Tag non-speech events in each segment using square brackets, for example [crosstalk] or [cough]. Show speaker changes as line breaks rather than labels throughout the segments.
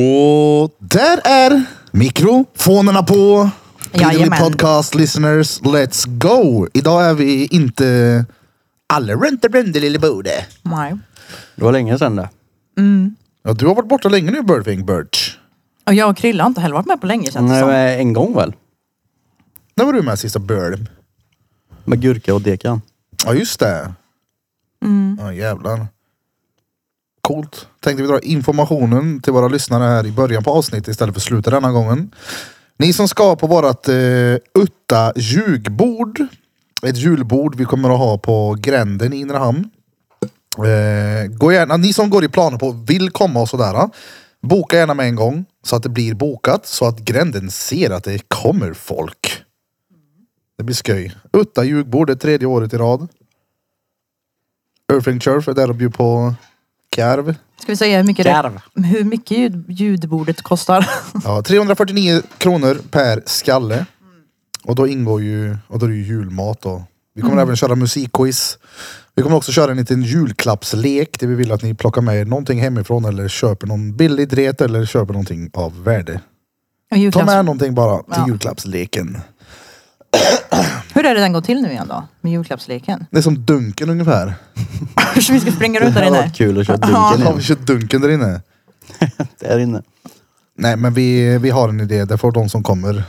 Och där är mikrofonerna på. Pilgrim
Jajamän.
Podcast listeners, let's go! Idag är vi inte alla runt och runt i lille Bode.
Nej.
Det var länge sedan det.
Ja, du har varit borta länge nu Birdwing Birch.
Och jag och Krilla har inte heller varit med på länge känns det
Nej,
som.
men en gång väl?
När var du med sista Bird?
Med gurka och dekan.
Ja, just det. Ja, jävlar. Coolt. Tänkte vi dra informationen till våra lyssnare här i början på avsnittet istället för slutet denna gången. Ni som ska på vårat eh, Utta ljugbord. Ett julbord vi kommer att ha på gränden i Inre Hamn. Eh, gå gärna, ni som går i planer på vill komma och sådär. eh, Boka gärna med en gång så att det blir bokat så att gränden ser att det kommer folk. Det blir skoj. Utta ljugbord, det är tredje året i rad. Earthling Turf är där och bjuder på karv.
Ska vi säga hur mycket, det,
Järv.
hur mycket ljud, ljudbordet kostar? [laughs]
Ja, 349 kronor per skalle. Och då ingår ju, och då är det ju julmat då. Vi
Mm.
kommer även köra musikquiz. Vi kommer också köra en liten julklappslek där vi vill att ni plockar med er någonting hemifrån eller köper någon billig dret eller köper någonting av värde.
Och
Ta
julklapps-
med någonting bara till
Ja.
julklappsleken.
Hur är det den går till nu igen då? Med julklappsleken?
[laughs] Det är som dunken ungefär.
Så vi ska springa runt där
Det hade
inne?
varit kul att köra
Ja.
Ja,
dunken
vi
in.
kör dunken där inne.
Där inne.
Nej men vi, vi har en idé, där får de som kommer.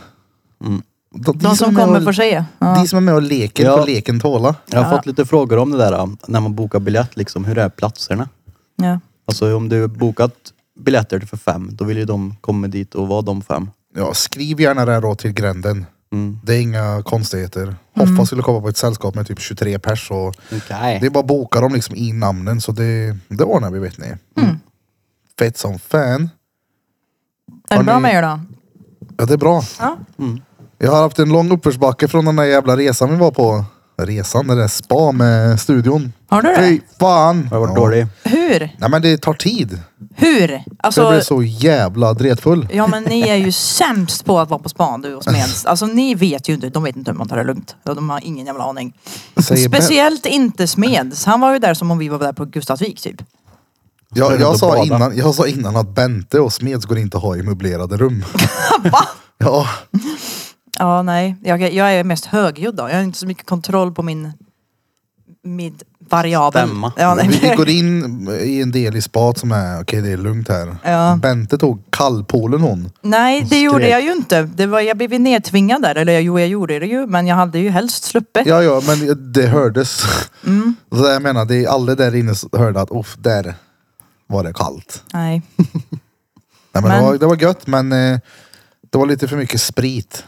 Mm.
De,
De som
är
kommer
och,
får se. Ja.
De som är med och leker
Ja.
får leken tåla.
Jag har fått lite frågor om det där äh, när man bokar biljett. Liksom, hur är platserna?
Ja.
Alltså om du bokat biljetter för fem, då vill ju de komma dit och vara de fem.
Ja, skriv gärna det här då till gränden.
Mm.
Det är inga konstigheter.
Mm.
Hoffa skulle komma på ett sällskap med typ 23 pers. Och
Okej.
det är bara att boka dem liksom i namnen så det, det ordnar vi vet ni.
Mm.
Mm.
Fett som fan.
Är
Har
det bra
ni-
med er då?
Ja det är bra.
Ja.
Mm.
Jag har haft en lång uppförsbacke från den där jävla resan vi var på. Resan, det där spa med studion.
Har du det?
Fy fan!
Har jag varit
Ja.
dålig?
Hur?
Nej men det tar tid.
Hur?
Jag
Alltså,
blev så jävla dretfull.
ja men ni är ju sämst på att vara på span du och Smeds. Alltså ni vet ju inte, de vet inte hur man tar det lugnt. Ja, De har ingen jävla aning.
Säger Ben.
Speciellt inte Smeds. Han var ju där som om vi var där på
[laughs]
Gustavsvik typ.
Jag,
Runt
jag,
och
sa
bada.
innan, jag sa innan att Bente och Smeds går inte att ha i möblerade rum.
Va?
Ja,
Ja, nej. Jag, jag är mest högljudd då. Jag har inte så mycket kontroll på min, min variabel.
Stämma.
Ja, [laughs] nej,
vi, vi
men-
går in i en del i spat som är, okej det är lugnt här.
Ja.
Bente tog kallpolen hon.
[laughs] nej, det
Skrek.
gjorde jag ju inte. Det var, jag blev ju nedtvingad där. Eller jag- jo, jag gjorde det ju. Men jag hade ju helst sluppit.
Ja, ja, men det hördes.
Mm.
[laughs] Så jag menar, det är alla där inne som hörde att, uff, där var det kallt.
Nej.
Nej, men
Men-
Det, var, det var gött, men eh, det var lite för mycket sprit.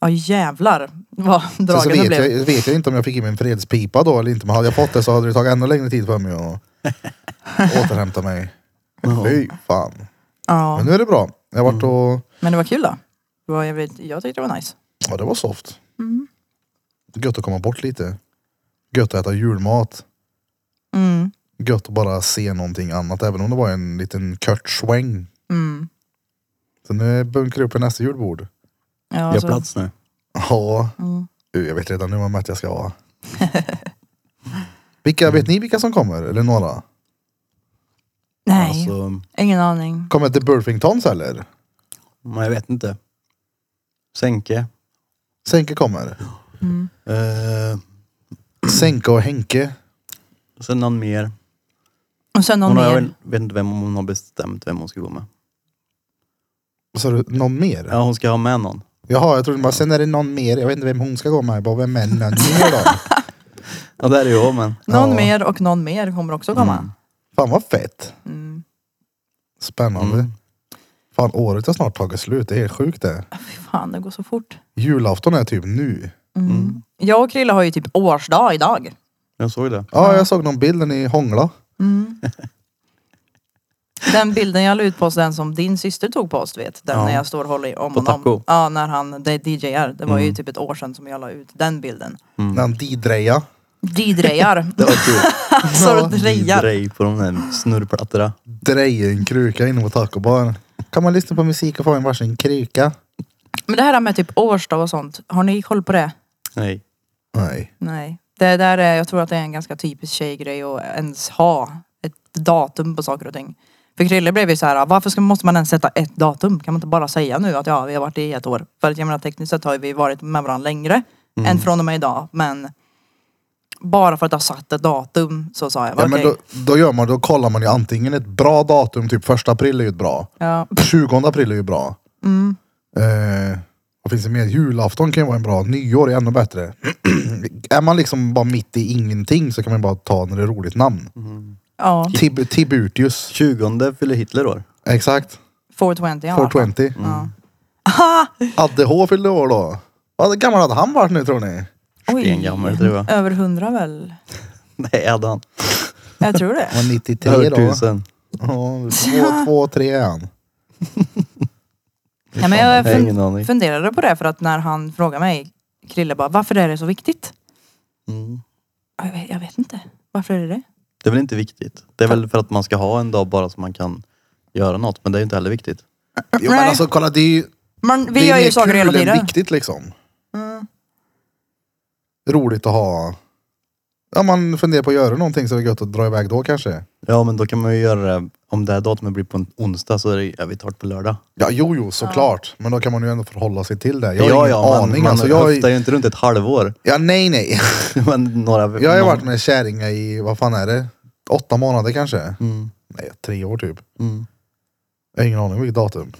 Ja, jävlar vad
Sen så
dragen det
vet
blev.
jag, vet jag inte om jag fick i mig en fredspipa då eller inte, men hade jag fått det så hade det tagit ännu längre tid för mig
[laughs]
att återhämta mig. Fy fan.
Ja,
Men nu är det bra. Jag har varit
Mm.
och...
men det var kul då. Det var, jag, vet, jag tyckte det var nice.
Ja, det var soft.
Mm.
Gött att komma bort lite. Gött att äta julmat.
Mm.
Gött att bara se någonting annat, även om det var en liten kort sväng.
Mm.
Så nu bunkrar jag upp för nästa julbord.
Ja,
Vi har
alltså,
plats nu.
Ja,
Mm.
Du, jag vet redan nu vad mätt jag ska vara. [laughs] Vilka, vet ni vilka som kommer? Eller några?
Nej,
Alltså,
ingen aning.
Kommer The Burfingtons eller?
men jag vet inte. Sänke.
Senke kommer.
Eh,
Senke och Henke.
sen någon mer.
Och sen någon
Hon har,
mer.
jag vet inte vem hon har bestämt vem hon ska gå med.
Och så är det någon mer?
Ja, hon ska ha med någon.
Jaha, jag trodde bara sen är det någon mer. Jag vet inte vem hon ska gå med. Jag bara, vem är någon mer då?
Ja, där är jag men.
Någon
Ja. Mm.
mer och någon mer kommer också komma.
Fan vad fett.
Mm.
Spännande. Fan året har snart tagit slut. Det är helt sjukt det.
Fy fan, det går så fort.
Julafton är typ nu.
Mm. Jag och Krilla har ju typ årsdag idag.
Jag såg det.
Ja, jag såg någon bild när ni hånglade.
Den bilden jag la ut på oss, den som din syster tog på oss, du vet. Den
Ja.
när jag står och håller i om
På
honom.
taco. Mm.
Ja, när han det är DJar. Det var ju typ ett år sedan som jag la ut den bilden.
När han didreja.
[laughs]
DJ-ar.
Det var kul.
[laughs] Så drejar.
Drej på de där snurrplattorna.
Drejer en kruka inne på tacobar. Kan man lyssna på musik och få en varsin kruka?
Men det här med typ årsdag och sånt, har ni koll på det?
Nej.
Nej.
Nej. Det där är, jag tror att det är en ganska typisk tjejgrej att ens ha ett datum på saker och ting. För Krille blev ju så här, varför ska, måste man ens sätta ett datum? Kan man inte bara säga nu att ja, vi har varit i ett år? För att jag menar tekniskt sett har ju vi varit med varandra längre än från och med idag. Men bara för att ha satt ett datum så sa jag,
Ja,
okej.
men då, då, gör man, då kollar man ju antingen ett bra datum, typ första april är ju ett bra.
ja.
20 april är ju bra. Eh, vad finns det mer? Julafton kan ju vara en bra. Nyår är ännu bättre. [clears throat] är man liksom bara mitt i ingenting så kan man bara ta när det är roligt namn.
ja,
Tib- Tiburtius.
20 fyller Hitler år.
Exakt.
420 i alla fall.
420.
Ja.
Adde H fyllde år då. Vad gammal hade han varit nu tror ni?
Oj.
Stengammal
[laughs]
tror jag.
Över hundra väl?
Nej, hade han.
Jag
[laughs]
tror det.
Han var 93
Över
då.
tusen.
Ja, två, två, tre är han.
Nej, men jag
Jag har
fun-
ingen aning.
funderade på det för att när han frågade mig, Krille bara, varför är det så viktigt?
Mm.
Ja, Jag vet, jag vet inte. Varför är det det?
Det är väl inte viktigt. Det är väl för att man ska ha en dag bara så man kan göra något. Men det är ju inte heller viktigt.
Jo men
Nej.
alltså kolla det är ju...
Men
det
vi
är
gör ju
mer
saker
kul
hela
än
tiden. Mm.
viktigt liksom. Roligt att ha. Ja man funderar på att göra någonting så är det gött att dra iväg då kanske.
Ja, men då kan man ju göra det. Om det här datumet blir på en onsdag så är det, ja, vi tar det på lördag.
Ja jo jo såklart. Men då kan man ju ändå förhålla sig till det. Jag har
ja,
ingen
ja,
aning.
Man, man
alltså, jag
höftar
är...
ju inte runt ett halvår. [laughs]
Ja nej nej.
men några,
Jag har ju
någon-
varit med kärringar i, vad fan är det? Åtta månader kanske?
Mm,
Nej tre år typ.
mm.
Jag har ingen aning vilket datum.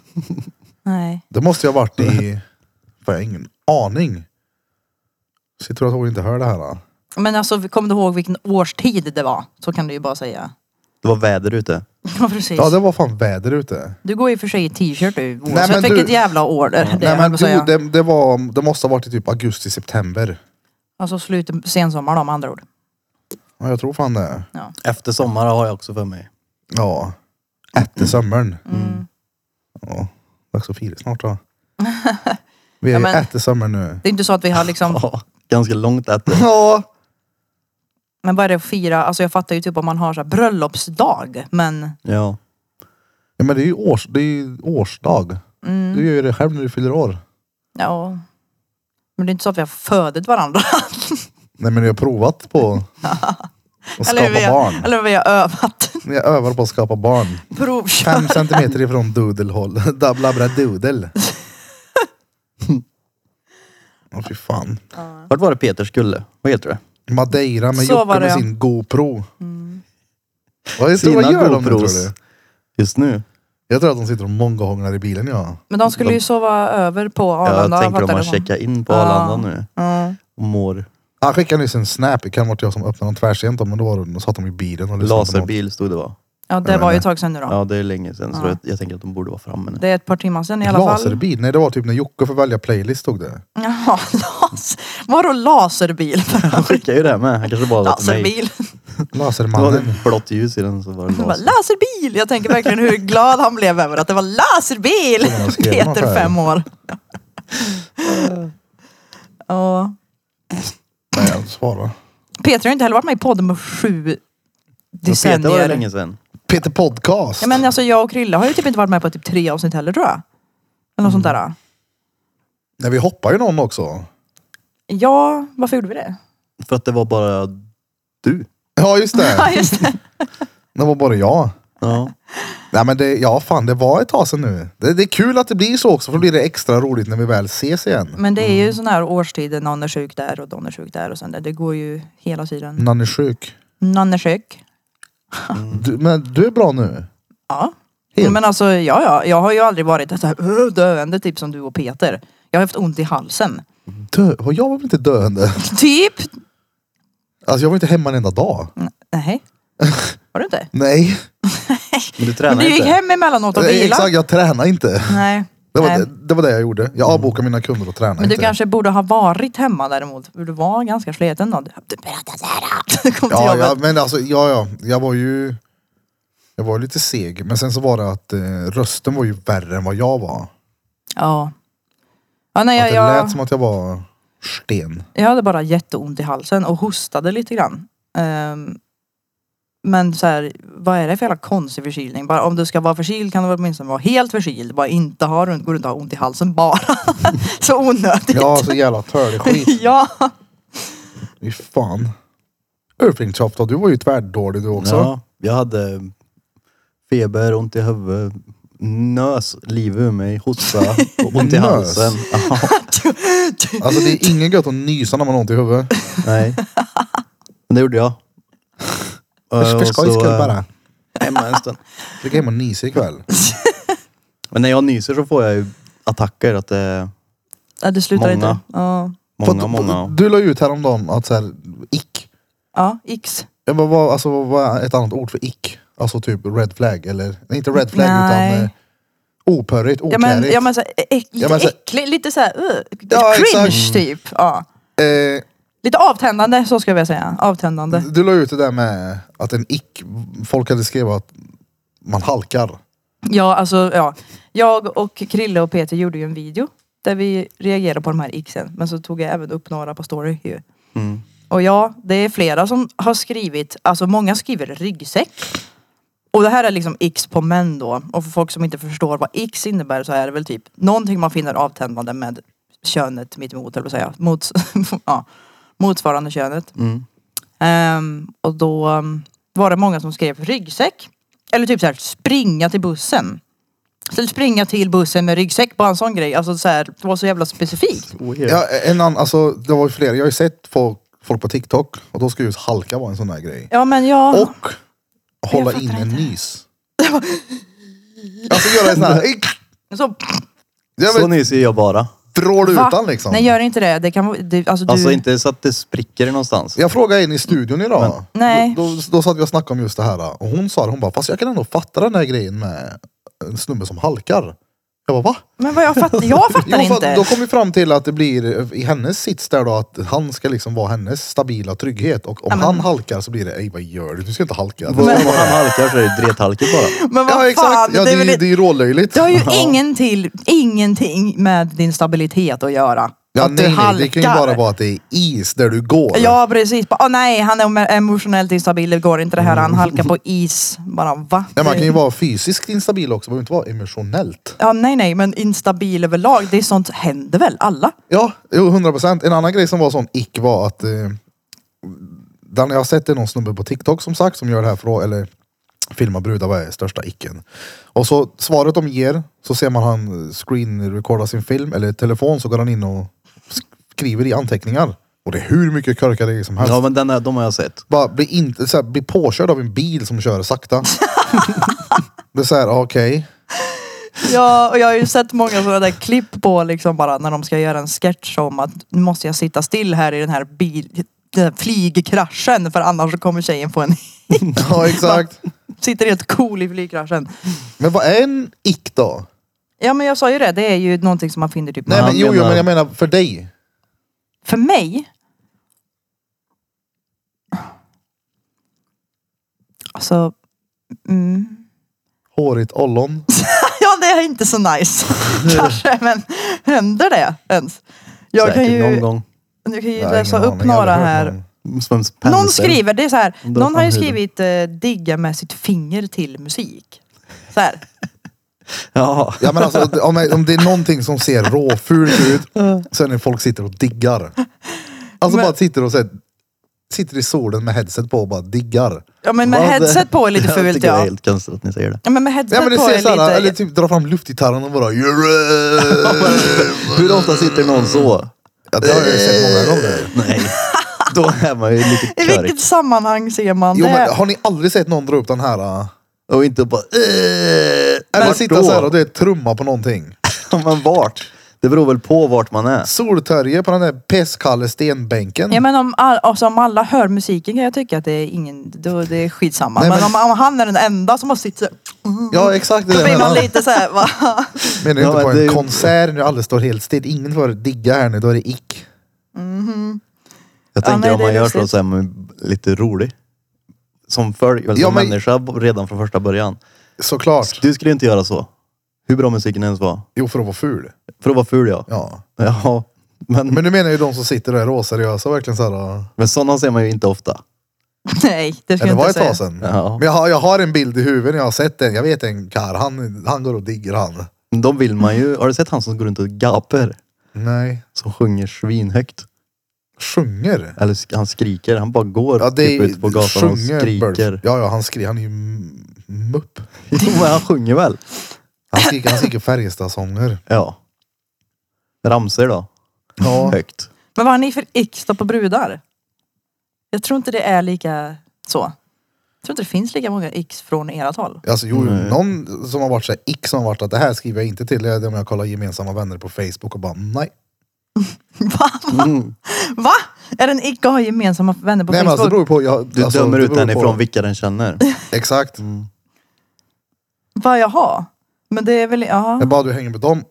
Nej.
Det måste jag ha varit
[laughs]
i... Fan, jag har ingen aning. Så jag tror att hon inte hör det här. Då.
Men alltså, kom du ihåg vilken årstid det var? Så kan du ju bara säga.
Det var väder ute.
[laughs] Ja, precis.
Ja det var fan väder ute.
Du går ju för sig i t-shirt du,
Nej, men
oavsett
du-
vilket jävla år det är.
Nej
höll jag
men
på att
du,
säga.
det, det, var, det måste ha varit i typ augusti, september.
Alltså slutet, sensommar då med andra ord.
Ja jag tror fan det.
Efter sommar har jag också för mig.
Ja. Efter sommaren.
Mm.
Ja. Dags att fira snart
[laughs]
då. Vi är ju
Ja, men-
efter sommaren nu.
Det är inte så att vi har liksom,
Ja, ganska långt efter.
Ja.
men vad är det att fira? Alltså jag fattar ju typ om man har så här bröllopsdag, men
Ja.
ja men det är ju års, det är ju årsdag.
Mm.
Du gör ju det själv när du fyller år.
ja. Men det är inte så att vi har födet
[laughs]
varandra.
Nej men jag har provat
[laughs]
på att skapa
eller, vi har,
barn.
eller vi har övat.
Jag övar på att skapa barn.
Provkört. [laughs]
Fem centimeter ifrån dudelhåll. [laughs] Dablabra dudel. Åh fy fan.
Vart var det Peter skulle? Vad heter det?
Madeira med
Så
Jocke
var det,
med
ja. Mm.
sin GoPro. Vad, jag tror,
Sina
vad gör de nu
GoPros.
tror du?
Just nu?
Jag tror att de sitter och månghånglar i bilen ja.
Men de skulle ju sova över på
Jag
Arlanda.
tänker om
fattar
man
du vad?
checkar in på
Ja.
Arlanda nu.
Mm.
Och mår
Han skickade nyss en snap, det kan ha varit jag som öppnade den tvärsent då, men då var det, då satt de i bilen och lyssnade på något.
laserbil stod det va?
Ja, det var ju ett tag sedan nu då.
Ja det är länge sedan så
Ja.
jag, jag tänker att de borde vara framme nu. [laughs]
Det är ett par timmar sedan i alla [laughs] fall.
Laserbil? Nej det var typ när Jocke får välja playlist stod det.
Jaha, las... Vadå laserbil?
Han skickar ju det här med. Han kanske bara sa till mig.
[laughs] laserbil.
Det var
Lasermannen.
ett [laughs] blått ljus i den så var det
Han bara,
laser.
laserbil! Jag tänker verkligen hur glad han blev över att det var laserbil!
Som han skrev något
Peter
här.
fem år. Ja.
Nej jag svarar.
Peter har ju inte heller varit med i podden med sju
Men Peter var det
decennier.
länge sedan.
Peter Podcast.
Ja, men alltså, jag och Krille har ju typ inte varit med på typ tre avsnitt heller tror jag. Eller något sånt där.
Nej vi hoppar ju någon också.
Ja, varför gjorde vi det?
För att det var bara du.
Ja just
[laughs] Ja,
det.
just det.
Det var bara jag.
Ja.
Nej men det, ja fan det var ett tag sedan nu. Det, det är kul att det blir så också för då blir det extra roligt när vi väl ses igen.
Men det är ju sån här årstider, någon är sjuk där och någon är sjuk där och sen där. Det går ju hela tiden.
Nanne är sjuk.
Någon är sjuk.
Du, men du är bra nu.
Ja.
Helt.
Men alltså, ja, ja. Jag har ju aldrig varit så här "Åh, döende typ som du och Peter. Jag har haft ont
[laughs]
i halsen.
Dö, och jag var väl inte döende?
Typ.
Alltså jag var inte hemma en enda dag.
Nej. Har
[laughs]
du inte?
Nej.
Men du
Men
tränar
du gick
inte.
hem emellanåt och
Eh,
vilade.
Exakt, jag tränade inte.
Nej.
Det var
Nej.
det, det var det jag gjorde. Jag avbokade mina kunder och tränade
Men du
inte.
kanske borde ha varit hemma däremot. För du var ganska sliten då. Du- Du berättade såhär. [laughs] Du kom till
Ja,
jobbet.
ja, men alltså, ja, ja, jag var ju... Jag var ju lite seg, men sen så var det att eh, rösten var ju värre än vad jag var.
Ja. Ja, nej,
att
jag,
det
jag,
lät som att jag var sten.
jag hade bara jätteont i halsen och hostade lite grann. Ehm, men så här, vad är det för jävla konstig förkylning? Bara, om du ska vara förkyld kan du väl åtminstone vara helt förkyld. Bara inte ha runt, gå runt och ha ont i halsen bara. [laughs] så
[laughs]
onödigt.
Ja, så jävla törlig skit.
[laughs] ja.
[laughs] Fy fan. Örfinktoft, du var ju tvärdålig du också.
Ja, jag hade Feber, ont i huvudet, nös liv ur mig, hosta, och ont i
Nös?
halsen. Ja,
Alltså det är ingen gött att nysa när man har ont i huvudet.
nej. Men det gjorde jag.
För
Och
skojs
så,
skull
eh,
bara.
Hemma en stund.
Försök hem och nysa ikväll.
Men när jag nyser så får jag ju attacker. Att det är
Ja, det slutar
Många.
inte. Ja.
[laughs] många,
Fått-
många.
Du la ju ut häromdagen att så här, ick.
ja, x.
Ja, Vad var alltså, vad var ett annat ord för ick? Alltså typ red flag eller, nej inte red flag
Nej.
utan eh, opörrigt,
Ja men,
okärigt.
ja, men så här, äck, lite
Ja, men så här-
äcklig, lite såhär uh,
Ja,
cringe
exakt.
typ. Ja.
eh,
Lite avtändande så ska jag vilja säga. Avtändande.
du la ut det där med att en ick, folk hade skrivit att man halkar.
Ja, alltså ja. Jag och Krille och Peter gjorde ju en video där vi reagerade på de här xen. Men så tog jag även upp några på story ju.
Mm.
Och ja, det är flera som har skrivit, alltså många skriver ryggsäck. Och det här är liksom x på män då. Och för folk som inte förstår vad x innebär så är det väl typ någonting man finner avtändande med könet mitt emot, eller vad säger jag? Mots [laughs] ja, motsvarande könet.
Mm.
Ehm, och då ehm, var det många som skrev ryggsäck. Eller typ så här, springa till bussen. Så springa till bussen med ryggsäck, bara en sån grej. Alltså så här, det var så jävla specifikt.
Weird.
Ja, en annan, alltså det var ju flera, jag har ju sett folk, folk på TikTok och då ska just halka vara en sån där grej.
Ja men jag...
Och hålla
fattar
in en
inte.
nys. Alltså göra en sån
[laughs]
här, ick.
så,
Jag
Så
vet,
nyser jag bara.
drar du
va?
ut den liksom?
Nej gör inte det. Det kan vara... det- Alltså, du...
Alltså inte så att det spricker någonstans.
Jag frågade en i studion idag.
Nej.
Då, då, då satt vi och snackade om just det här. Och hon sa det, hon bara, fast jag kan ändå fatta den här grejen med en snubbe som halkar. Jag bara, va?
Men vad jag fattar,
[laughs]
jag fattar
Jo, för
inte.
att då kom vi fram till att det blir i hennes sits där då att han ska liksom vara hennes stabila trygghet. Och om
Ja, men-
han halkar så blir det, ej vad gör du? Du ska inte halka.
Vad- Om han halkar så är det drethalkor bara.
Men vad
Ja
fan,
exakt, ja,
det,
det,
är väl,
är, det är ju rålöjligt.
det har ju ingen till, ingenting med din stabilitet att göra.
Ja,
att
nej,
du
nej,
halkar.
det kan ju bara vara att det är is där du går.
Ja precis. Bara, Åh nej, han är em- emotionellt instabil. Det går inte det här. Han halkar på is. Bara va?
Nej, man kan ju vara fysiskt instabil också, man behöver inte vara emotionellt.
Ja nej nej, men instabil överlag. Det är sånt händer väl alla?
Ja, jo, 100 procent. En annan grej som var sån ick var att eh, den jag har sett är någon snubbe på TikTok som sagt som gör det här för att, eller filma brudar, vad är största icken? Och så svaret de ger så ser man han screen-recorda sin film eller telefon så går han in och skriver i anteckningar. Och det är hur mycket korkade grejer som helst.
Ja men den här, de har jag sett.
Bara bli, inte, så här, bli påkörd av en bil som kör
[laughs]
sakta. det är såhär, okej.
Ja, och jag har ju sett många sådana där klipp på liksom bara när de ska göra en sketch om att nu måste jag sitta still här i den här bil, den här flygkraschen för annars så kommer tjejen få en... [laughs]
Ja
[laughs]
exakt.
Sitter helt cool i flygkraschen.
Men vad är en ick då?
Ja men jag sa ju det, det är ju någonting som man finner typ...
Nej
Men
men
han
jo, jo
menar-
men jag menar för dig.
För mig... Alltså... Mm.
Hårigt ollon.
[laughs] Ja, det är inte så nice. Kanske, men händer det ens? Jag kan
Säkert någon
ju,
gång.
jag kan ju
Nej,
läsa
ingen
upp
aning, jag har
några
aldrig hört
här.
någon.
Som en
Någon
pensel.
skriver, det är så här,
Dra
någon har ju
fram huden.
skrivit eh, digga med sitt finger till musik. Så här.
Ja.
Ja, men alltså, om, om det är någonting som ser råfult
[laughs]
ut så är det när folk sitter och diggar. Alltså
Men-
bara sitter och så här, sitter i solen med headset på och bara diggar.
Ja men med
Vad?
headset på är lite
Jag
fult
tycker det är
ja.
helt konstigt att ni säger det.
Ja men med headset
Ja, men det
på
ser
är
så här, eller
lite...
typ dra fram luftgitarren och bara...
Hur ofta sitter någon så?
Ja, det har jag ju sett många gånger.
Nej. Då är man ju lite
I
körk.
vilket sammanhang ser man
Jo,
det?
men, har ni aldrig sett någon dra upp den här? äh,
Och inte bara... "Eh."
Eller
Vart
sitta
då?
så här och det är trumma på någonting. [laughs]
Ja, Men vart? Det beror väl på vart man är.
Soltörje på den där pestkalle stenbänken.
Ja men om, all, alltså, om alla hör musiken kan jag tycka att det är ingen, då, det är skitsamma.
Nej,
men
men-
om, om han är den enda som har sitt så här,
Ja exakt det
då
är det
blir
jag
man
menar.
lite såhär va? [laughs]
Menar
Ja,
inte
men
på en
det är ju-
konsert nu alla står helt still. Ingen får digga här nu, då är det ick.
Jag
Ja,
tänker
nej,
om
det är
man gör så,
lustigt.
så är man lite rolig. Som, för, eller
Ja,
som
men-
människa redan från första början.
Såklart.
Du skulle inte göra så. Hur bra musiken ens var.
Jo för att vara ful.
För att vara ful ja.
Ja.
Ja. Men,
Men du menar ju de som sitter där råseriösa verkligen så här. äh,
men sådana ser man ju inte ofta.
Nej det ska
Eller
jag
var
inte
ett
säga.
tag sedan.
Ja.
Men jag har, jag har en bild i huvudet, jag har sett den. Jag vet en karl, han, han går och digger han.
De vill man ju. Har du sett han som går runt och gapar?
Nej.
Som sjunger svinhögt.
Sjunger.
Eller sk- han skriker. Han bara går
Ja det
typ
är
ut på gatan och
sjunger Burf.
skriker. [laughs]
Ja ja han skriker, han är ju mupp.
Jo men han sjunger väl?
Han skriker, han skriker Färjestadsånger.
Ja. Ramsor då?
Ja.
[laughs] Högt.
Men vad har ni för extra på brudar? Jag tror inte det är lika så. Jag tror inte det finns lika många x från ert håll.
Alltså jo,
Nej.
någon som har varit så här ick som har varit att det här skriver jag inte till. Det är om jag kollar gemensamma vänner på Facebook och bara nej.
Va?
Mm.
Va? Är den icke att ha gemensamma vänner på
nej men alltså det
Facebook?
beror på. Jag,
Du
alltså,
dömer
det
ut
beror
den
på-
ifrån Mm. vilka den känner.
Exakt.
Vad jaha? Men det är väl, ja.
Men bara du hänger med dem,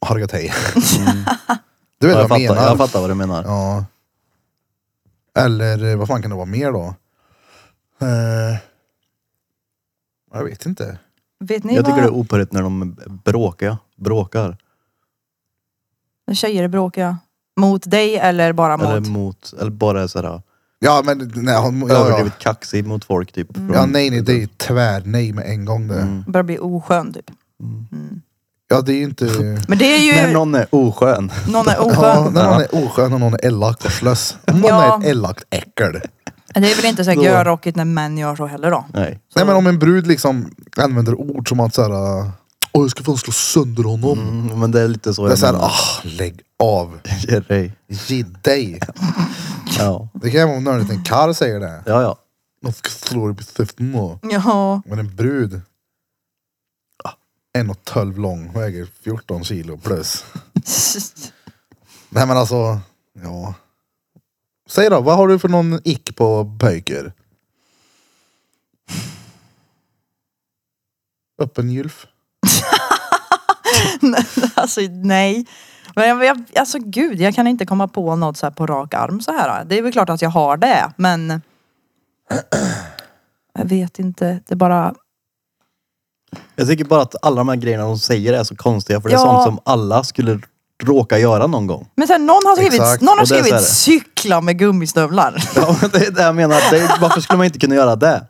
har det gött hej.
Mm.
[laughs] Du vet
Ja, jag,
vad jag
fattar,
menar.
jag fattar vad du menar.
Ja. Eller eh, vad fan kan det vara mer då? Eh, jag vet inte.
Vet ni
Jag tycker det är
vad
opärligt när de bråkar. bråkar.
tjejer bråkar? Mot dig eller bara mot?
Eller mot, eller bara är sådär
Ja men nej, han- ja, ja.
överdrivet kaxig mot folk typ. från-
ja nej nej, det är tvär nej med en gång det.
Mm.
Börjar bli oskön typ.
Mm.
Mm.
Ja det är ju inte...
[laughs]
Men det är
När
ju, någon...
någon är oskön. [laughs]
är
Ja,
oskön.
när någon är oskön och någon är elak och slös. Om någon
Ja.
är ett elakt äckel.
Det är väl inte så
Då-
här görrockigt när män gör så heller då?
Nej.
Nej men om en brud liksom använder ord som att såhär, åh jag ska fan slå sönder honom.
Mm, men det är lite så
Det är såhär,
[laughs] menar.
ah lägg av.
Ge dig.
Ge dig.
Ja.
Det kan ju vara om någon liten karl säger det.
ja, ja.
Jag ska slå dig på käften då. [laughs]
Ja. [laughs]
Men en brud. ah, En och tolv lång, väger 14 kilo plus. Nej men alltså, ja. Säg då, vad har du för någon ick på pöjker? Öppen gylf?
[laughs] alltså nej. Men jag, jag, alltså gud, jag kan inte komma på något så här på rak arm så här. Det är väl klart att jag har det, men [clears throat] jag vet inte. Det är bara,
Jag tycker bara att alla de här grejerna de säger är så konstiga för det är
Ja.
sånt som alla skulle råka göra någon gång.
men sen någon har skrivit,
Exakt,
någon har
och det är så
skrivit
här.
cykla med gummistövlar. [laughs]
Ja, men det är det jag menar. Det är, varför skulle man inte kunna göra det?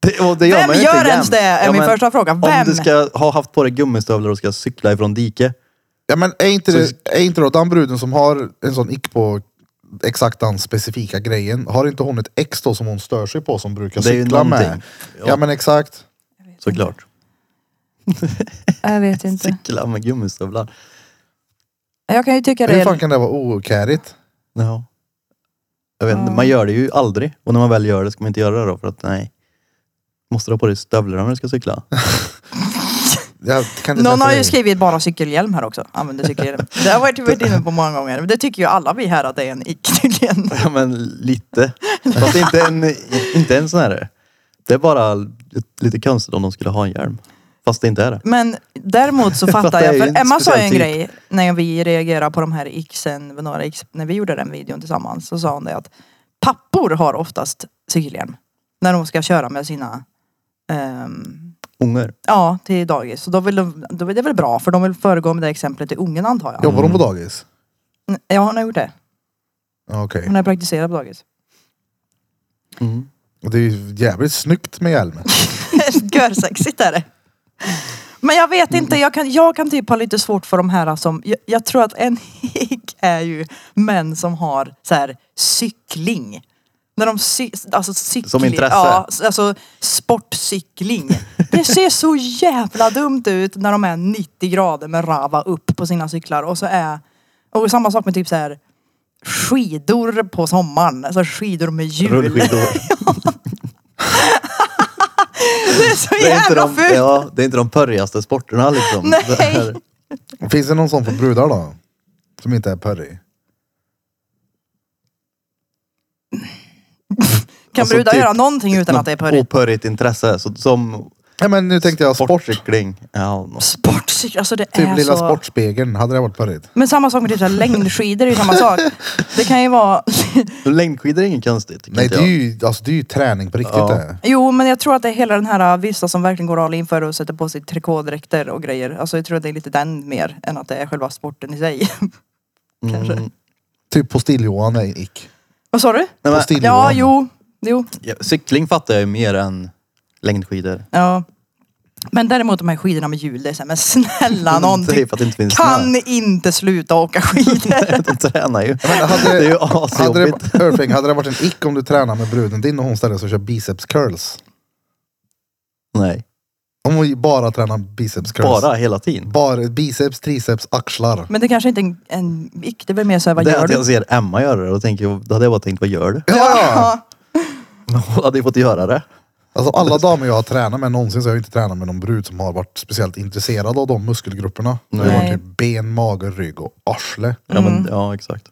det, och det gör
Vem
man ju
gör
inte
ens
jämt.
det? Är min
men
första fråga. Vem?
Om du ska ha haft på dig gummistövlar och ska cykla ifrån dike.
Ja men är inte,
Så-
det, är inte då den bruden som har en sån ick på exakt den specifika grejen, har inte hon ett ex då som hon stör sig på som brukar
Det är ju
cykla med?
någonting.
Ja.
Ja.
men exakt.
Såklart.
Jag vet inte.
Cykla med gummistövlar.
Jag kan ju tycka det
Hur fan
är...
kan det vara okärigt?
Ja. Jag vet inte, man gör det ju aldrig. Och när man väl gör det ska man inte göra det då för att nej. Måste du ha på dig stövlar när du ska cykla? [laughs]
Jag kan inte
Någon har
säga.
ju skrivit bara cykelhjälm här också. Använder cykelhjälm. Det har varit varit inne på många gånger. Det tycker ju alla vi här att det är en [laughs] ick tydligen.
Ja men lite. Fast inte en, inte en sån här. Det är bara lite konstigt om de skulle ha en hjälm. Fast det inte är det.
Men däremot
[laughs]
så fattar
Fattar
jag,
ju
för
inte
Emma sa ju en
speciellt
grej när vi reagerade på de här xen, med några x, när vi gjorde den videon tillsammans så sa hon det att pappor har oftast cykelhjälm när de ska köra med sina ehm,
Ungar.
Ja, till dagis. Så då vill de, då är det väl bra för de vill föregå med det exemplet till ungen antar jag.
Jobbar de på dagis?
Mm, Ja, hon har gjort det.
Ja, Okej.
Hon har praktiserat på dagis.
Mm.
Och Det är ju jävligt snyggt med hjälm.
[laughs] Görsexigt är det. Men jag vet inte, jag kan, jag kan typ ha lite svårt för de här som, jag, jag tror att en hick är ju män som har så här cykling. När de cy, alltså cykling,
Som intresse?
Ja, s- alltså sportcykling. Det ser så jävla dumt ut när de är 90 grader med rava upp på sina cyklar och så är, och samma sak med typ så här skidor på sommaren, alltså skidor med hjul.
Rullskidor.
[laughs] Det är så
Det är, inte
jävla
de,
fult!
ja, det är inte de pörrigaste sporterna liksom.
Nej.
Det
[laughs]
är-
Finns det någon sån för brudar då? Som inte är pörrig?
Kan
Alltså,
brudar
typ-
göra någonting utan att det är pörrigt?
Opörrigt intresse. Så, som
Ja men nu tänkte jag sport. Typ
sportcykling. Ja, nå-
Sportcykel, alltså det
Typ
är
lilla
så...
sportspegeln, hade det varit pörrigt?
Men samma sak med typ så här längdskidor, är ju samma
[laughs]
sak. Det kan ju vara...
längdskidor är inget konstigt. tycker
Nej
inte
det är, ju, alltså, det är ju träning på riktigt
Ja.
det.
Jo men jag tror att det är hela den här vissa som verkligen går all in för och sätter på sig trikådräkter och grejer. Alltså jag tror att det är lite den mer än att det är själva sporten i sig. [laughs]
jag.
kanske.
Typ på Still-Johan är en ick.
Vad sa du?
Nej,
På
men,
Ja,
Still-Johan.
jo. Jo.
ja, cykling fattar jag ju mer än längdskidor.
Ja. Men däremot de här skidorna med hjul, det är så här, men snälla någon.
[laughs] Det är Mm, för att det inte finns
Kan inte sluta åka skidor. [laughs]
[laughs] snö. [laughs] De tränar ju.
hade-
det är ju
Hade
asjobbigt.
det, Örfing, hade det varit en ick om du tränar med bruden din och hon ställer sig och kör biceps curls?
Nej.
Om vi bara tränar biceps curls.
Bara hela tiden.
Bara biceps, triceps, axlar.
Men det kanske inte är en, en vikt, det är väl mer såhär, vad
det är
gör
att
du?
jag ser Emma göra det och tänker, jag- då hade jag bara tänkt, vad gör du?
Ja,
[laughs]
ja.
Hon hade ju fått göra det.
Alltså alla damer jag har tränat med någonsin så har jag inte tränat med någon brud som har varit speciellt intresserad av de muskelgrupperna. Det har
Nej.
varit typ ben, mage, rygg och arsle.
Ja,
Mm.
men, ja exakt.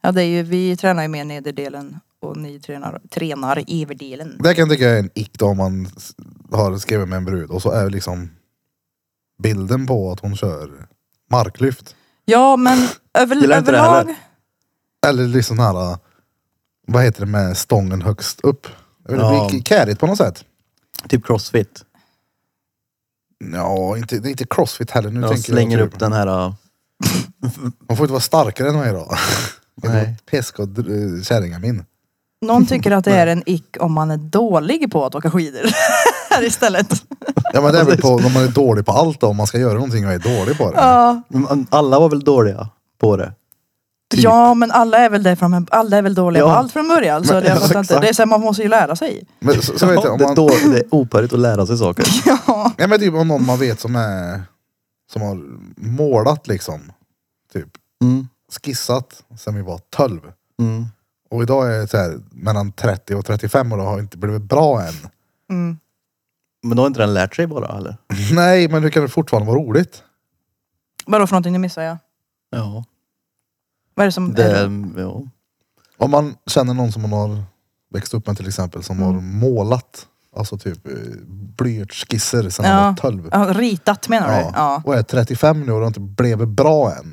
Ja, det är ju, vi tränar ju mer nederdelen och ni tränar, tränar överdelen.
Det kan jag tycka är en ick då om man s- har skrivit med en brud och så är liksom bilden på att hon kör marklyft.
Ja, men över,
Gillar inte det
överlag.
heller.
Eller liksom den här, vad heter det med stången högst upp? Det blir
Ja.
ja. kärigt på något sätt.
Typ crossfit.
Ja, inte, det är inte crossfit heller. Nu
Jag
tänker
slänger
jag typ-
upp den här... äh,
Man får inte vara starkare än mig [laughs] idag.
Nej.
Pesk och dr- eh, kärringar min.
Någon tycker att det är en ick om man är dålig på att åka skidor. [laughs] Här istället.
Ja men det
[laughs]
är väl på, om man är dålig på allt då, om man ska göra någonting och är dålig på det.
Ja.
Men Alla var väl dåliga på det? Typ.
ja, men alla är väl, där från, alla är väl dåliga på
Ja.
allt från början. Så
Men-
det, jag
ja,
fattar inte.
exakt.
det är så här, man måste ju lära sig.
Men så, så vet jag, om
det, är
man,
då, det är opärigt att lära
[laughs]
sig saker.
Ja.
ja, men typ om någon man vet som är, som har målat liksom. Typ
Mm.
skissat sen vi var 12.
Mm.
Och idag är jag så här, mellan 30 och 35 och det har inte blivit bra än.
Mm.
Men då har inte den lärt sig bara eller?
Nej men det kan väl fortfarande vara roligt.
Vadå för någonting? Nu missar jag.
Ja.
Vad är det som...
Det, ja.
Om man känner någon som man har växt upp med till exempel som har
Mm.
målat. Alltså typ eh, blyertsskisser sen man var
Ja.
12.
Ja, ritat menar du? Ja.
Och är 35 nu och det har inte blivit bra
[laughs]
än.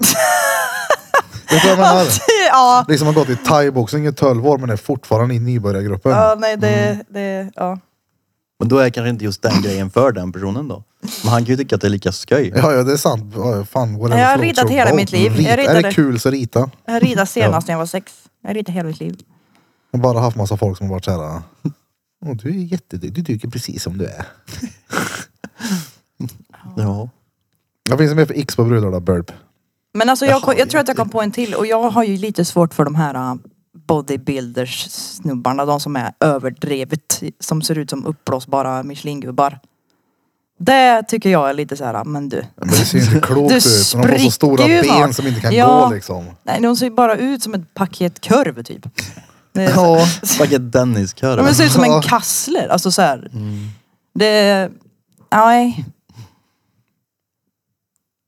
Vet du vad jag menar?
Ja. [laughs]
Liksom har gått i thaiboxning i 12 år men är fortfarande i nybörjargruppen.
Ja, nej det... det ja.
Men då är kanske inte just den grejen för den personen då. Men han kan ju tycka att det är lika skoj.
Ja, ja det är sant. Ja, fan, whatever
Jag har
floats
ritat
your
hela
boat.
mitt liv.
Rita.
Jag
Är det
ritade.
kul så rita.
Jag ritade senast när jag var sex. Jag ritade hela mitt liv.
Jag har bara haft massa folk som har varit såhär. Åh, du är jätteduktig, du duger precis som du är.
Ja.
Vad finns det mer för x på brudar då? Burp.
Men alltså jag,
Jaha,
jag tror att jag kom på en till och jag har ju lite svårt för de här äh, bodybuilders snubbarna, de som är överdrivet, som ser ut som uppblåsbara Michelin-gubbar. Det tycker jag är lite så här, äh, men du.
Men det ser ju inte klokt
[laughs] Du
ut. Men De har så stora
spricker ju
ben
snart.
som inte kan
Ja.
gå liksom.
Nej, de ser ju bara ut som ett paket korv typ. Det är så-
Ja.
Vilket Dennis-kör.
De ser ut som
Ja.
en kassler, alltså så här.
Mm.
Det, nej.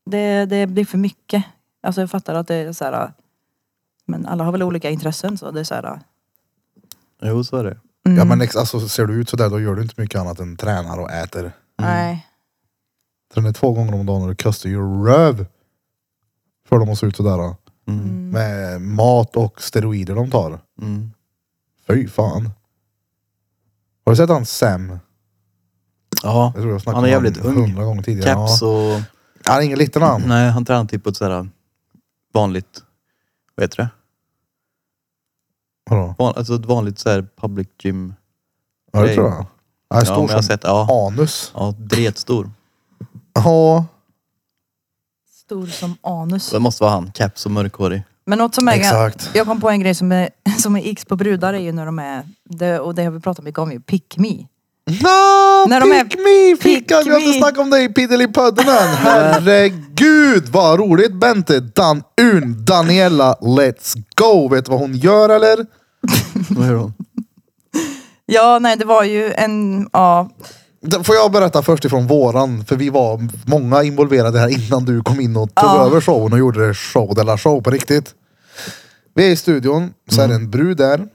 Det, det blir för mycket. Alltså jag fattar att det är så här. Men alla har väl olika intressen så det är så här. äh,
Mm.
Jo, så är det.
Mm,
Ja men ex- alltså, ser du ut sådär då gör du inte mycket annat än tränar och äter.
Nej.
Tränar två gånger om dagen och du kastar ju röv. För de att se ut sådär. Då.
Mm.
Med mat och steroider de tar.
Mm.
Fy fan. Har du sett han Sam?
Ja.
Jag tror jag snackade
Han är jävligt
om honom
ung.
hundra gånger tidigare.
Caps
ja.
och...
Han är ingen liten han.
Nej, han tränar typ på ett sådär vanligt... Vad heter det?
Vadå?
Van, alltså ett vanligt såhär public gym.
Ja det
Nej.
tror jag. Han är
Ja, men
stor
jag har
som
sett. Ja.
anus.
Ja, dretstor.
Ja.
Stor som anus.
Det måste vara han. Caps och mörkhårig.
Men något som är,
Exakt.
jag kom på en grej som är, som är x på brudar är ju när de är, det, och det har vi pratat mycket om ju, pick me.
No,
När
När
de
pick
är-
me! Fickan,
Pick
vi har inte
me.
snackat om dig i
[laughs]
Piddelipödden än. Herregud vad roligt Bente! Dan Un, Daniela, let's go! Vet du vad hon gör eller?
Vad gör hon?
Ja, nej det var ju en, ja,
Det- Får jag berätta först ifrån våran, för vi var många involverade här innan du kom in och tog
Ja.
över showen och gjorde det show de la show på riktigt. Vi är i studion, så är det en brud där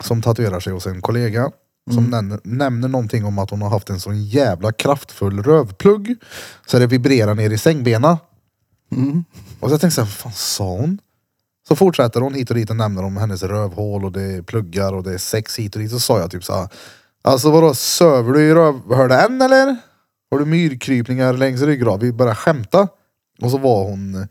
som tatuerar sig hos en kollega som nämner, nämner någonting om att hon har haft en sån jävla kraftfull rövplugg så det vibrerar ner i sängbena. Och så tänkte jag så här, vad fan sa hon? Så fortsätter hon hit och dit och nämner om hennes rövhål och det är pluggar och det är sex hit och dit. Så sa jag typ så här, alltså vadå söver du i rövhålet än eller? Har du myrkrypningar längs ryggrad? Vi började skämta. Och så var hon,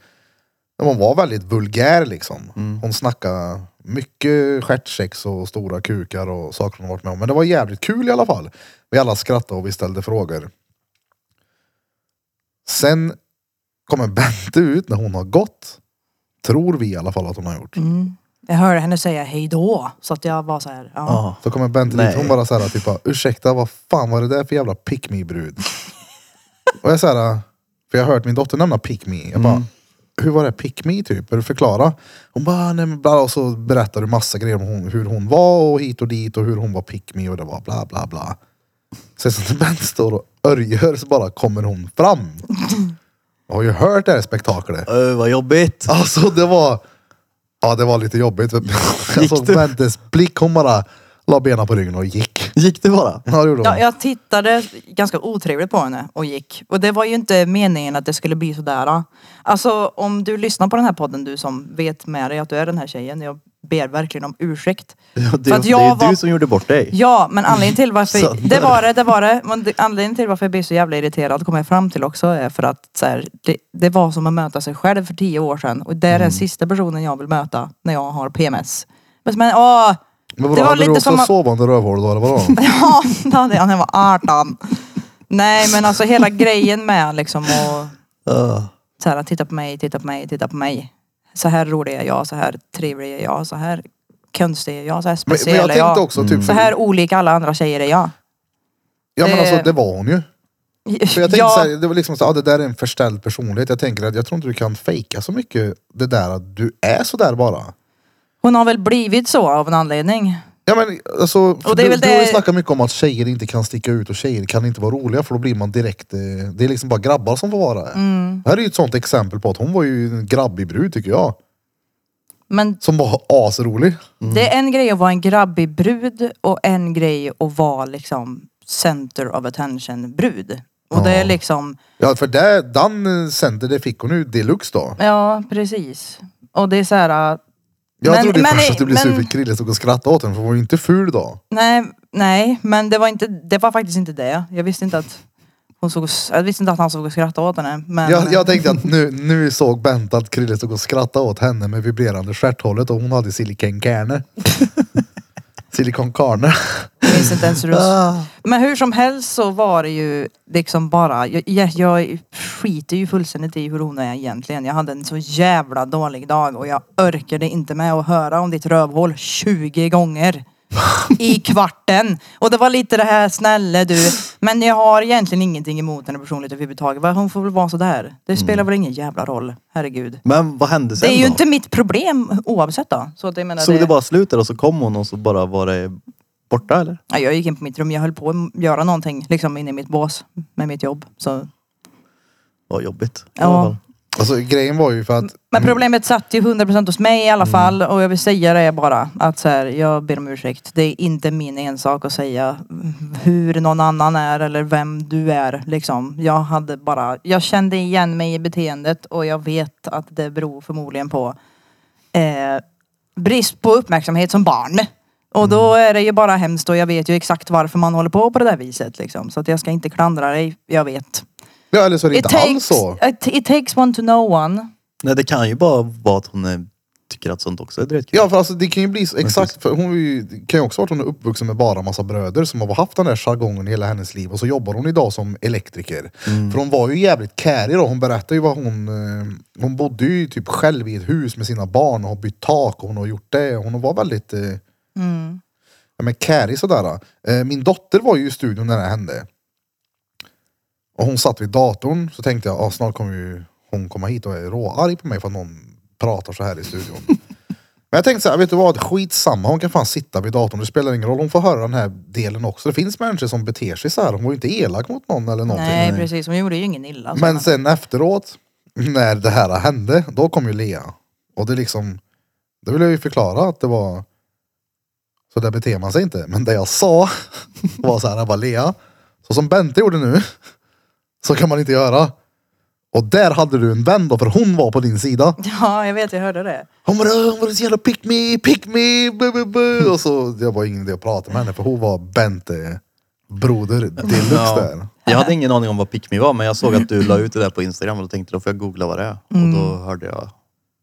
ja, hon var väldigt vulgär liksom. Hon snackade mycket stjärtsex och stora kukar och saker hon har varit med om. Men det var jävligt kul i alla fall. Vi alla skrattade och vi ställde frågor. Sen kommer Bente ut när hon har gått. Tror vi i alla fall att hon har gjort.
mm, Jag hörde henne säga hej då. Så att jag var så här, [laughs] ja.
Ja.
Så kommer Bente
Nej.
dit, hon bara såhär typ bara, ursäkta vad fan var det där för jävla pick me brud? och jag såhär, för jag har hört min dotter nämna pick me. Jag bara, hur var det pick me typ? Är du förklara? Hon bara, nej men bla, och så berättar du massa grejer om hon, hur hon var och hit och dit och hur hon var pick me och det var bla bla bla. Sen så när Bente står och örjer så bara kommer hon fram. Jag har ju hört det här spektaklet.
Öh, vad jobbigt.
[laughs] Alltså det var... Ja det var lite jobbigt. [laughs] Jag såg
du?
Bentes blick. Hon bara la benen på ryggen och gick. [laughs]
Gick det bara?
Ja det gjorde hon.
Ja, jag tittade ganska otrevligt på henne och gick. Och det var ju inte meningen att det skulle bli sådär. Alltså om du lyssnar på den här podden, du som vet med dig att du är den här tjejen. Jag ber verkligen om ursäkt.
Ja, Det,
För att
det
jag
är ju
var-
du som gjorde bort dig.
Ja, men anledningen
[laughs]
till
Så
varför... Det var det, det var det. Men det- anledningen till varför jag blir så jävla irriterad kommer jag fram till också är för att så här, det, det var som att möta sig själv för tio år sedan. Och det är
Mm.
den sista personen jag vill möta när jag har PMS. Men, men åh!
Men vadå,
det var
hade
lite
du också
som att- Alltså,
sovande rövhål då eller
[laughs]
vadå?
Ja, det hade jag när jag var 18. Nej, men alltså hela grejen med liksom och
Öh.
så här, titta på mig, titta på mig, titta på mig. Så här rolig är jag, så här trevlig är jag, så här konstig är jag, så här
Men, men
speciell
jag
är jag.
tänkte också typ...
Mm. Så här olika alla andra tjejer är jag.
Ja men alltså
eh,
det var hon ju. För jag tänkte
Ja.
så här, det var liksom så här, ja, det där är en förställd personlighet. Jag tänker att jag tror inte du kan fejka så mycket det där att du är sådär bara.
Hon har väl blivit så av en anledning.
Ja men alltså, för
Och det är
du,
väl
du har ju
det-
snackat mycket om att tjejer inte kan sticka ut och tjejer kan inte vara roliga för då blir man direkt, eh, det är liksom bara grabbar som får vara det.
Mm.
Det här är ju ett sånt exempel på att hon var ju en grabbig brud tycker jag.
Men
Som var asrolig.
det är en grej att vara en grabbig brud och en grej att vara liksom center of attention brud. Och det är liksom,
Ja för det, den eh, center det fick hon ju deluxe då.
ja precis. Och det är så här, äh,
Jag
Men-
trodde ju
men-
först att du blev
men-
sur för Krille stod och skrattade åt henne för hon var ju inte ful då.
nej, nej, men det var inte, det var faktiskt inte det. Jag visste inte att hon såg, jag visste inte att han såg och skrattade åt henne. Men,
Jag, jag tänkte att nu, nu såg Bent att Krille stod och skrattade åt henne med vibrerande stjärthålet och hon hade
[laughs]
silikonkärne. Silikonkärne.
Jag minns inte ens hur det
Ah.
Men hur som helst så var det ju liksom bara, jag, jag, jag skiter ju fullständigt i hur hon är egentligen. Jag hade en så jävla dålig dag och jag orkade inte med att höra om ditt rövhål 20 gånger.
[laughs]
I kvarten. Och det var lite det här, snälla du. Men jag har egentligen ingenting emot henne personligt överhuvudtaget. Va, Hon får väl vara sådär. Det spelar väl ingen jävla roll. Herregud.
Men vad hände Mm. sen
Det är ju
då?
inte mitt problem oavsett då. Så att jag menar
Såg det bara slut där och så kom hon och så bara var det borta eller?
Ja, jag gick in på mitt rum, jag höll på att göra någonting liksom inne i mitt bås med mitt jobb. Så.
Vad jobbigt. i
Ja.
alla fall.
Alltså grejen var ju för att
Men problemet satt ju 100% hos mig i alla
Mm.
fall och jag vill säga det bara att så här, jag ber om ursäkt. Det är inte min ensak att säga hur någon annan är eller vem du är liksom. Jag hade bara, jag kände igen mig i beteendet och jag vet att det beror förmodligen på eh, brist på uppmärksamhet som barn. Och då
Mm.
är det ju bara hemskt och jag vet ju exakt varför man håller på på det där viset liksom. Så att jag ska inte klandra dig, jag vet.
Ja eller så är det inte alls
takes,
så.
it, it takes one to know one.
Nej det kan ju bara vara att hon eh, tycker att sånt också är dritkul.
Ja för alltså det kan ju bli så, exakt, för hon är ju- det kan ju också vara att hon är uppvuxen med bara massa bröder som har haft den där jargongen i hela hennes liv och så jobbar hon idag som elektriker. För hon var ju jävligt kärig då, hon berättar ju vad hon, eh, hon bodde ju typ själv i ett hus med sina barn och har bytt tak och hon har gjort det. Hon var väldigt eh, ja, men kärig sådär. Eh, min dotter var ju i studion när det här hände. Och hon satt vid datorn så tänkte jag ah, snart kommer ju hon komma hit och är råarg på mig för att någon pratar så här i studion. Men jag tänkte så här, vet du vad, skitsamma, hon kan fan sitta vid datorn, det spelar ingen roll, hon får höra den här delen också. Det finns människor som beter sig så här, hon var ju inte elak mot någon eller någonting.
Nej precis, hon gjorde ju ingen illa. så
Men sen efteråt, när det här hände, då kom ju Lea. Och det liksom, då ville jag ju förklara att det var, så där beter man sig inte. Men det jag sa [laughs] var så här, jag bara Lea, så som Bente gjorde nu, så kan man inte göra. Och där hade du en vän då, för hon var på din sida.
[laughs] Ja, jag vet, jag hörde det.
Hon bara, "Åh, hon var så jävla pick me, pick me, bu, bu, bu. Och så, det var ingen idé att prata med henne, för hon var Bente broder deluxe
Ja.
där.
Jag hade ingen aning om vad Pick Me var men jag såg att du la ut det där på Instagram och då tänkte jag då får jag googla vad det är. Och då hörde jag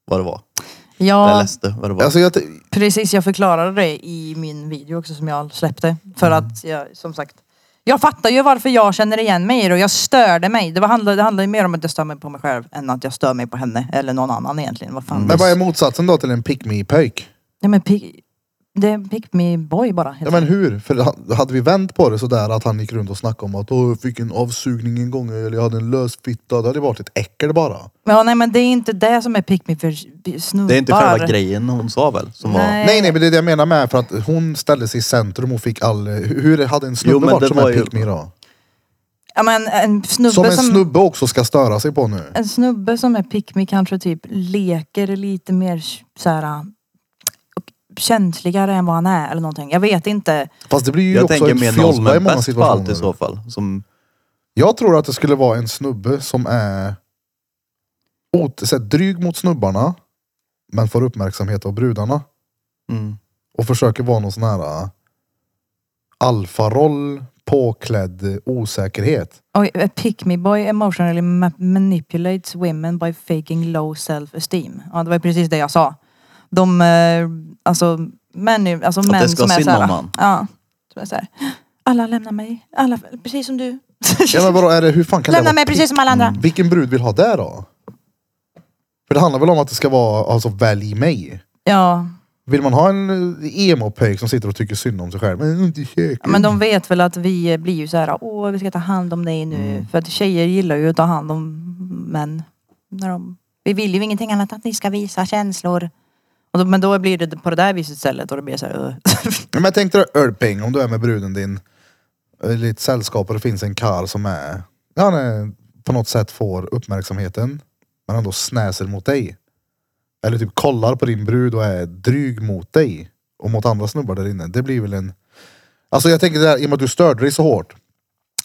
vad det var. Eller
Mm. Ja,
läste vad det var.
Alltså jag, t-
precis. Jag förklarade det i min video också som jag släppte. För att jag, som sagt, jag fattar ju varför jag känner igen mig i det och jag störde mig. Det, var, handlade- det handlar ju mer om att jag stör mig på mig
Mm.
själv än att jag stör mig på henne eller någon annan egentligen. Vad fan.
men vad är motsatsen då till en pick me pöjk?
Ja men pick, det är en pick me boy bara. helt
Ja men hur? För ha- hade vi vänt på det sådär att han gick runt och snackade om att Åh, jag fick en avsugning en gång eller jag hade en lös fitta. Det hade varit ett äckel bara.
Ja, nej men det är inte det som är pick me för snubbar.
Det är inte själva grejen hon sa väl? Som var...
Nej nej men det är det jag menar med för att hon ställde sig i centrum och fick all... Hur hade en
Jo,
snubbe
men det
varit som
var
en
ju-
pick me då?
Ja men en snubbe
Som
som...
en snubbe också ska störa sig på nu.
en snubbe som är pick me kanske typ leker lite mer såhär ah, känsligare än vad han är eller någonting. Jag vet inte.
Fast det blir ju
Jag
också
tänker
en
mer någon som
fjolla i
är
många
bäst på allt i
situationer.
så fall. Som,
Jag tror att det skulle vara en snubbe som är ot- så här, dryg mot snubbarna men får uppmärksamhet av brudarna.
mm,
och försöker vara någon sån här äh, alfaroll påklädd osäkerhet.
Oj, a pick me boy emotionally ma- manipulates women by faking low self esteem. Ja det var ju precis det jag sa. De, eh, alltså män, alltså
det
män
ska
som är
synd
såhär.
om han.
Ja. Som är såhär. Alla lämnar mig. Alla, precis som du.
Ja, men vadå, är det, hur fan kan det
[laughs] Lämna
vara
mig
pick-
precis som alla
Mm.
andra.
Vilken brud vill ha det då? För det handlar väl om att det ska vara, alltså välj mig.
Ja.
Vill man ha en eh, emo-pöjk som sitter och tycker synd om sig själv? Men inte kök.
Ja, Men de vet väl att vi blir ju så här, åh vi ska ta hand om dig nu.
Mm.
För att tjejer gillar ju att ta hand om män. När de, vi vill ju ingenting annat än att ni ska visa känslor. Och då, men då blir det på det där viset istället och det blir så här,
[laughs]
"Ugh."
Men jag tänkte dig Örping, om du är med bruden din, eller i ett sällskap och det finns en karl som är, han är, på något sätt får uppmärksamheten, men ändå snäser mot dig. Eller typ kollar på din brud och är dryg mot dig och mot andra snubbar där inne. Det blir väl en... Alltså jag tänker det här, i och med att du störde dig så hårt.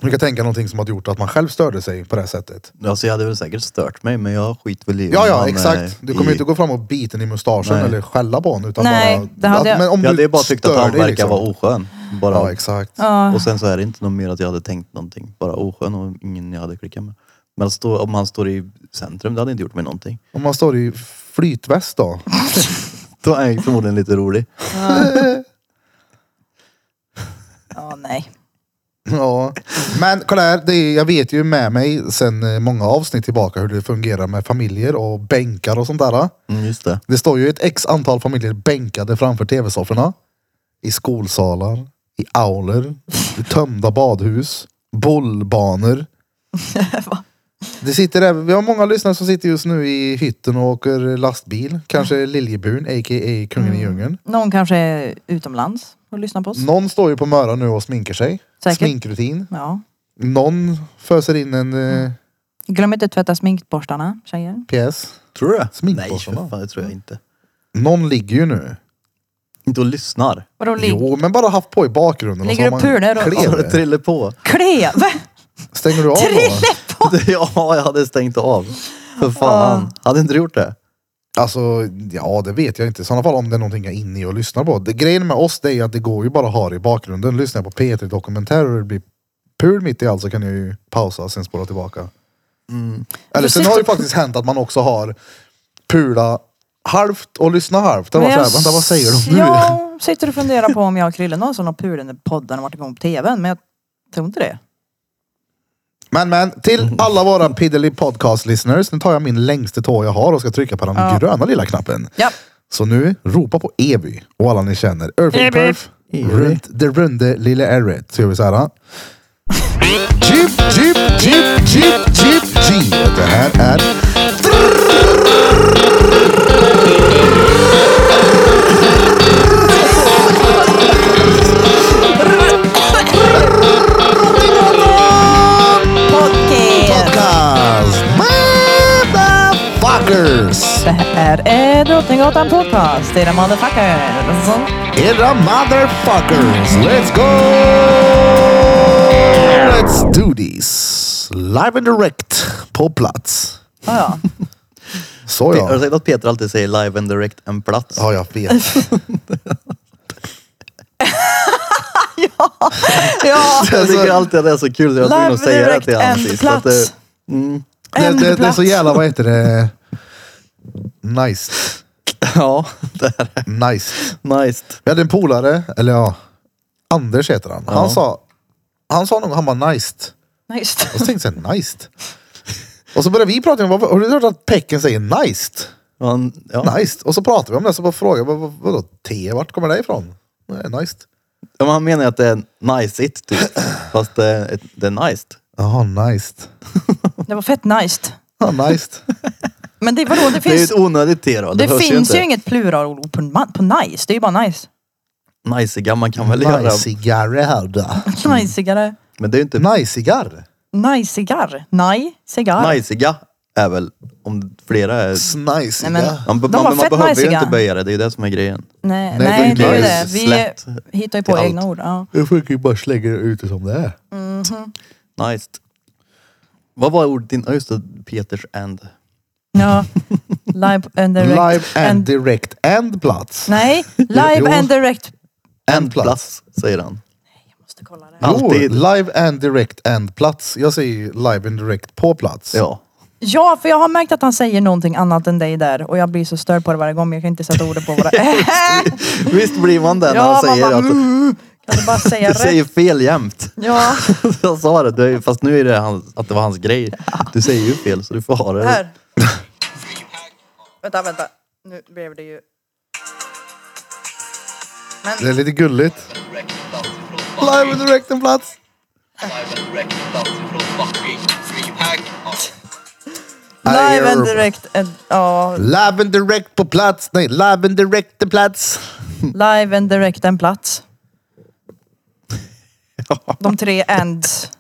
Du kan tänka någonting som har gjort att man själv störde sig på det här sättet.
alltså jag hade väl säkert stört mig men jag skiter väl i
Ja,
om
ja,
han är
exakt. Du kommer
i-
inte gå fram och bita den i mustaschen
Nej.
eller skälla på honom. Utan
Nej,
bara,
det hade jag-
Men om
Jag
du
hade ju bara tyckt att
stör
han
dig,
verkar
liksom.
vara oskön. Bara.
Ja, exakt.
Ja.
Och sen så är det inte något mer att jag hade tänkt någonting. Bara oskön och ingen jag hade klickat med. Men att stå, om han står i centrum, det hade inte gjort mig någonting.
Om man står i flytväst då?
Då är jag förmodligen lite rolig.
Ja nej.
Ja. Men kolla här, det är, jag vet ju med mig sen eh, många avsnitt tillbaka hur det fungerar med familjer och bänkar och sånt där.
Mm, just det.
Det står ju ett x antal familjer bänkade framför tv-sofforna. I skolsalar, i auler, i tömda badhus, bollbanor. Det sitter även, vi har många lyssnare som sitter just nu i hytten och åker lastbil. Kanske Liljeburn, a.k.a. Kungen i djungeln.
Någon kanske är utomlands och lyssnar på oss.
Någon står ju på Möra nu och sminkar sig.
Säkert.
Sminkrutin.
Ja.
Någon föser in en
Mm.
eh,
Glöm inte att tvätta sminkborstarna tjejer.
pjäs.
Tror du det? Nej,
Sminkbossarna.
för fan, det tror jag inte.
Någon ligger ju nu.
Inte och lyssnar.
Vadå ligg?
Jo, men bara haft på i bakgrunden.
Ligger
och
och
så har
pular och-
man
Ja, det
klev.
trillar Alltså, på.
Klev! [laughs]
Stänger du av då?
[laughs] ja, jag hade stängt av. För fan.
Ah.
Hade inte du gjort det?
Alltså, ja det vet jag inte. I sådana fall om det är någonting jag är inne i och lyssnar på. Det, grejen med oss det är ju att det går ju bara att ha det i bakgrunden. Lyssnar jag på P3 Dokumentär och det blir pul mitt i allt så kan jag ju pausa och sen spåra tillbaka. Eller sen har det ju faktiskt hänt att man också har pula halvt och lyssna halvt. Det var
Men
såhär,
jag
vänta vad säger de nu?
Jag sitter och funderar på om jag och Krille någonsin har pulat när podden har varit igång på tvn. Men jag tror inte det.
Men men, till alla våra Piddly Podcast listeners. Nu tar jag min längsta tå jag har och ska trycka på den gröna lilla knappen.
Ja.
Så nu, ropa på Evy och alla ni känner. Irving
Evy.
Perf,
Evy.
runt det runde lilla ärret. Så gör vi så här. Jeep, jeep, jeep, jeep, jeep, jeep. Det här är...
Podcast!
Podcast! Motherfuckers!
Det här är Drottninggatan Podcast, era motherfuckers.
Era motherfuckers! Let's go! Let's do this! Live and direct på plats.
Ja, ja.
Så
Har du
ja.
sett att Peter alltid säger live and direct en plats?
Ja, jag
[laughs]
vet.
ja.
[laughs] Jag
Alltså,
tycker alltid att det är så kul så jag var tvungen att
Live
säga det
direkt
till
en
honom sist.
plats.
Att det,
Det,
En
det, det är
plats.
så jävla, vad heter det? Nice.
[laughs] ja, det här är
Nice.
nice.
Vi hade en polare, eller ja, Anders heter han. Han
Ja.
sa, han sa nog, han var nice.
Nej, just det.
Och så tänkte jag, nice. Och så började vi prata om, vad- har du hört att Pecken säger nice?
Man, ja.
Nice. Och så pratade vi om det, så bara frågade jag, vad- vad- vadå te, vart kommer det ifrån? Nej, nice.
Ja, men han menar ju att det är nice-igt typ. Fast det är, det är nice.
Jaha, nice.
Det var fett nice.
Ja,
[laughs]
nice.
Men det, vadå, det
Det är ju
finns,
ett
det
onödigt te då. Det, behövs
finns ju,
inte.
inget pluralord på, ma- på nice. Det är ju bara nice.
Najsiga, man kan väl göra.
Najsigar är här då.
Najsigare.
Men det är ju inte...
Najsigar?
Najsigar. Nej, cigarr.
Najsiga är väl om flera är...
Najsiga.
Nej, men-
Ja, men
De
man,
var
man
fett
behöver ju
najsiga.
inte böja det, det är ju det som är grejen.
Nej,
Nej, det
nej, det är ju
är
det. Vi
slätt
hittar ju
till
på
allt.
egna ord. Ja.
Jag försöker ju bara slänga ut det som det är.
Mm.
Nice. Vad var ordet innan? Ja, Just det, Peters end.
ja. Live and direct.
Live and,
and-
direct and plats.
Nej, live
Jo.
and direct.
End plats, säger han.
Jag måste kolla det.
Ja. alltid.
Jo, live and direct and plats. Jag säger ju live and direct på plats.
Ja.
Ja, för jag har märkt att han säger någonting annat än dig där och jag blir så störd på det varje gång. men Jag kan inte sätta ordet på vad det är.
Visst blir man det när
Ja,
han
man
säger
bara,
att
mm, kan du bara säga
du
rätt?
säger fel jämt. [laughs]
Ja,
Jag sa det, det, är ju- fast nu är det han, att det var hans grej. Du säger ju fel så du får ha det.
här. vänta, vänta. Nu blev det ju...
Det är lite gulligt. Live and direct and plats.
Live and
Ayer.
direct. and- Ja,
Live and direct på plats. Nej, live and direct and plats.
live and direct en plats. De tre ends.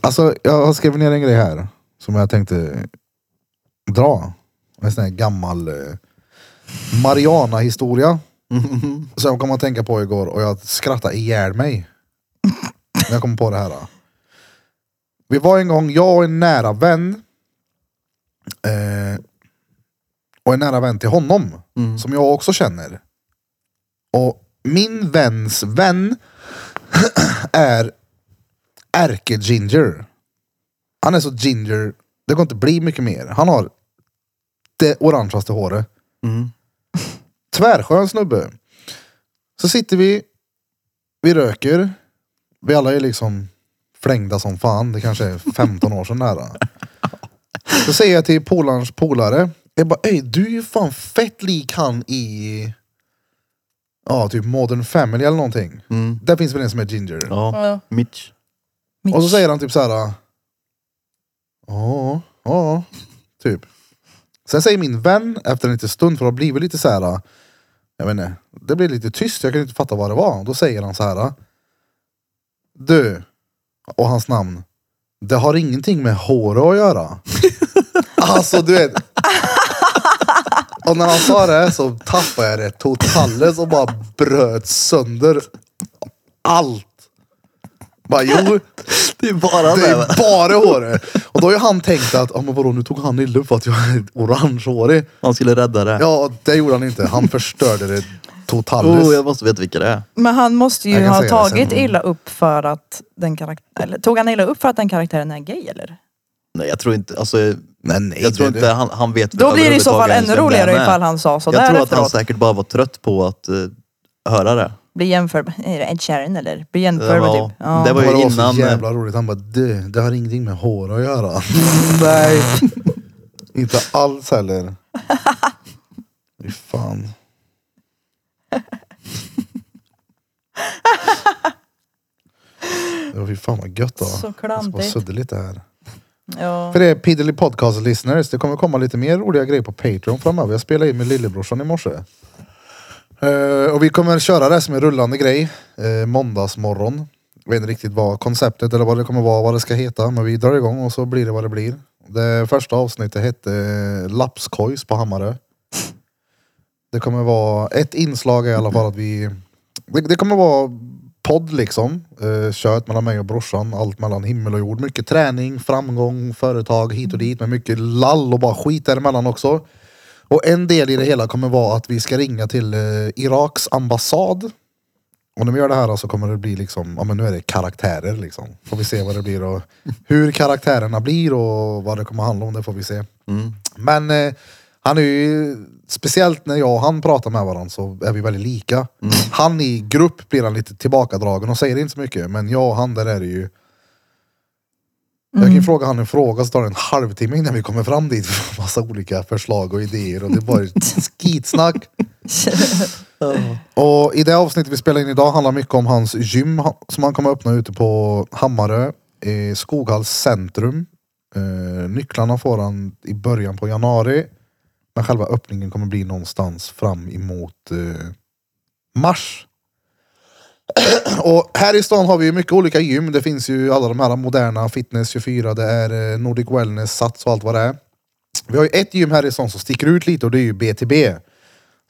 Alltså, jag har skrivit ner en grej här som jag tänkte dra. En sån här gammal eh, Mariana-historia. Som jag kom att tänka på igår och jag skrattade ihjäl mig. När jag kom på det här. då. Vi var en gång, jag och en nära vän. Eh, och en nära vän till honom. Som jag också känner. Och min väns vän är Erke Ginger. Han är så ginger, det går inte bli mycket mer. Han har det orangeaste håret.
Mm.
[laughs] Tvärskön snubbe. Så sitter vi, vi röker. Vi alla är liksom flängda som fan. Det kanske
[laughs]
är 15 år sedan nära. Så säger jag till polarns polare. Jag bara, "Ey, du är ju fan fett lik han i ja, typ Modern Family eller någonting.
Mm.
Där finns väl en som är ginger.
Ja,
Ja.
Mitch.
Mitch.
Och så säger han typ så här. Ja, ja, typ. Sen säger min vän efter en liten stund, för det har blivit lite så här. Jag vet inte, det blev lite tyst, jag kan inte fatta vad det var. Då säger han så här. Du, och hans namn. Det har ingenting med håret att göra. alltså du vet. Och när han sa det så tappade jag det totalt och bara bröt sönder allt. Bara jo,
Det är bara
det
det. va?
är bara håret. Och då har ju han tänkt att, ja men vadå nu tog han illa för att jag är orangehårig.
Han skulle rädda det.
Ja, det gjorde han inte. Han förstörde det totalt.
Oh, jag måste veta vilka det är.
Men han måste
Jag
ju
kan
ha
säga det sen.
tagit illa upp för att den karaktären... Eller tog han illa upp för att den karaktären är gay eller?
Nej, jag tror inte, alltså, jag
Nej, nej,
tror
det-
inte han, han vet
Då blir det i så fall
överhuvudtaget
ännu
vem det
roligare
är.
ifall han sa så
Jag
där
tror att han
efteråt.
säkert bara var trött på att eh, höra det.
Bli jämförd... Är det Ed Sheeran eller? Bli
Det
jämförd med
var-
typ... Ja.
det var- ju
Bara
innan-
så jävla roligt. Han bara, du, det har ingenting med hår att
[laughs]
göra. nej. inte alls heller. Fy
[laughs]
fan. Ja, fy fan vad gött då.
Så
Jag ska bara
klantigt.
sudda lite här.
Ja.
För det är Piddly Podcast listeners, det kommer komma lite mer roliga grejer på Patreon framöver. Jag spelade in med lillebrorsan i morse. Eh, och vi kommer köra det som en rullande grej uh, måndagsmorgon. Jag vet inte riktigt vad konceptet eller vad det kommer vara, vad det ska heta. Men vi drar igång och så blir det vad det blir. Det första avsnittet hette uh, Lapskojs på Hammarö. Det kommer vara ett inslag i alla fall att vi... Det, det kommer vara podd liksom. Uh, kört mellan mig och brorsan. Allt mellan himmel och jord. Mycket träning, framgång, företag hit och dit. Men mycket lall och bara skit däremellan också. Och en del i det hela kommer vara att vi ska ringa till eh, Iraks ambassad. Och när vi gör det här så kommer det bli liksom, ja men nu är det karaktärer liksom. Får vi se vad det blir och hur karaktärerna blir och vad det kommer handla om, det får vi se. Men eh, han är ju, speciellt när jag och han pratar med varandra så är vi väldigt lika. Han i grupp blir han lite tillbakadragen och säger inte så mycket, men jag och han där är det ju Jag kan ju fråga han en fråga så tar det en halvtimme innan vi kommer fram dit. för Massa olika förslag och idéer och det är bara skitsnack. Och i det avsnittet vi spelar in idag handlar mycket om hans gym ha- som han kommer öppna ute på Hammarö i Skoghalls centrum. Eh, nycklarna får han i början på januari. Men själva öppningen kommer bli någonstans fram emot eh, mars. [clears throat] Och här i stan har vi ju mycket olika gym. Det finns ju alla de här moderna, Fitness24, det är eh, Nordic Wellness, Sats och allt vad det är. Vi har ju ett gym här i stan som sticker ut lite och det är ju BTB.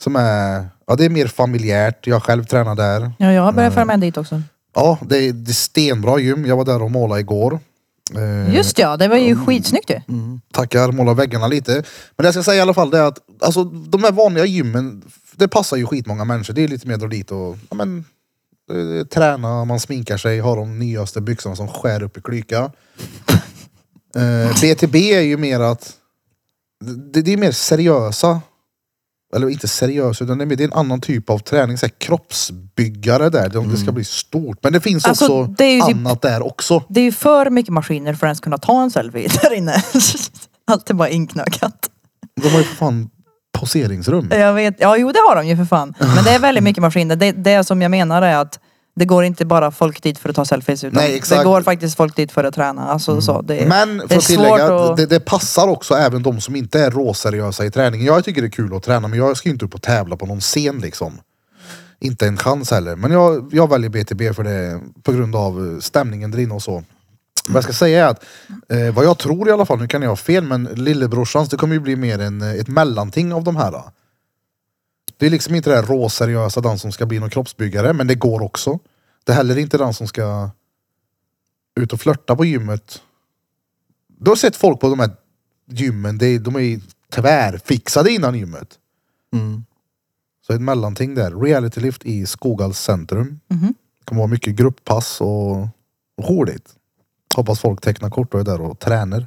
Som är, ja det är mer familjärt. Jag själv tränar där.
Ja, jag har börjat följa med dit också.
Ja, det är, det är stenbra gym. Jag var där och målade igår. Eh,
Just ja, det var ju skitsnyggt ju.
tackar, måla väggarna lite. Men det jag ska säga i alla fall det är att alltså, de här vanliga gymmen, det passar ju skitmånga människor. Det är lite mer dra dit och ja, men, eh, träna, man sminkar sig, har de nyaste byxorna som skär upp i klyka.
[laughs]
Eh, BTB är ju mer att, det, det är mer seriösa, eller inte seriösa utan det är, mer, det är en annan typ av träning. Så här, kroppsbyggare där, det, det ska bli stort. Men det finns
Mm. Alltså,
också
det är ju typ-
annat där också.
Det är ju för mycket maskiner för att ens kunna ta en selfie [laughs] där inne. Allt är bara inknökat.
De har ju för fan poseringsrum.
Jag vet, ja jo det har de ju för fan. Men det är väldigt mycket maskiner. Det, det som jag menar är att det går inte bara folk dit för att ta selfies utan
Nej,
det
exakt.
går faktiskt folk dit för att träna. Alltså, så, det,
Men
det
för
är
att tillägga,
svårt att...
det, det passar också även de som inte är råseriösa i träningen. Jag tycker det är kul att träna men jag ska ju inte upp och tävla på någon scen liksom. Inte en chans heller. Men jag, jag väljer BTB för det på grund av eh, stämningen där inne och så. Vad jag ska säga är att eh, vad jag tror i alla fall, nu kan jag ha fel men lillebrorsans det kommer ju bli mer en, eh, ett mellanting av de här. Då. Det är liksom inte det här råseriösa den som ska bli någon kroppsbyggare men det går också. Det är heller inte den som ska ut och flörta på gymmet du har sett folk på de här gymmen, det är, de är ju tvärfixade innan gymmet.
Mm.
Så ett mellanting där. Reality Lift i Skoghall centrum. Det kommer vara mycket grupppass och roligt. Hoppas folk tecknar kort och är där och tränar.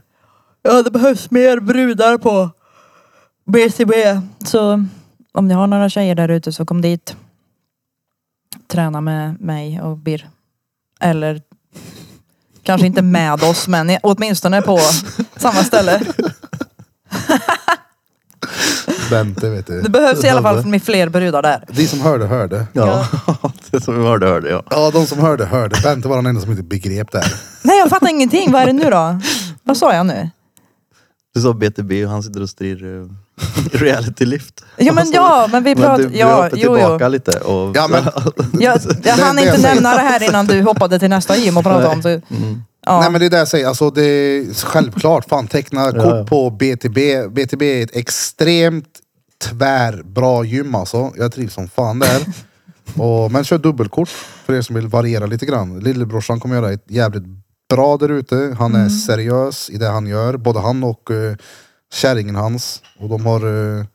Ja, det behövs mer brudar på BCB. Så om ni har några tjejer där ute så kom dit. Träna med mig och Bir. Eller kanske inte med oss men i- åtminstone på samma ställe.
Bente vet du.
[laughs] Det behövs i alla fall med fler brudar där.
De som hörde hörde.
Ja, [laughs] det som vi hörde hörde jag.
Ja, de som hörde hörde. Bente var den enda som inte begrep det här.
Nej jag fattar ingenting. Vad är det nu då? Vad sa jag nu?
Du sa BTB och han sitter och styr eh, [laughs] reality lift.
Ja men ja, men vi pratar...
du, du
ja,
hoppade
jo, jo.
tillbaka lite och...
Ja, men, [laughs]
Jag, jag
Det-
hann
det
inte
jag säger.
nämna det här innan du hoppade till nästa gym och pratade om det. Ja.
Nej men det är det jag säger, alltså det är självklart. Fan teckna kort
Ja, ja.
på BTB. BTB är ett extremt tvärbra gym alltså. Jag trivs som fan där. Och, men kör dubbelkort för er som vill variera lite grann. Lillebrorsan kommer göra ett jävligt bra där ute. Han
Mm.
är seriös i det han gör. Både han och uh, kärringen hans. Och de har eh,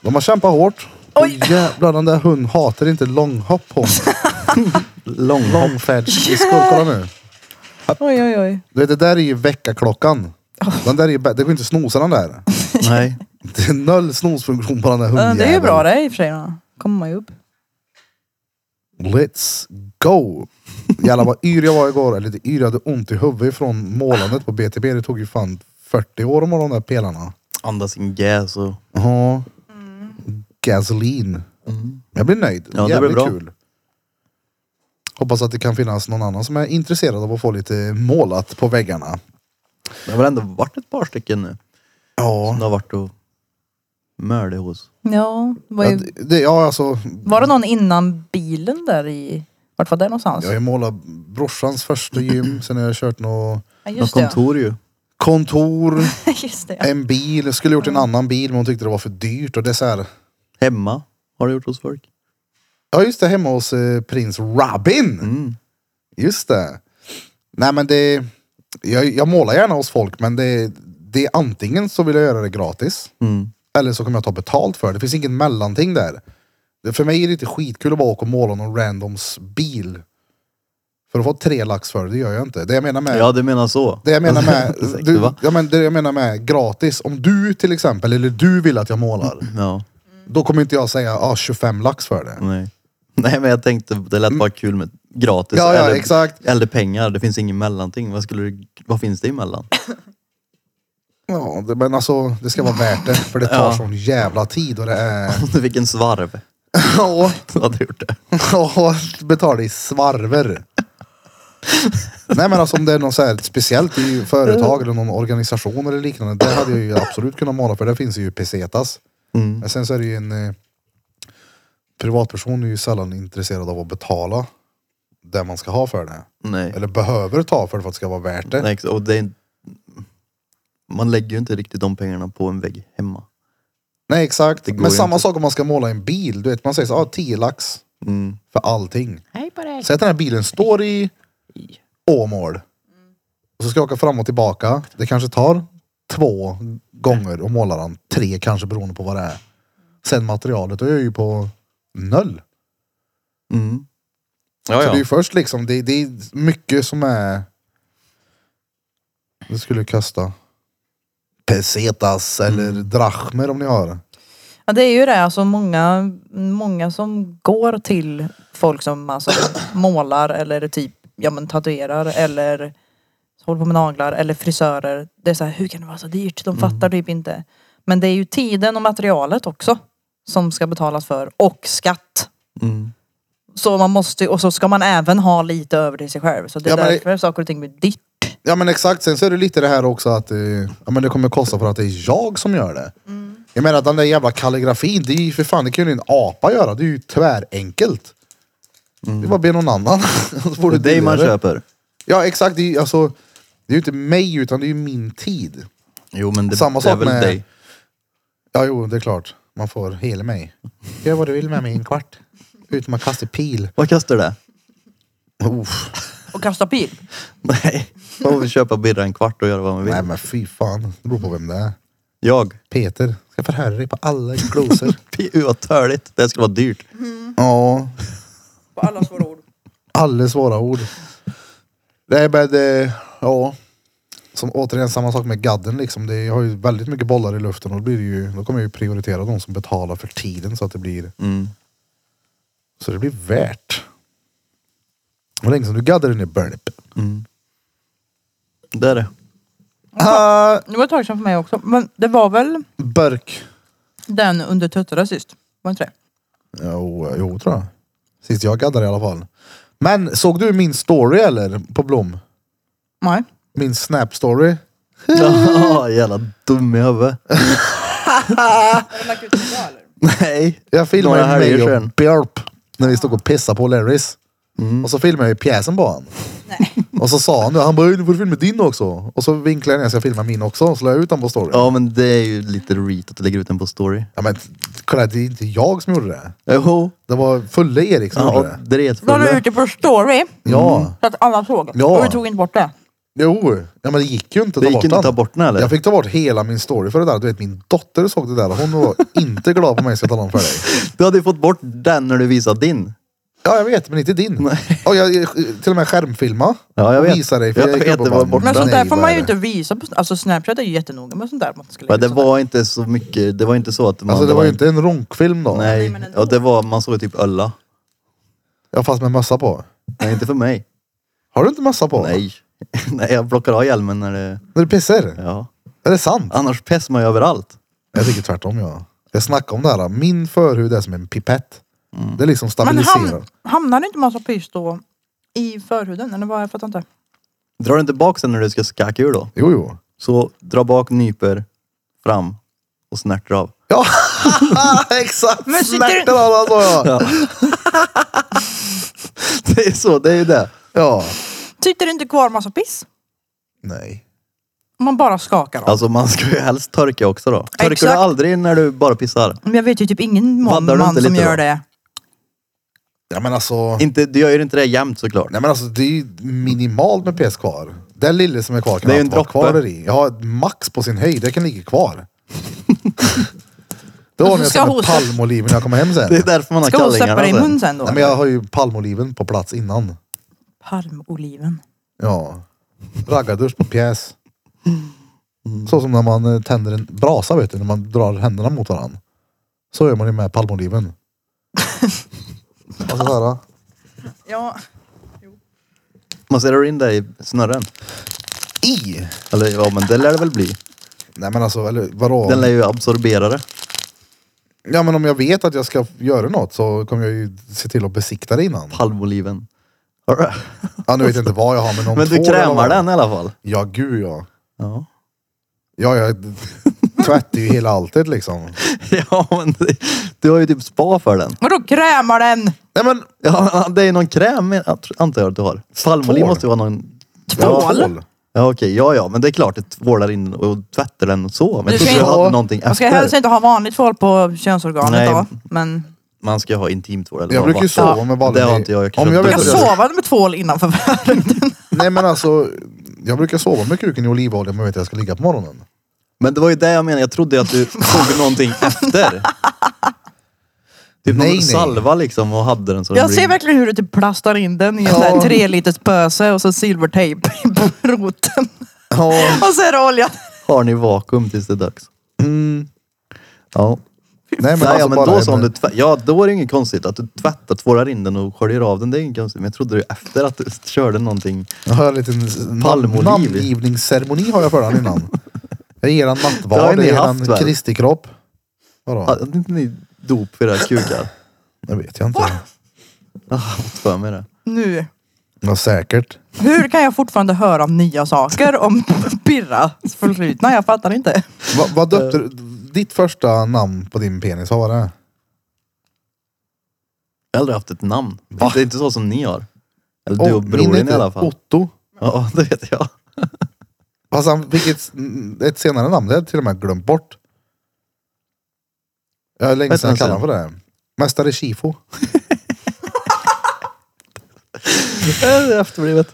de har kämpat hårt.
Oj.
Och jävlar den där hunden hatar inte långhopp
[laughs]
på honom.
Långhopp.
Långfärdsskridskor, kolla nu.
Oj oj oj.
Du vet, det där är ju väckarklockan.
Oh.
Den där är ju, bä- det går inte att snosa den där.
Nej.
Det är noll snosfunktion på den där
Ja,
hundjäveln.
Det är ju bra det i och för sig. då. Kommer man ju upp.
Let's go! Jävlar vad yr jag var igår. Eller lite yr, jag hade ont i huvudet från målandet på BTB. Det tog ju fan 40 år att måla de där pelarna.
[laughs] Andas in gas och...
Ja. Mm. Gasoline. Jag blir nöjd.
Ja, det
Jävligt
blir bra.
kul. Hoppas att det kan finnas någon annan som är intresserad av att få lite målat på väggarna.
Det har väl ändå varit ett par stycken nu.
Ja.
Det har varit och mörde hos.
Ja, var,
Ja,
ju,
det- det, ja alltså,
var det någon innan bilen där i... Vart var det någonstans?
Jag har ju målat brorsans första gym, sen har jag kört något
Ja,
Något
just det.
kontor ju.
kontor,
ja. [laughs] just det.
en bil. Jag skulle gjort en annan bil men hon tyckte det var för dyrt. Och det är så här,
Hemma har du gjort hos folk.
ja just det, hemma hos eh, prins Robin.
Mm.
Just det. Nej men det, jag, jag målar gärna hos folk men det, det är antingen så vill jag göra det gratis.
Mm.
Eller så kommer jag ta betalt för det. Det finns inget mellanting där. Det- För mig är det inte skitkul att bara åka och måla någon randoms bil. För att få tre lax för det, det gör jag inte. Det jag menar med
Ja, du menar så.
Det jag menar
[laughs]
med,
Exakt,
du,
va?
ja, men det jag menar med gratis, om du till exempel, eller du vill att jag målar,
Ja, Mm.
då kommer inte jag säga ah, 25 lax för det.
nej. Nej men jag tänkte, det lät bara kul med gratis.
Ja, ja
eller,
exakt.
eller pengar, det finns ingen mellanting. Vad, skulle du, vad finns det emellan?
Ja, det, men alltså det ska vara värt det. För det tar
Ja.
sån jävla tid och det är...
[laughs] Om [laughs] du fick en svarv,
Ja,
då hade du gjort det.
[laughs] ja, betala i svarver. Nej men alltså om det är något så här speciellt i företag eller någon organisation eller liknande. Det hade jag ju absolut kunnat måla för. Det finns ju pesetas.
Mm.
Men sen så är det ju en eh, privatperson är ju sällan intresserad av att betala det man ska ha för det.
Nej.
Eller behöver ta för det för att det ska vara värt det.
Nej, exa- och det är, man lägger ju inte riktigt de pengarna på en vägg hemma.
Nej exakt.
Det går
Men
ju
samma
inte.
sak om man ska måla en bil. Du vet man säger så, ah, 10 lax
Mm.
för allting.
Hej på dig.
Säg att den här bilen står i Åmål. Och så ska jag åka fram och tillbaka. Det kanske tar två gånger och måla den. Tre kanske beroende på vad det är. Sen materialet, då är jag ju på noll.
Mm. Ja,
Så det är ju
ja.
först liksom, det, det är mycket som är... Det skulle kasta pesetas eller
Mm.
drachmer om ni har.
Ja, det är ju det, alltså många, många som går till folk som alltså, målar eller typ ja, men, tatuerar eller håller på med naglar eller frisörer. Det är så här, hur kan det vara så dyrt?
Mm.
De fattar typ inte. Men det är ju tiden och materialet också som ska betalas för och skatt.
Mm.
Så man måste, och så ska man även ha lite över till sig själv. Så det
Ja,
är
men det-
därför saker och ting blir dyrt.
Ja men exakt, sen så är det lite det här också att eh, ja, men det kommer kosta för att det är jag som gör det. Jag menar den där jävla kalligrafin, det är ju för fan, det kunde ju en apa göra. Det är ju tvärenkelt. Det är bara att be någon annan. [laughs] så får
Mm. Det är dig man
billigare.
köper.
Ja exakt, det är ju alltså, det är ju inte mig utan det är ju min tid.
Jo, men det,
Samma
det är
sak
väl
med-
dig.
Ja, jo, det är klart. Man får hela mig. Gör vad du vill med mig i en kvart. Utom att kasta pil.
Vad kastar det? [laughs]
Uff.
Och kasta pil.
Nej, man får väl köpa birra en kvart och göra vad man vill.
Nej, men fy fan. Det beror på vem det är.
Jag? [laughs]
Peter, ska förhöra dig på alla glosor.
Fy, vad törligt. Det här skulle vara dyrt.
ja,
På alla svåra
[laughs]
ord.
alla svåra ord. Nej, men det, ja. Som återigen samma sak med gadden liksom. Det jag har ju väldigt mycket bollar i luften och då, blir det ju, då kommer jag ju prioritera de som betalar för tiden så att det blir,
Mm.
så det blir värt. Hur länge sedan du gaddade nu Burnip?
Det
[laughs]
är det.
Ah,
Det var ett tag sedan för mig också. Men det var väl
burk.
den under tuttarna sist? Var inte det?
Jo, jo tror jag. Sist jag gaddade i alla fall. Men såg du min story eller? På Blom?
Nej.
Min snap story?
Ja, jävla dum i huvudet. [laughs]
Har du lagt ut det eller?
Nej.
Jag filmade
Några helger
mig och
sedan. Mm.
Björp när vi stod och pissade på Larrys. Och så filmade jag ju pjäsen på honom. Och så sa han det. Han bara, "Oj, nu får du filma din också. Och så vinklade jag ner så jag filmade min också. Så la jag ut den på story.
Ja, men det är ju lite reet att du lägger ut den på story.
Ja, men kolla, det är inte jag som gjorde det.
Jo.
Det var fulla Erik som
Ja, Mm.
gjorde det.
och det är ett
La du ut det på story
Ja.
så att alla såg?
Ja.
Och du tog inte bort det?
Jo. Ja, men det gick ju inte att ta
Det gick
bort
inte
den.
att ta bort den eller?
Jag fick ta bort hela min story för det där. Du vet min dotter såg det där och hon
[laughs]
var inte glad på mig ska jag tala om för dig.
Du hade ju fått bort den när du visade din.
Ja jag vet men inte din. Och jag jag- till och med skärmfilma.
Ja, jag
och
vet.
Visa dig för
Jag
jag, gick
vet,
upp och
det var
bara,
borta.
Men sånt
"Nej,
där får
vad
man
är
ju
det?"
inte visa på... Alltså Snapchat är ju jättenoga med sånt där. Man ska lägga
Men
ut
det
sånt där.
var inte så mycket, det var inte så att man...
Alltså det var ju inte en ronkfilm då.
Nej,
Nej, men ändå.
ja, det var, man såg ju typ ölla.
Jag fast med mössa på.
Nej, inte
[laughs]
för mig.
Har du inte mössa på?
Nej. [laughs] Nej, jag plockar av hjälmen när det...
När du pissar?
Ja.
Är det sant?
Annars pessar man ju överallt.
Jag tycker tvärtom jag. Jag snackade om det här. Min förhud är som en pipett.
Mm.
Det är liksom
Men
stabiliserar.
ham hamnar det inte massa pys då i förhuden? Eller vad? Jag fattar inte.
Drar du inte bak sen när du ska skaka ur då?
Jo jo.
Så dra bak, nyper, fram och snärtar av. [laughs]
Ja [laughs] exakt.
Ah, Men sitter-
Snärtar av alltså. Ja.
Ja. det är så, det är ju det.
ja.
Sitter det inte kvar massa piss?
Nej.
Om Man bara skakar av.
Alltså man ska ju helst torka också då. Torkar
Exakt.
du aldrig när du bara pissar?
Men jag vet ju typ ingen man,
Vaddar du
man
inte
som
lite
gör
då?
det.
Ja men alltså.
Inte, du gör ju inte det jämt såklart.
Nej men alltså det är ju minimalt med pes kvar. Den lille som är kvar kan
Det är ju
alltid
en
vara
droppe.
kvar där i. Jag har max på sin höjd, det kan ligga
[laughs]
kvar. Då
Och så
ordnar jag
ska
som en
hos-
palmoliv när jag kommer hem sen.
Det är därför man har
Ska hon
kallingarna. alltså.
stoppa det i
sen.
mun sen då?
Nej, men jag har ju palmoliven på plats innan.
Palmoliven.
Ja. Raggardusch på pjäs. Så som när man eh, tänder en brasa vet du, när man drar händerna mot varandra. Så gör man ju med palmoliven. Alltså såhär.
Ja.
Masserar du in det i snurren?
I!
Eller ja, men det lär det väl bli.
Nej men alltså, eller vadå?
Den lär ju absorbera det.
Ja men om jag vet att jag ska göra något så kommer jag ju se till att besikta det innan.
Palmoliven. Hör du?
Ja nu vet jag inte vad jag har men om
Men du
två år eller
krämar
vad-
den i alla fall.
Ja gud ja.
Ja. [laughs]
Ja jag tvättar ju hela alltet liksom.
Ja, men det- du har ju typ spa för den.
Vadå krämar den?
Nej men
Ja, [laughs] det är någon kräm antar jag att du har. Palmoliv
Tvål.
måste ju vara någon...
Tvål?
Ja, ja okej. Ja, ja. Men det är klart det tvålar in och tvättar den och så. Men
Du ska
jag trodde du
inte-
hade någonting
Man ska helst
efter.
inte ha vanligt tvål på könsorganet
Nej.
då. Men
Man ska ju ha intimtvål eller
Jag
vad
brukar ju
va?
sova med ballen
Det har
i-
inte jag. Jag
Om jag
knullar
vet
jag
att
inte.
jag...
sova med tvål innanför världen.
Nej men alltså. Jag brukar sova med kuken i olivolja men jag vet att jag ska ligga på morgonen.
Men det var ju det jag menade. Jag
[laughs]
trodde att du tog någonting efter. Typ
Nej,
någon
nej.
salva liksom och hade den så den
Jag
blir-
ser verkligen hur du typ plastar in den i en sån här tre liters pöse och så silvertejp på roten.
Ja.
Och så är det olja.
har ni vakuum tills det är dags. Ja.
Nej men,
Mm. Nej,
alltså
ja, men
bara
då
en- [laughs]
sa du tvä- Ja, då är det inget konstigt att du tvättar, tvålar in den och sköljer av den. Det är inget konstigt. Men jag trodde du efter att du körde någonting.
Jag har en liten s- nam-
Palmoliv.
namngivningsceremoni har jag för den innan. Jag ger han
Det har ju
nattvard,
ni
jag ger
haft,
han
väl?
Kristi kropp. Vadå?
Hade inte ni dop för era kukar?
Det vet jag inte.
Jag har fått för mig det.
Nu.
Ja, säkert.
Hur kan jag fortfarande höra om nya saker om Birras förflutna? Jag fattar inte.
Va, vad döpte du? Ditt första namn på din penis, vad var det?
Jag har aldrig haft ett namn. Det är inte så som ni har. Eller du
Åh,
och
min
bror din i
hette
alla fall.
Otto.
Ja, det vet jag.
Fast han fick ett, ett senare namn, det hade jag till och med glömt bort. Jag har länge
Vad
sedan jag
heter
kallade
han
honom för det. Mästare Chifo.
Det är Efterblivet.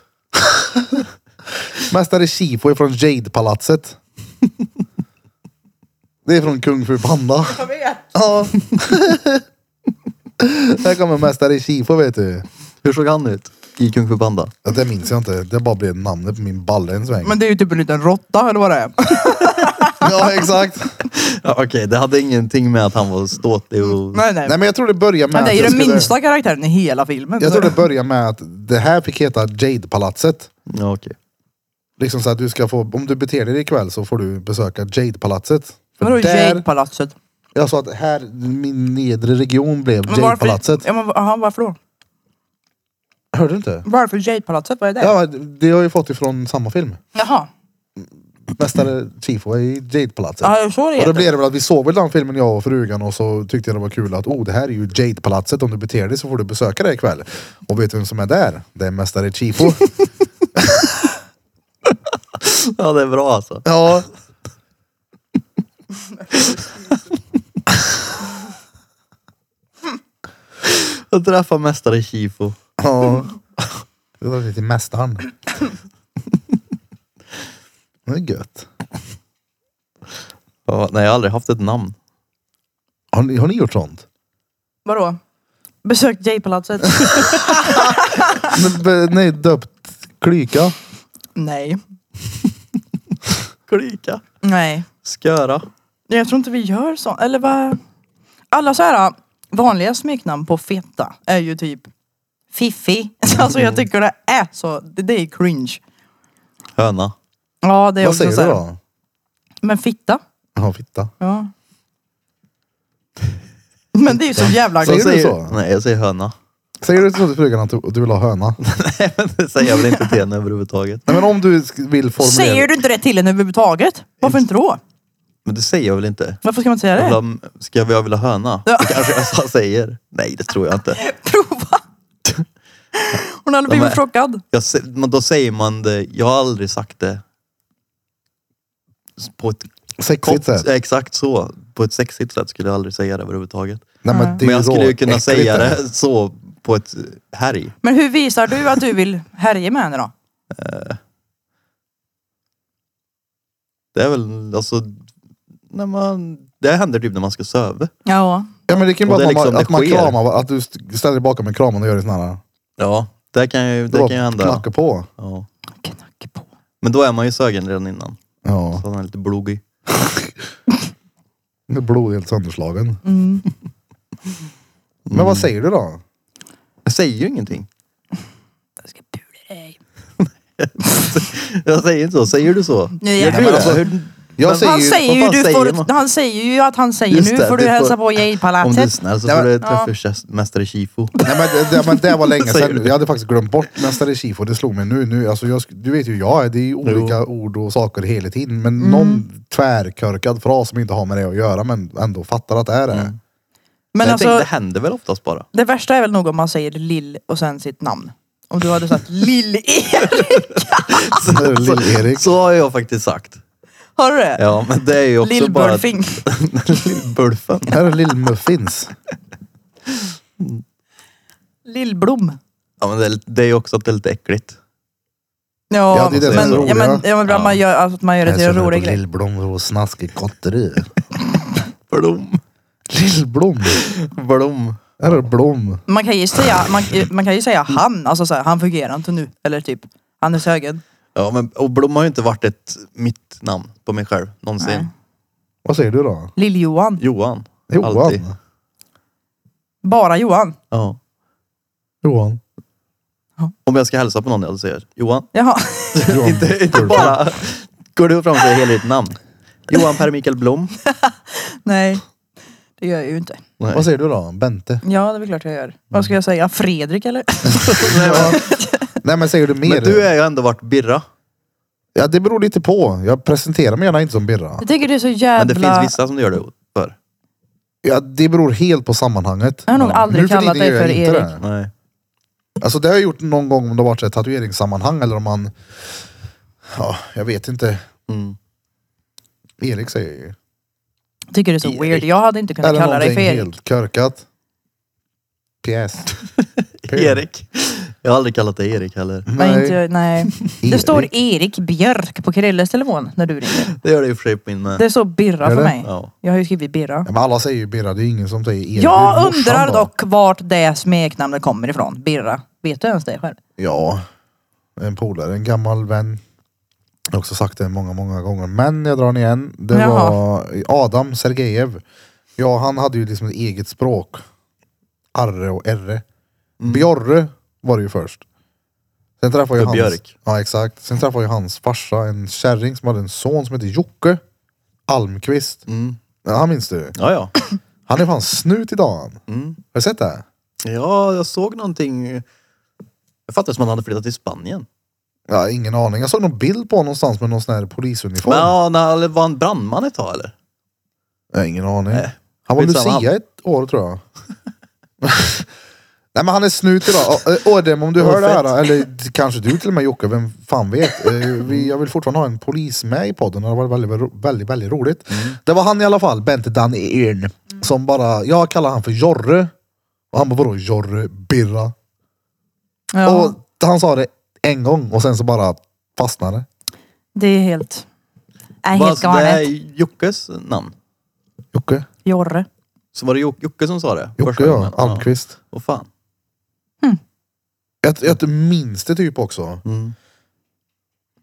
Mästare Chifo är från
[laughs]
Jade-palatset. det är från Kung Fu
[laughs]
Panda.
Jag vet.
Ja. Här kommer Mästare Chifo vet du.
Hur såg han ut? I Kung Fu Panda.
Ja, Det minns jag inte. Det bara blev namnet på min balle en sväng.
Men det är ju typ en liten råtta eller vad det är.
Ja exakt.
Ja, Okej, det hade ingenting med att han var ståtlig och...
Nej, [laughs] nej.
Nej men jag tror det börjar med
Men det är ju
att jag
den
skulle-
minsta karaktären i hela filmen.
Jag tror det börjar med att det här fick heta Jade-palatset.
Ja, okej.
Liksom så att du ska få, om du beter dig ikväll så får du besöka Jade-palatset. För
Vadå
där-
Jade-palatset?
Jag sa att här, min nedre region blev
Men varför,
Jade-palatset.
ja, men, aha, varför då?
Hörde du inte?
Varför Jade-palatset? Vad är det?
Ja, det har jag ju fått ifrån samma film.
Jaha.
Mästare Chifo är i Jade-palatset.
Ja, så
Och då
är det heter.
blev det väl att vi såg väl den filmen jag och frugan och så tyckte jag det var kul att oh det här är ju Jade-palatset, om du beter dig så får du besöka det ikväll. Och vet du vem som är där? Det är Mästare Chifo.
[laughs]
Ja, det är bra alltså.
ja.
Jag träffade mästare Chifo.
Ja. Det var lite mästaren. Det är gött.
Ja, nej, jag har aldrig haft ett namn.
Har ni, har ni gjort
[laughs]
sånt?
Vadå? Besök
[laughs]
Jade-palatset?
Men, be- nej, döpt klyka.
nej.
Klika.
Nej.
Sköra.
Jag tror inte vi gör så. Eller vad? Alla så här äh, vanliga smeknamn på feta är ju typ Fiffi. [laughs] Alltså
Mm.
jag tycker det är så. Det, det är cringe.
Höna.
Ja det är
Vad
också
säger
så
du
här.
då?
Men fitta.
Ja, fitta. [laughs]
Ja. Men det är ju så jävla...
Säger
Jag
du så?
Nej, jag säger höna. [laughs]
Säger du så till frugan att du, du vill ha höna?
Nej, men det säger jag väl inte till henne överhuvudtaget.
Nej, men om du sk- vill formulera...
Säger du inte det till henne överhuvudtaget? Varför inte då?
Men det säger jag väl inte?
Varför ska man inte säga
Jag vill
det?
ha, ska jag, jag vill ha höna?
Ja.
Det kanske jag sa säger. Nej, det tror jag inte.
[laughs]
[laughs]
Prova! Hon hade blivit
är-
chockad.
Jag, sä- men då säger man det. Jag har aldrig sagt det på ett
Sexigt
kort,
sätt.
exakt så. På ett sexigt sätt skulle jag aldrig säga det överhuvudtaget.
Nej, men, det är
Men jag skulle ju
rå-
kunna
äckligt
säga det så på ett härj.
Men hur visar du att du vill härja med henne då?
Det är väl alltså, när man, det händer typ när man ska söva.
Ja.
Ja men det kan ju
Och
bara
det är
vara att man-
liksom, det
att man
sker.
kramar, var- att du st- ställer dig bakom en kram och gör det sån här.
Ja, det kan ju, det
bara
kan ju hända.
Knackar på.
Ja.
Knack på.
Men då är man ju sögen redan innan.
Ja,
Så han är lite blogig.
[laughs] med blod helt sönderslagen.
Mm.
Men vad säger du då?
Jag säger ju ingenting.
Jag ska pula dig.
Jag säger inte så. Säger du så?
Nej,
Gör
jag-
du
Nej, men
det?
alltså,
hur,
Jag
Men
säger
Han
ju...
säger, ju,
vad fan
du får,
säger man?
han säger ju att han säger
Just
nu
det,
får du
du får-
hälsa på
om du är
Jade-palatset.
snäll så
Nej,
får
men-
du träffa mästare Shifu.
Nej, men, det, det, men det
[laughs]
var länge
Säger du?
sedan. Jag hade faktiskt glömt bort nästa Chifo. Det slog mig nu. nu alltså jag, sk- du vet ju jag är. Det är ju olika ord och saker hela tiden.
Mm.
Men någon tvärkörkad fras som inte har med det att göra men ändå fattar att det är det.
Men
Men
jag tänkte,
alltså,
det händer väl oftast bara?
det värsta är väl nog om man säger Lill och sen sitt namn. Om du hade
[laughs]
sagt E, Lill-Erik.
Så- Lill-Erik.
Så har jag faktiskt sagt.
[laughs] Har du det?
Ja, men det är ju också bara...
Lill-Burfing.
[laughs] Lillbulfen.
Här är Lill-Muffins.
Lill-Blom.
Ja, men det är- det är ju också att det är lite äckligt.
Ja,
Ja, det är det som är
men,
roligt,
ja, men,
ja.
ja, men
Ja.
man gör, alltså, att man gör det till en rolig grej.
Lillblom och snaskig kotteri.
Blom.
Lillblom.
Blom.
Här är Blom.
Man kan ju säga, man, man kan ju säga han, alltså så här, han fungerar inte nu. Eller typ, han är sögen.
Ja, men, och Blom har ju inte varit ett mitt namn på mig själv någonsin.
Nej.
Vad säger du då?
Lill-Johan.
Johan.
Johan.
Alltid.
Bara Johan.
Ja.
Johan.
Om jag ska hälsa på någon jag säger Johan.
Jaha. [laughs]
Johan.
[laughs] inte, inte
Blom.
bara går du fram och säger hela ditt namn. Johan Per Mikael Blom.
Nej. Det gör jag ju inte.
Nej.
Vad säger du då? Bente?
Ja, det är väl klart jag gör. Vad ska jag säga? Fredrik eller?
Nej, men-
Nej men säger du mer?
Men du är ju ändå varit Birra.
Ja det beror lite på. Jag presenterar mig gärna inte som Birra.
Jag tycker det är så
Men det finns
jävla...
vissa som du gör det för.
Ja, det beror helt på sammanhanget.
Jag har nog aldrig
Nu tiden
kallat dig
gör jag
för
inte
Erik.
det.
Nej.
Alltså det har jag gjort någon gång om det har varit så här tatueringssammanhang eller om man... Ja, jag vet inte.
Mm.
Erik säger ju.
Jag tycker det är så weird. Jag hade inte kunnat
Eller
kalla dig
någonting
för Erik.
helt körkat. PS.
Erik. Jag har aldrig kallat dig Erik heller.
Nej.
Nej.
Inte, nej. Det står Erik Björk på Krilles telefon när du ringer.
Det gör det ju för sig på min
Det
med.
är så Birra
Är
för
det?
mig.
Ja.
Jag har ju skrivit Birra.
Ja, men alla säger ju Birra, det är ingen som säger Erik. Det är
Jag
morsan
undrar
då.
dock vart det smeknamnet kommer ifrån. Birra. Vet du ens det själv?
Ja, en polare, en gammal vän. Jag har också sagt det många, många gånger. Men jag drar den igen. Det
Jaha.
var Adam Sergejev. Ja, han hade ju liksom ett eget språk. Arre och erre. Björre var det ju först. Sen träffade jag
Mm. För
hans,
Björk.
Ja, exakt. Sen träffade jag hans farsa, en kärring som hade en son som hette Jocke Almqvist.
Mm.
Ja, han minns du.
Ja, ja.
Han är fan snut idag han.
Mm.
Har du sett det?
Ja, jag såg någonting. Jag fattade som att han hade flyttat till Spanien.
Ja, ingen aning. Jag såg någon bild på honom någonstans med någon sån här polisuniform.
Men ja, när, eller var han brandman ett tag eller?
Jag har ingen aning.
Nej.
Han var
Skitsamma.
Lucia ett år tror jag. [laughs] Nej men han är snut idag. Ö- ö, Ådem om du
Vad
hör det
fett.
här, eller kanske du till och med Jocke, vem fan vet. Eh, vi- Jag vill fortfarande ha en polis med i podden, det har varit väldigt, väldigt, väldigt, väldigt roligt.
Mm.
Det var han i alla fall, Bente Dan Ehrn, som bara, jag kallar han för Jorre. Och han bara, vadå Jorre Birra?
Ja,
Och han sa det en gång och sen så bara fastnade det.
det är helt... Nej,
Var-
helt
det är
galet.
Jockes namn.
Jocke,
Jorre.
Så var det Joc- Jocke som sa det?
Jocke
första
ja,
gången?
Almqvist.
Ja. Åh fan.
Jag, jag minns det typ också.
Mm.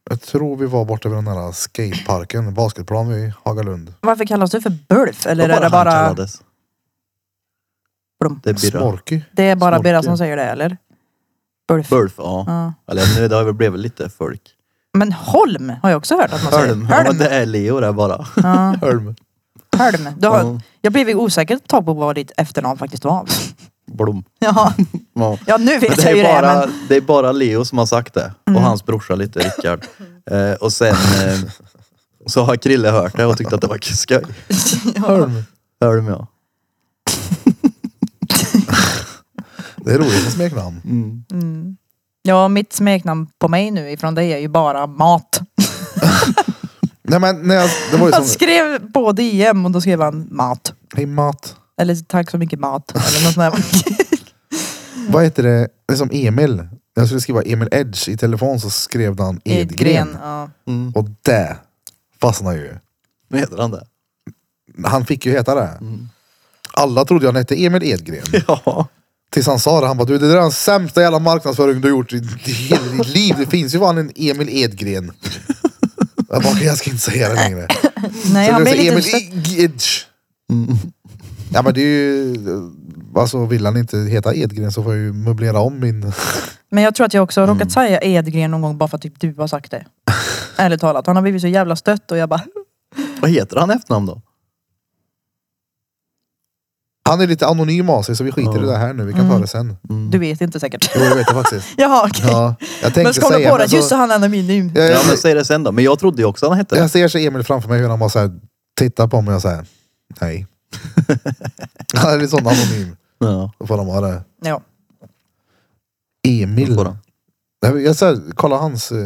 Jag tror vi var borta vid den här skateparken, basketplan vid Hagalund.
Varför kallas du för Bulf?
Det
Eller
var
är det
bara han
bara...
kallades.
Blom.
Det är Birra.
Snorky.
Det är bara Birra
Snorkel.
som säger det, eller? Bulf.
Bulf, ja.
Ja.
Eller nu, det har väl blivit lite folk.
Men Holm har jag också hört att man säger.
Hölm. Ja, men
Hölm.
det är Leo där bara. [laughs]
Ja.
Hölm.
Hölm. Du har,
Ja.
Jag blev ju osäker ett tag på vad ditt efternamn faktiskt var.
Blom.
[laughs] Ja,
Ja.
ja nu
Men
vet
det,
jag ju
är bara,
det. Mm.
det är bara Leo som har sagt det. Och hans brorsa lite, Rickard. Eh, och sen eh, så har Krille hört det och tyckte att det var skoj.
Men, [laughs] ja.
Hörn.
Hölm ja.
Det är roligt med smeknamn.
Mm.
Mm. ja, mitt smeknamn på mig nu ifrån dig är ju bara mat.
Nej men när jag, det var ju
Han
som,
skrev på DM och då skrev han mat.
hej Matt.
Eller tack så mycket mat. Eller något sånt där.
Vad heter det? Det är som Emil. När jag skulle skriva Emil Edge i telefon så skrev han Edgren.
Edgren. Ja.
Mm.
Och det fastnade ju.
Nu heter han det.
Han fick ju heta det.
Mm.
Alla trodde jag han hette Emil Edgren.
Ja.
Tills han sa det. Han bara, du det där är den sämsta jävla marknadsföring du har gjort i hela ditt liv. Det finns ju fan en Emil
[laughs]
Edgren. Jag bara, "Okej, jag ska inte säga det längre.
Nej,
Så
han
det
blev Mm.
är så
lite...
Emil Edge. Ja men det är ju alltså vill han inte heta Edgren så får jag ju möblera om min...
Men jag tror att jag också har råkat säga Edgren någon gång bara för att typ du har sagt det. Ärligt talat. Han har blivit så jävla stött och jag bara,
Vad heter han i efternamn då?
Han är lite anonym av sig så vi skiter i
Ja.
det här nu. Vi kan
Mm.
ta det sen.
du vet inte säkert. [laughs]
Jo, jag vet det faktiskt.
Jaha okej.
Ja, jag
men så
tänkte
kom jag
säga...
på det,
men så-
just så han är anonym.
jag,
Ja
jag,
men säg det sen då. Men jag trodde ju också han hette det.
jag ser så Emil framför mig hur han bara så här, tittar på mig och säger
[laughs]
nej. Han är lite sån anonym.
Ja,
Då får de ha det.
Ja.
Emil.
får han.
Nej, men Jag så här, kolla hans... eh,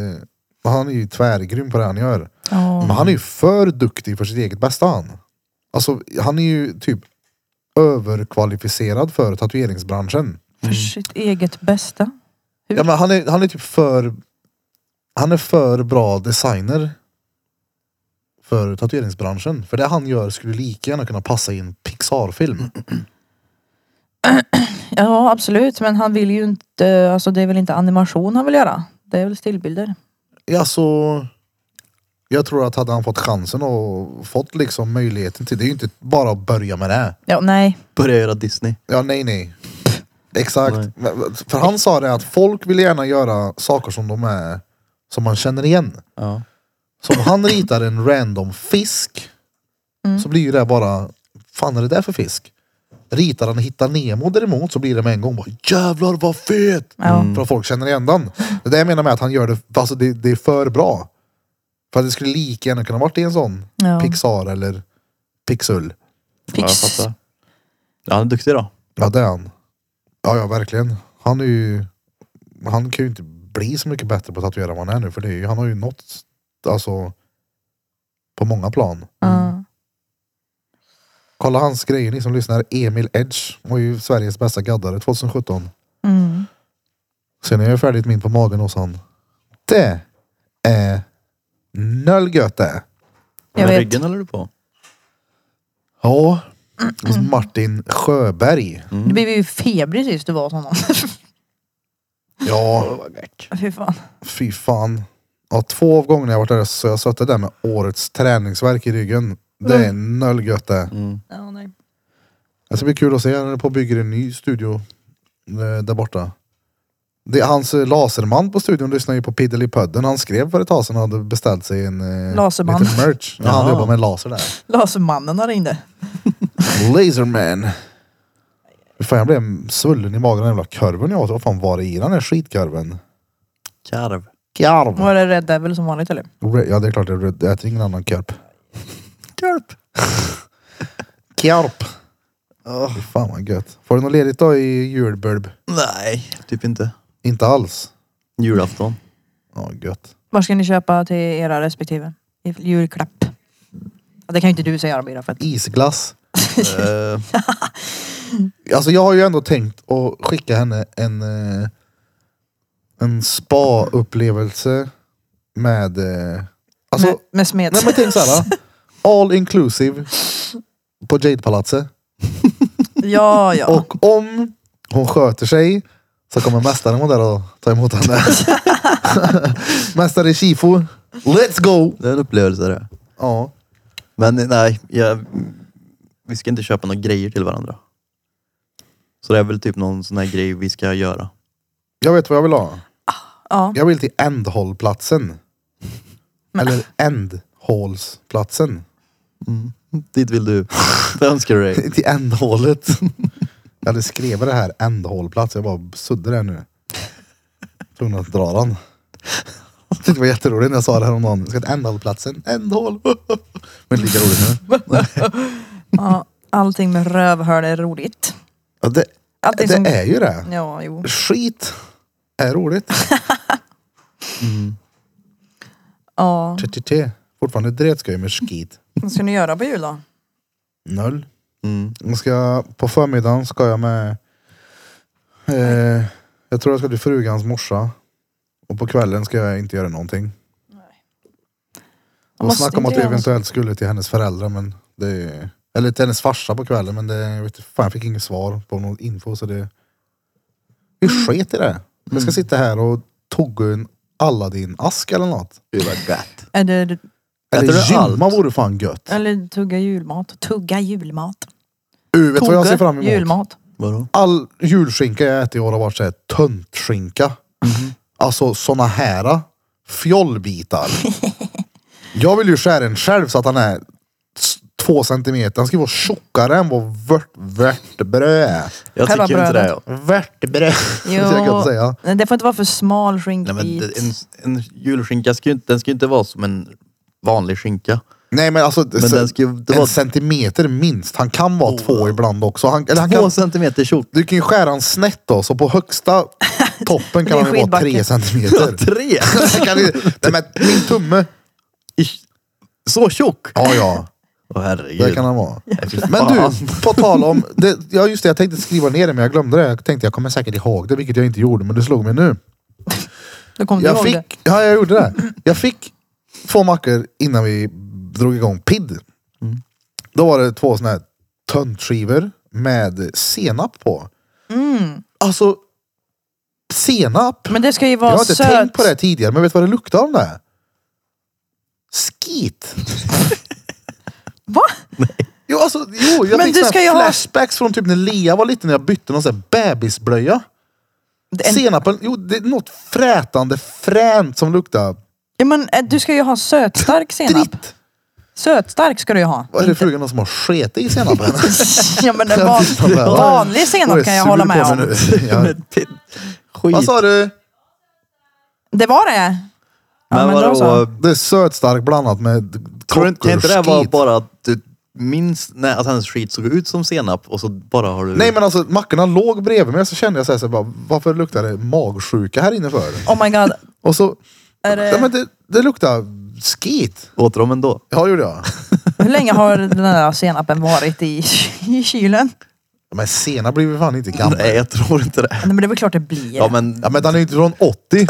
Han är ju tvärgrym på det han gör.
Ja.
Men han är ju för duktig för sitt eget bästa han. Alltså han är ju typ överkvalificerad för tatueringsbranschen.
För sitt eget bästa.
Ja, men han, är, han är typ för... Han är för bra designer. För tatueringsbranschen. För det han gör skulle lika gärna kunna passa i en Pixar-film.
Ja absolut men han vill ju inte, alltså det är väl inte animation han vill göra. Det är väl stillbilder.
Ja, så jag tror att hade han fått chansen och fått liksom möjligheten till det. är ju inte bara att börja med det.
Ja nej.
Börja göra Disney.
Ja, nej, nej. Exakt.
Nej.
Men- För han sa det att folk vill gärna göra saker som de är, som man känner igen.
Ja.
Så om han ritar en random fisk
Mm.
så blir ju det bara, fan är det där för fisk? Ritar han Hitta Nemo däremot så blir det med en gång bara jävlar vad fet!
Ja. Mm.
För att folk känner igen den. Det där jag menar med att han gör det, alltså det, det är för bra. För att det skulle lika gärna kunna varit i en sån
Ja.
Pixar eller Pixul.
Ja, jag
Pix.
fattar. Ja, han är duktig då.
Ja det är han. Ja ja verkligen. Han är ju, han kan ju inte bli så mycket bättre på att tatuera än vad han är nu för det är ju, han har ju nått, alltså på många plan.
Ja.
Kolla hans grejer ni som lyssnar. Emil Edge var ju Sveriges bästa gaddare 2017.
Mm.
Sen är jag färdigt min på magen hos han. Det är noll gött det.
Jag
Med
vet.
ryggen håller du på.
Ja. Hos Martin Sjöberg.
Du blev ju febrig sist du var hos honom.
Ja,
Fy fan.
fy fan. Ja, två av gångerna jag varit där så har jag suttit där med årets träningsverk i ryggen. Det är noll gött det.
Ja, nej.
Alltså, Det ska bli kul att se när på bygger en ny studio eh, där borta. Det, hans eh, laserman på studion lyssnar ju på Piddelipudden. Han skrev för ett tag sedan och hade beställt sig en eh,
Laserman.
liten merch. Ja, han
Jaha.
jobbar med laser där.
Lasermannen har ringde.
Laserman. Fan jag blev svullen i magen av den jävla korven jag åt. Vad fan var det i den här skitkorven?
Karv.
Korv.
Var det Red Devil som vanligt eller?
Re- Ja det är klart jag röd- jag äter ingen annan korv.
Karp.
Korv. Fy Fan vad gött. Får du något ledigt då i julburb?
Nej, typ inte.
Inte alls.
[laughs] Julafton.
Ja gött.
Vad ska ni köpa till era respektive? I julklapp. Ja, Det kan ju inte du säga Amira för att...
Isglass.
Eh,
Alltså jag har ju ändå tänkt att skicka henne en, eh, en spa-upplevelse med... eh, Alltså,
med, med smet.
nej men tänk såhär. All inclusive på Jade-palatset.
[laughs] Ja, ja.
Och om hon sköter sig så kommer mästaren vara där och ta emot henne. [laughs] Mästare Shifu. Let's go!
det är en upplevelse det.
Ja.
Men nej, jag, vi ska inte köpa några grejer till varandra. Så det är väl typ någon sån här grej vi ska göra.
Jag vet vad jag vill ha.
ja.
Jag vill till ändhållplatsen. Eller ändhålsplatsen.
Dit vill [laughs] du. Det önskar du
[laughs]
dig.
till ändhålet. Jag hade skrivit det här ändhållplats. Jag bara sudde det nu. Tvungen att dra den. Jag tyckte det var jätteroligt när jag sa det här om någon. Ska till ändhållplatsen. Ändhål. Men lika roligt nu.
ja. Allting med rövhål är roligt.
Ja, det,
Allting
det
som...
är ju det.
Ja, jo.
Skit är roligt.
Ja.
Tje, tje, tje. Fortfarande dretskoj med skit.
Vad ska ni göra på jul då?
Noll.
Mm.
Jag ska, på förmiddagen ska jag med... Eh, jag tror jag ska till frugans morsa. Och på kvällen ska jag inte göra någonting.
Man
Och
måste
snacka om att
inte
vi
göra något.
eventuellt skulle till hennes föräldrar men det... Eller till hennes farsa på kvällen men det... Jag, vet, inte, fan, jag fick inget svar på någon info så det... Vi
Mm.
sket i det. Jag ska sitta här och tugga en Aladdin-ask eller något.
Det var gött.
Eller,
Eller
Äter du
gymma
allt?
vore fan gött.
eller tugga julmat. Tugga julmat.
Uh, vet du vad jag ser fram emot?
Julmat.
Vadå?
All julskinka jag ätit i år har varit så här töntskinka. Alltså såna här fjollbitar. jag vill ju skära en själv så att han är s- två centimeter. Han ska ju vara tjockare än vad vört, värtbröd är.
Jag
Själva
tycker inte det.
brödet.
ja.
Värtbröd. [laughs] det ska [laughs] jag gott säga.
Nej, det får inte vara för smal
Nej, men det-
skinkbit.
en, en julskinka ska ju inte, den ska ju inte vara som en vanlig skinka.
Nej men alltså
Men
så-
den ska ju
en
vara
centimeter minst. Han kan vara två ibland också. Han, eller han
två
kan,
centimeter tjock.
du kan ju skära han snett då, så på
[laughs]
högsta toppen kan
är
han ju vara tre
skidbacke.
centimeter. [laughs]
[laughs]
[laughs] Tre!
Så kan det, nej, men min tumme.
Ish. Så tjock!
Ja, ja.
Åh herregud.
Det kan han vara.
Nej, fy
Men du,
fan.
på tal om... Det, ja just det, jag tänkte skriva ner det men jag glömde det. Jag tänkte jag kommer säkert ihåg det, vilket jag inte gjorde. Men det slog mig nu.
Då kom du
Jag
ihåg det.
fick... Ja, jag gjorde det. Jag fick två mackor innan vi drog igång PID. Då var det två såna här töntskivor med senap på. Alltså, senap.
Mm. Men det ska ju
Jag
vara
har inte
söt.
tänkt på det tidigare, men vet du vad det luktar om det? Skit.
Va?
Jo, alltså, jo jag
Men
fick
du
såna
ska
här
ju ha-
flashbacks från typ när Lea var liten när jag bytte någon sån här bebisblöja.
En,
Senapen, jo det är något frätande fränt som luktar
ja, men, eh, du ska ju ha sötstark senap.
dritt.
Sötstark ska du ju ha.
Vad är det frugan någon som har sket i
[laughs]
senapen?
Ja, men en
Jag
van,
tittar på det här.
vanlig
Hon är
senap kan jag
sur
hålla
på
med
mig
om.
nu. Ja.
Men det- Skit.
Vad sa du?
Det var det. Ja,
men
men
vadå?
då så.
Det är sötstark blandat med
Tror du inte, kan inte det här vara
kockerskit.
bara att du minns när att hennes skit såg ut som senap och så bara har du...
Nej men alltså mackorna låg bredvid mig så kände jag så här, så här bara, varför luktar det magsjuka här inne för?
Oh my god.
Och så,
Är det-
ja, men det, det luktar skit.
Åt dem ändå.
Ja det gjorde jag.
Hur länge har den där senapen varit i, i kylen?
Men senap blir vi fan inte gammal.
Nej, jag tror inte det.
Nej, men det är väl klart det blir.
Ja, men,
Ja men han är ju inte från 80.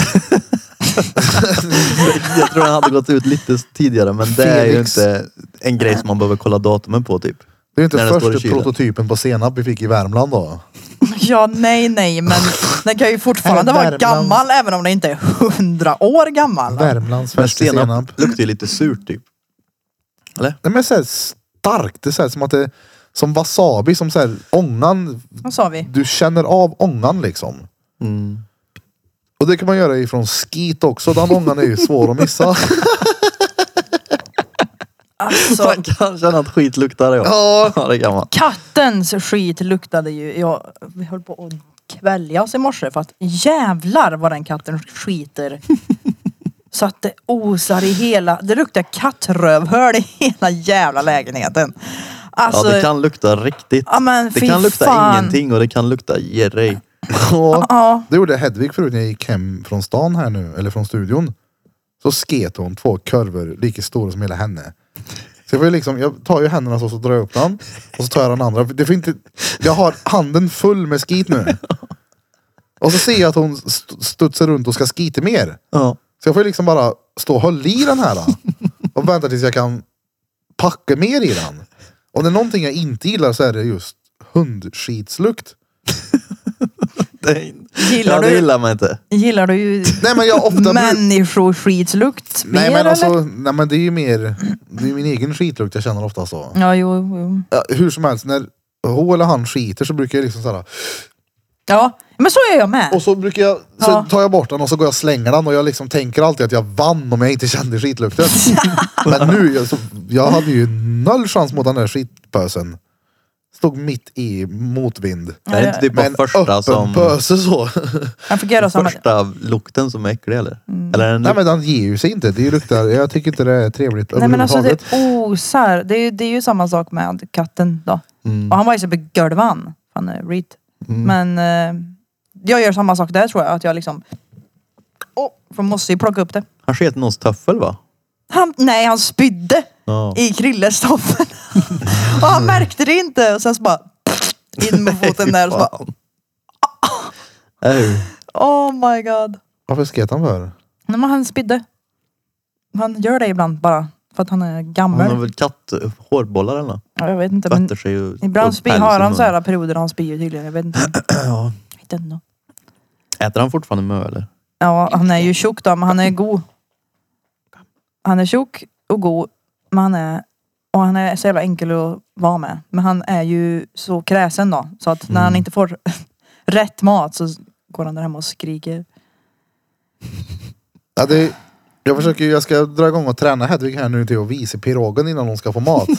jag tror den hade gått ut lite tidigare men det är ju
Felix.
inte en grej som man behöver kolla datumen på typ.
Det är ju inte
När den står i
första
kylen.
prototypen på senap vi fick i Värmland då.
Ja, nej, nej, men den kan ju fortfarande
Här är
vara
Värmland.
gammal även om den inte är hundra år gammal.
Värmlands
Men
första senap.
senap luktar ju lite surt typ. Eller?
Nej men såhär starkt. Det är såhär som att det som wasabi, som såhär ångan.
Vad sa vi?
Du känner av ångan liksom.
Mm.
Och det kan man göra ifrån skit också. Den ångan är ju svår att
[laughs]
missa.
Alltså,
Man kan känna att skit luktar ja.
Ja.
Ja, det kan man.
kattens skit luktade ju. Jag, vi höll på att kvälja oss i morse för att jävlar vad den katten
[laughs]
skiter. Så att det osar i hela, det luktar kattrövhöl i hela jävla lägenheten.
Ja,
Alltså,
det kan lukta riktigt.
Ja, men
det
fy
kan lukta
fan.
ingenting och det kan lukta gerrig.
Ja. Det gjorde Hedvig förut när jag gick hem från stan här nu, eller från studion. Så sket hon två korvar lika stora som hela henne. Så jag, får ju liksom, jag tar ju händerna så, så drar jag upp den och så tar jag den andra. Det får inte, jag har handen full med skit nu. Och så ser jag att hon st- studsar runt och ska skita mer.
Ja.
Så jag får ju liksom bara stå och hålla i den här. då. Och vänta tills jag kan packa mer i den. Och det är någonting jag inte gillar så är det just hundskitslukt.
Det,
Gillar
ja, det
du-
gillar man inte.
gillar du
[laughs]
ju
Nej men jag ofta bru-
människoskitslukt mer
Nej men,
eller?
alltså, nej men det är ju mer, det är min egen skitlukt jag känner ofta så.
Ja, jo, jo.
Ja, hur som helst, när hon eller han skiter så brukar jag liksom såhär,
Ja, men så är jag med.
och så brukar jag, så
Ja.
tar jag bort den och så går jag och slänger den och jag liksom tänker alltid att jag vann om jag inte kände
[laughs]
skitlukten. men nu, jag, så, jag hade ju noll chans mot den där skitpösen. Stod mitt i motvind.
Det är inte typ bara
Men
första
öppen
som...
pöse så.
Jag fick göra samma.
Första lukten som är äcklig eller?
Mm.
Eller är den
nej men den ger ju sig inte. Det luktar, jag tycker inte det är trevligt
Nej men alltså
överhuvudtaget.
det osar. Det är, ju- det är ju samma sak med katten då.
Mm.
Och han var ju så begörd van. Han är Reed. Men eh, jag gör samma sak där tror jag. Att jag liksom... Åh, för måste ju plocka upp det.
Han sket i någons töffel va?
Han, nej, han spydde
Ja.
i krillestoffen. [laughs] och han märkte det inte. Och sen så bara... In
[laughs]
med foten där och så bara...
Ej.
Oh my god.
Varför sket han för?
Nej men han spydde. Han gör det ibland bara. För att han är gammal.
Han har väl katthårbollar eller något?
Ja, jag vet inte. Men
Tvättar sig ju...
ibland
och
spy,
päls i
har han
munnen.
så här perioder där han spyr tydligen. Jag vet inte.
Ja.
I don't know.
Äter han fortfarande mö eller?
Ja, han är ju tjock då, men han är god. Han är tjock och god, men han är Och han är så jävla enkel att vara med. Men han är ju så kräsen då. Så att när han inte får [laughs] rätt mat så går han där hemma och skriker.
Ja, det, jag försöker ju, jag ska dra igång och träna Hedvig här nu till att visa pirogen innan hon ska få mat.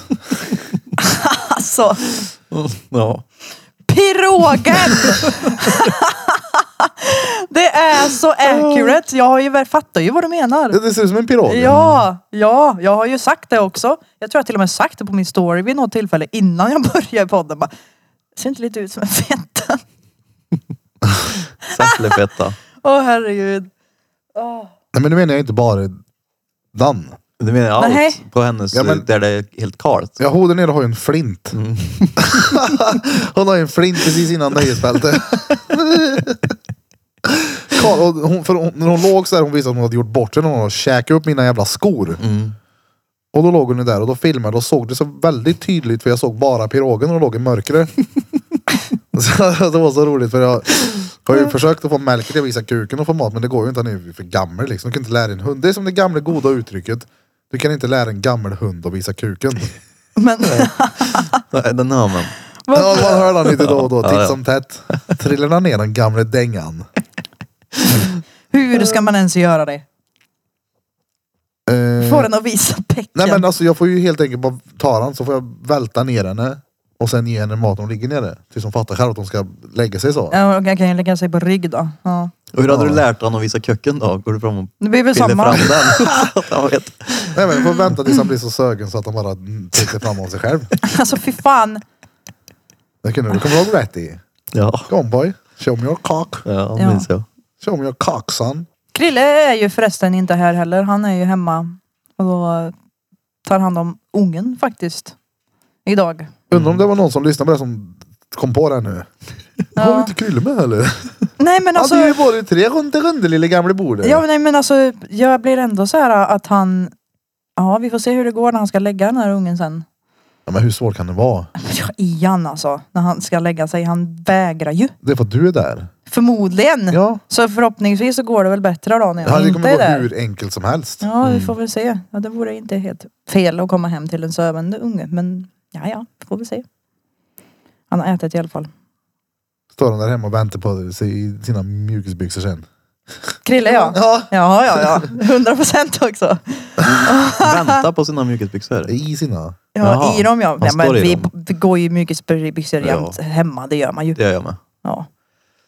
Alltså,
Ja.
pirogen! [laughs] det är så accurate. Jag har ju, väl- fattar ju vad du menar.
det, det ser ut som en pirog.
Ja, ja, jag har ju sagt det också. Jag tror jag till och med sagt det på min story vid något tillfälle innan jag [laughs] började podden. Bara, ser inte lite ut som en feta?
Säfflefetta.
[laughs] Åh herregud. Åh.
Nej, men nu menar jag inte bara den.
Du menar allt
Nej.
på hennes,
Ja, men-
där det är helt kallt?
Ja, hon där nere har ju en flint. [laughs] hon har ju en flint precis innan nöjesbältet. [laughs] Karl, och hon, för hon, när hon låg så här, hon visade att hon hade gjort bort sig. när Hon hade käkat upp mina jävla skor. Och då låg hon ju där och då filmade och såg det så väldigt tydligt för jag såg bara pirogen och låg i mörkret. så [laughs] det var så roligt för jag har ju försökt att få Melker till att visa kuken och få mat men det går ju inte. Han är ju för gammal liksom. Du kan inte lära en hund. Det är som det gamla goda uttrycket. Du kan inte lära en gammal hund att visa kuken.
Men
Nej, Den har man.
Ja, man hör han lite då och då,
Ja,
titt
ja.
som tätt. Trillarna ner den gamle dängan.
[laughs] hur ska man ens göra det?
Eh,
Få den att visa pecken.
nej men alltså jag får ju helt enkelt bara ta den så får jag välta ner henne och sen ge henne mat när hon ligger nere. Tills hon fattar själv att hon ska lägga sig så.
Ja, okej, jag kan ju lägga sig på rygg då. Ja.
Och hur hade
Ja.
du lärt honom att visa köken då? Går du fram och
Det blir väl
piller
samma.
fram den? [laughs] Så att han vet.
Nej men jag får vänta tills han blir så sögen så att han bara mm, tittar fram av sig själv.
[laughs] Alltså fy fan.
Det kunde du komma ihåg rätt i.
Ja,
Come on boy, show me your cock.
ja,
Ja.
ja. minns jag.
Show me your cock son.
Krille är ju förresten inte här heller. Han är ju hemma och tar hand om ungen faktiskt. Idag.
Undrar om det var någon som lyssnade på det som kom på det här nu. Har vi
Ja.
inte Krille med heller?
Nej men alltså.
ja, det är ju både tre runt runt lille gamle bordet.
Ja, men nej, men alltså jag blir ändå så här att han... Ja, vi får se hur det går när han ska lägga den här ungen sen.
ja, men hur svårt kan det vara?
Ja, Ian alltså, när han ska lägga sig. Han vägrar ju.
Det är för att du är där.
Förmodligen.
Ja.
Så förhoppningsvis så går det väl bättre då när
Ja,
jag
det
inte
kommer
är
gå
där.
hur Mm. enkelt som helst.
Ja, vi får väl se. Ja, det vore inte helt fel att komma hem till en sövande unge. Men ja, ja, får vi se. Han har ätit i alla fall.
Står han där hemma och väntar på sig i sina mjukisbyxor sen.
Krille ja.
Ja.
Ja, ja, ja. Hundra procent också.
Vänta på sina mjukisbyxor.
I sina.
Ja,
Jaha.
i dem ja.
Han
Nej, men
står i
vi,
dem.
vi går ju mjukisbyxor
Ja.
jämt hemma. Det gör man ju.
Det gör jag med.
Ja.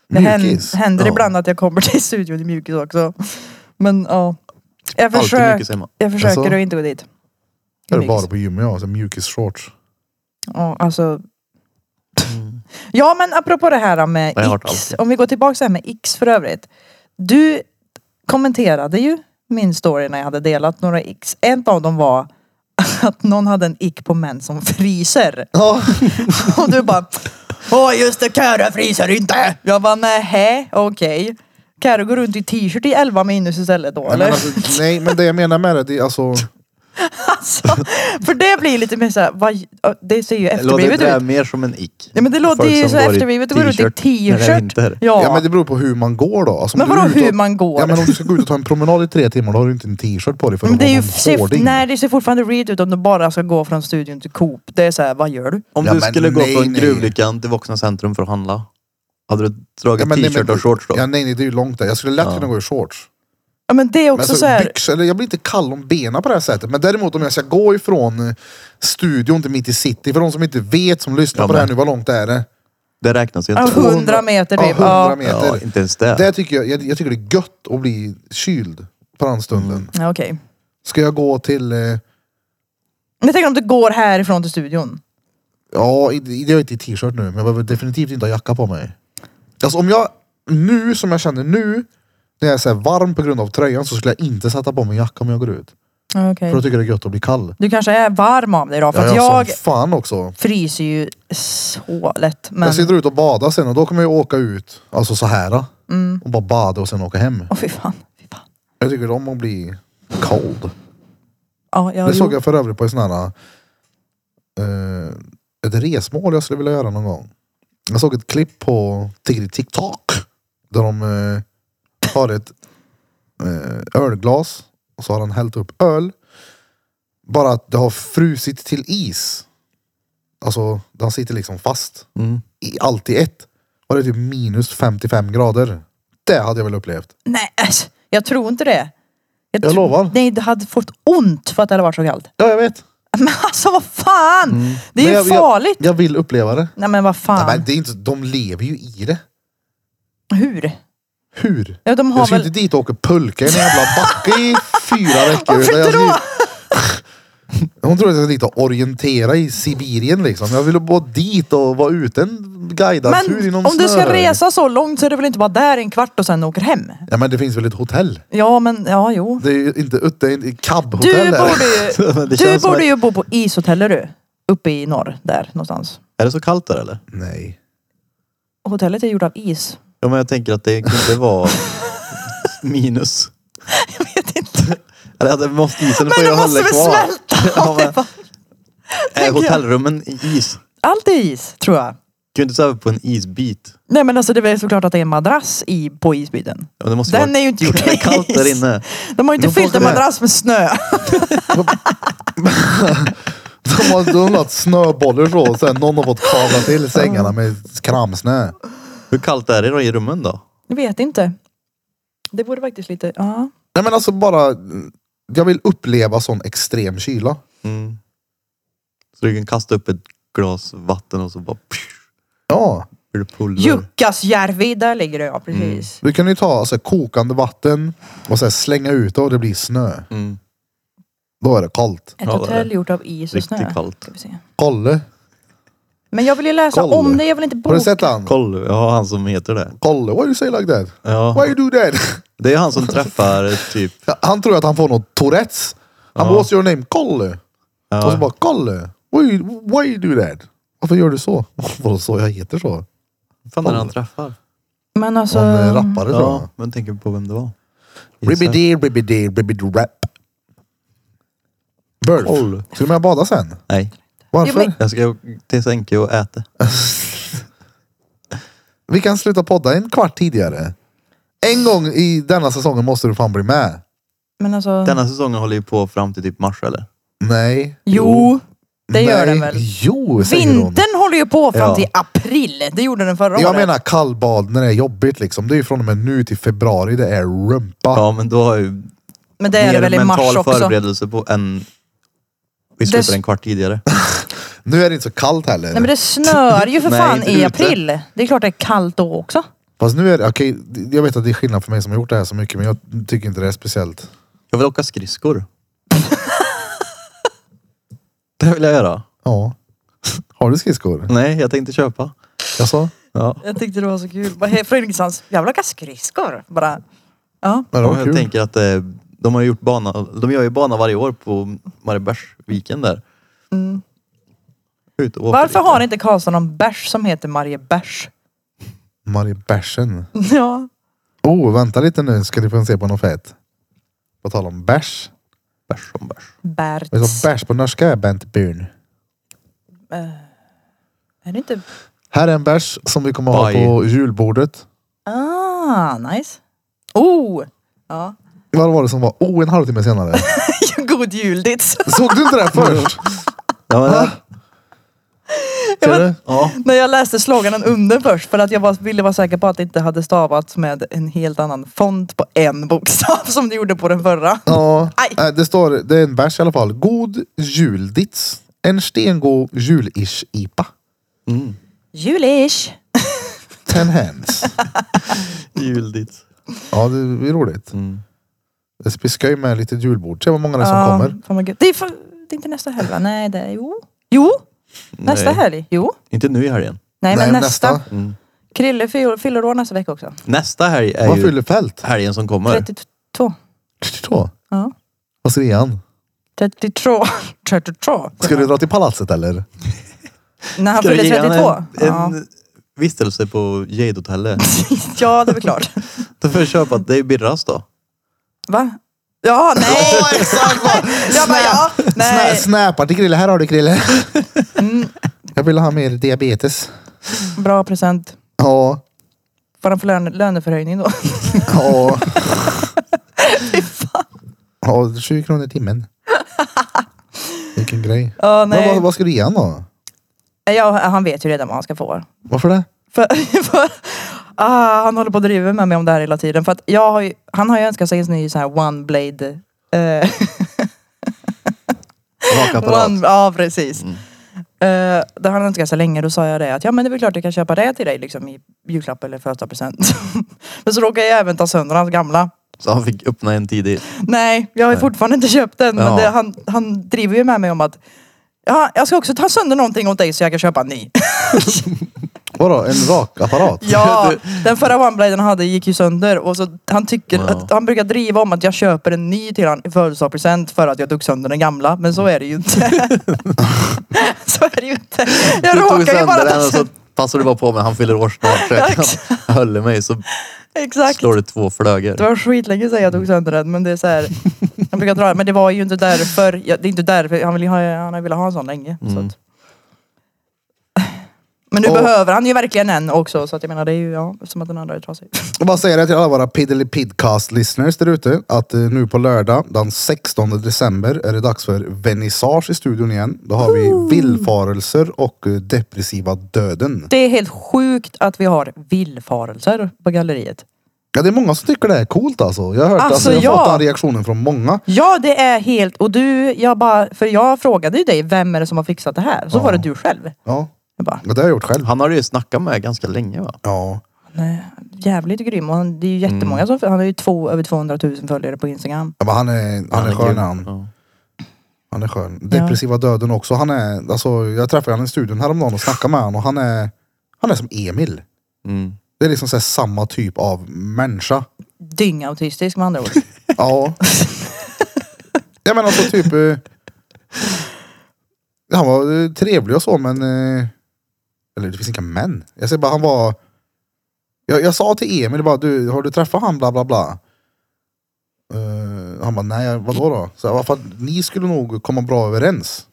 Det
Mjukis.
hän- händer
Ja.
ibland att jag kommer till studion i mjukis också. Men ja. Jag,
Alltid
försök,
mjukis hemma.
jag försöker
Alltså?
att inte gå dit.
Det är det
Mjukis.
bara på gymmet ja. så Mjukisshorts.
Ja, alltså. [laughs] ja men apropå det här med
Mm. Jag har hört
X.
allt.
Om vi går tillbaka så här med X för övrigt. Du kommenterade ju min story när jag hade delat några X. En av dem var [laughs] att någon hade en ick på män som fryser.
Ja.
[laughs] Och du bara Åh just det, Karo fryser inte! Jag bara nähä, okej. Karo går runt i t-shirt i 11 minus istället då
Nej,
eller?
men
[laughs]
alltså, nej men det jag menar med det, det är alltså.
Alltså, för det blir lite mer såhär, vad- ja, det ser ju
Låter
efterblivet
det där
ut.
mer som en ick?
Ja men det låter
Folk
ju
som
så
går i
efterblivet att gå runt i
när det är
t-shirt.
vinter.
Ja.
Ja.
men det beror på hur man går då. Alltså, om
Men
du är
vadå
ute
hur
och-
man går?
Ja men om du ska gå ut och ta en promenad i tre timmar då har du inte en t-shirt på dig för
Men
att
det, är ju
vara en
ser,
hårding.
nej, det ser fortfarande read ut om du bara ska gå från studion till Coop. Det är såhär, vad gör du?
Om
Ja,
du
men
skulle gå
nej,
från
nej.
gruvlyckan till Vuxna Centrum för att handla. Hade du dragit
men- nej,
t-shirt
men-
och shorts då?
Ja, nej, nej det är ju långt där. Jag skulle lätt
Ja.
kunna gå i shorts.
Ja men det är
Men
också
alltså,
såhär,
byxor, eller jag blir inte kall om benen på det här sättet. Men däremot om jag ska gå ifrån eh, studion till mitt i city. För de som inte vet som lyssnar
Ja,
på det här nu,
men-
vad långt är det?
Det räknas ju
ja,
inte.
100 meter typ.
Ja,
Ja,
100 meter.
Ja, inte ens det.
Alltså, Det tycker jag, jag, jag tycker det är gött att bli kyld på den
Mm.
stunden.
ja okej.
Ska jag gå till, eh,
Men jag tänker om du går härifrån till studion.
ja i- i- det är inte i t-shirt nu men jag behöver definitivt inte ha jacka på mig. Alltså om jag nu, som jag känner nu, när jag är så här varm på grund av tröjan så skulle jag inte sätta på mig jacka om jag går ut.
Ja,
För
Okej.
då tycker jag det är gött att bli kall.
Du kanske är varm av dig då för
Ja,
att
jag
jag
som fan också.
fryser ju så lätt. Men...
Jag sitter ute och badar sen och då kommer jag åka ut, alltså så här. Och bara bada och sen åka hem.
Åh fy fan. Fy fan.
Jag tycker om att bli cold.
Ja, jag,
Det
jo.
såg jag för övrigt på en sån här... eh, ett resmål jag skulle vilja göra någon gång. Jag såg ett klipp på Tigri TikTok. Där de eh, har ett eh, ölglas. Och så har han hällt upp öl. Bara att det har frusit till is. Alltså den sitter liksom fast.
Mm.
I allt i ett. Var det typ minus 55 grader. Det hade jag väl upplevt.
Nej, äsch, jag tror inte det.
Jag
tro-
lovar.
Nej, det hade fått ont för att det hade varit så kallt. [laughs]
Ja jag vet.
Men alltså vad fan! Det är
Mm. Men
ju
jag,
farligt.
Jag, jag vill uppleva det.
Nej men vad fan.
Nej, men det är inte, de lever ju i det.
Hur?
Hur?
Ja, de
Jag
har
ska
väl...
inte dit och åka pulka i en jävla backe i fyra veckor.
Varför
utan jag ska [laughs]
då?
ju- Hon tror att jag ska dit och orientera i Sibirien liksom. Jag vill bara dit och vara ute en guidad tur i
Men
någon
om du ska
snöröj.
resa så långt så är det väl inte bara där en kvart och sen åker hem?
Ja men det finns väl ett hotell?
Ja men, ja jo.
Det är ju inte ut- det är inte
Du
cab-hotell här.
borde ju,
[laughs] Men [laughs]
du
det känns som
borde
att-
ju bo på ishotellet du. Uppe i norr där någonstans.
Är det så kallt där eller?
Nej.
Hotellet är gjort av is. [laughs]
Ja, men jag tänker att det kunde vara minus.
Jag vet inte.
Eller att det måste isen får
Men
ju
det måste
hålla
väl
kvar.
smälta?
[laughs] Ja, men- Är
tänker jag.
hotellrummen i is?
Allt är is tror jag.
Kan du inte sova på en isbit?
Nej men alltså det är väl såklart att det är en madrass i, på isbiten.
Ja, men [laughs] det måste
Den
vara
är ju inte gjord i
kallt där
is.
inne.
De har ju
De
inte
får
fyllt en
åka med.
madrass med snö.
De har, de har lagt snöbollar så och sen någon har fått kavla till sängarna med kramsnö.
Hur kallt är det då i rummen då?
Jag vet inte. Det vore faktiskt lite,
Mm.
ja.
Nej men alltså bara, jag vill uppleva sån extrem kyla.
Mm. Så du kan kasta upp ett glas vatten och så bara psh,
Ja,
blir det pulver.
Jukkasjärvi, där ligger det ja
Mm.
precis.
du kan ju ta alltså, kokande vatten och sen slänga ut det och det blir snö.
Mm.
Då är det kallt.
Ett
Ja, det är
hotell gjort av is och snö.
Riktigt kallt.
Ska vi se.
Kolle.
Men jag vill ju läsa
Kolla.
om det, jag vill inte
Har
boka.
du sett han?
Koll, ja han som heter det.
Kolle, why you say like that? Why
Ja.
you do that? [laughs]
Det är han som träffar typ...
Han tror att han får något Tourettes. Han
Ja.
bara, what's your name? Kolle. Och så
Ja.
bara, Kalle, why, you- why you do that? Varför gör du så? [laughs] Vadå så? Jag heter så.
Fan är det han träffar?
Men alltså,
Någon eh, rappare tror
Ja,
jag.
men tänker på vem det var.
Ribbidi, ribbidi, ribbidi rap. Burf.
Koll.
Ska du med och bada sen?
Nej,
Varför?
Jo, men-
jag ska till Sänke och äta.
Vi kan sluta podda en kvart tidigare. En gång i denna säsongen måste du fan bli med.
men alltså.
Denna säsongen håller ju på fram till typ mars eller?
Nej.
Jo, det gör
Nej.
den väl.
Jo, säger hon.
Vintern håller ju på fram
Ja.
till april. Det gjorde den förra
Jag
året.
menar kallbad när det är jobbigt liksom. Det är ju från och med nu till februari det är rumpa.
Ja men då har ju
men det är det
mer
väl i mars
mental
också.
förberedelse på en... Vi
Det-
slutar en kvart tidigare.
Nu är det inte så kallt heller.
Nej men det snör ju för
[laughs] Nej,
fan
inte
i
ute.
april. Det är klart det är kallt då också.
Fast nu är det, okej, jag vet att det är skillnad för mig som har gjort det här så mycket men jag tycker inte det är speciellt.
Jag vill åka skridskor. det vill jag göra.
Ja. [laughs] Har du skridskor?
Nej, jag tänkte köpa.
Jaså?
Ja.
Jag tyckte det var så kul. Bara, "Hej, Fredrikshamns, jag vill åka skridskor. Bara, ja.
Ja, det var
jag
kul.
tänker att eh, de har gjort bana, de gör ju bana varje år på Mariebergsviken där. Ut och åker
Varför
lite.
har inte Karlstad någon bärs som heter Marie Bärs?
Marie Bärsen.
Ja.
Oh, vänta lite nu ska ni få se på något fett. På tal om bärs.
bärs som bärs?
Bärts.
Vet du vad bärs på norska är Bent Byrn?
Är det inte...
Här är en bärs som vi kommer ha
Baj.
på julbordet.
Ah, nice. Oh! [laughs] Ja.
Vad var det som var? Oh, en halvtimme
[laughs]
senare.
God jul dits.
Såg du inte det här
[laughs]
först?
Ja, men,
Va? Ser
[laughs]
du?
ja.
När jag läste sloganen under först för att jag var, ville vara säker på att det inte hade stavats med en helt annan font på en bokstav [laughs] som det gjorde på den förra.
Ja,
Aj.
nej, det står, det är en bärs i alla fall. God juldits. En stengod julish IPA.
Mm.
Julish.
Ten
[laughs]
hands.
Juldigt.
Ja, det blir roligt.
Mm.
Det blir skoj med lite julbord. Se vad många det är som
Ja,
kommer.
fan vad gud. Det, är för, det är inte nästa helg va? Nej, det är... Jo. Jo! Nästa
Nej.
helg. Jo.
Inte nu i helgen.
Nej, men
Nej,
nästa.
nästa.
Mm.
Krille fyller fyller år nästa vecka också.
Nästa helg är
Vad
ju
fyller fält?
helgen som kommer.
32.
32.
Ja.
Vad säger han?
32. [laughs] 32.
Ska du dra till palatset eller?
När han
Ska du
fyller
ge
32?
honom En,
Ja. [laughs]
en vistelse på Jade-hotellet.
ja, det är väl klart.
Då får jag köpa, det är ju Birras då.
Va? Ja,
[laughs]
nej!
Åh, exakt! vad-
[laughs] Jag bara, ja,
Snä,
nej.
snäpar till Krille. Här har du Krille.
Eh. Mm,
Jag vill ha mer diabetes.
bra present.
Ja.
Får han för löne, löneförhöjning då?
Ja. Ja, 20 kronor i timmen. Vilken grej.
[laughs] Ja,
Men vad,
nej.
vad ska du ge han då?
Ja, han vet ju redan vad han ska få.
Varför det?
För, [laughs] för, ah, han håller på att driva med mig om det här hela tiden. För att jag har ju, han har ju önskat sig en ny sån här one blade. Eh, [laughs]
Rakapparat.
one, ja precis.
Mm.
Eh, det har han önskat sig länge. Då sa jag det att ja men det är väl klart jag kan köpa det till dig liksom i julklapp eller födelsedagspresent. [laughs] men så råkade jag även ta sönder hans gamla.
Så han fick öppna en tidigt.
Nej, jag har ju
Nej.
fortfarande inte köpt den. Men
Ja.
det, han, han driver ju med mig om att ja, jag ska också ta sönder någonting åt dig så jag kan köpa en ny.
Vadå, en
[laughs]
rakapparat?
Ja, den förra OneBladen han hade gick ju sönder och så han tycker
Wow.
att han brukar driva om att jag köper en ny till han i födelsedagspresent för att jag tog sönder den gamla. Men så är det ju
[laughs]
inte. så är det ju inte. Jag
Du tog
råkar ju
sönder
bara ta
den och så
sönder.
passade du bara på mig. Han fyller år snart. Så
Ja,
jag
exakt.
kan- [laughs] höll mig så
Exakt.
slår du två flögor.
Det var skitlänge sedan jag tog sönder den men det är så här. Han brukar dra men det var ju inte därför. Jag, det är inte därför. Han, vill ju ha, han har ju velat ha en sån länge. Så
Mm.
att. Men nu
Och-
behöver han ju verkligen en också så att jag menar det är ju ja, som att den andra är trasig.
Jag bara säger det till alla våra Piddly Pidcast listeners där ute att eh, nu på lördag den 16 december är det dags för vernissage i studion igen. Då har vi villfarelser och eh, depressiva döden.
Det är helt sjukt att vi har villfarelser på galleriet.
Ja, det är många som tycker det är coolt alltså. Jag har hört,
Alltså,
alltså, jag har
ja.
fått den reaktionen från många.
Ja det är helt, och du, jag bara, för jag frågade ju dig, vem är det som har fixat det här? Så
Ja.
var det du själv.
Ja,
Jag bara,
det har jag gjort själv.
Han har du ju snackat med ganska länge va?
Ja,
nej, jävligt grym. Och han, det är ju jättemånga som, han har ju två, över 200 000 följare på Instagram.
Ja, men han är, han är skön
grym.
han.
Ja.
Han är skön. Depressiva döden också. Han är, alltså, jag träffade honom i studion häromdagen och snackade med honom och han är, han är som Emil.
Mm.
Det är liksom så här samma typ av människa.
Dyngautistisk med andra ord.
Ja. ja men alltså typ. eh, Han var eh, trevlig och så men. eh, Eller det finns inga män. Jag säger bara han var. Jag, jag sa till Emil bara du har du träffat han bla bla bla. Eh, han bara nej vadå då? Så jag, bara, för att ni skulle nog komma bra överens.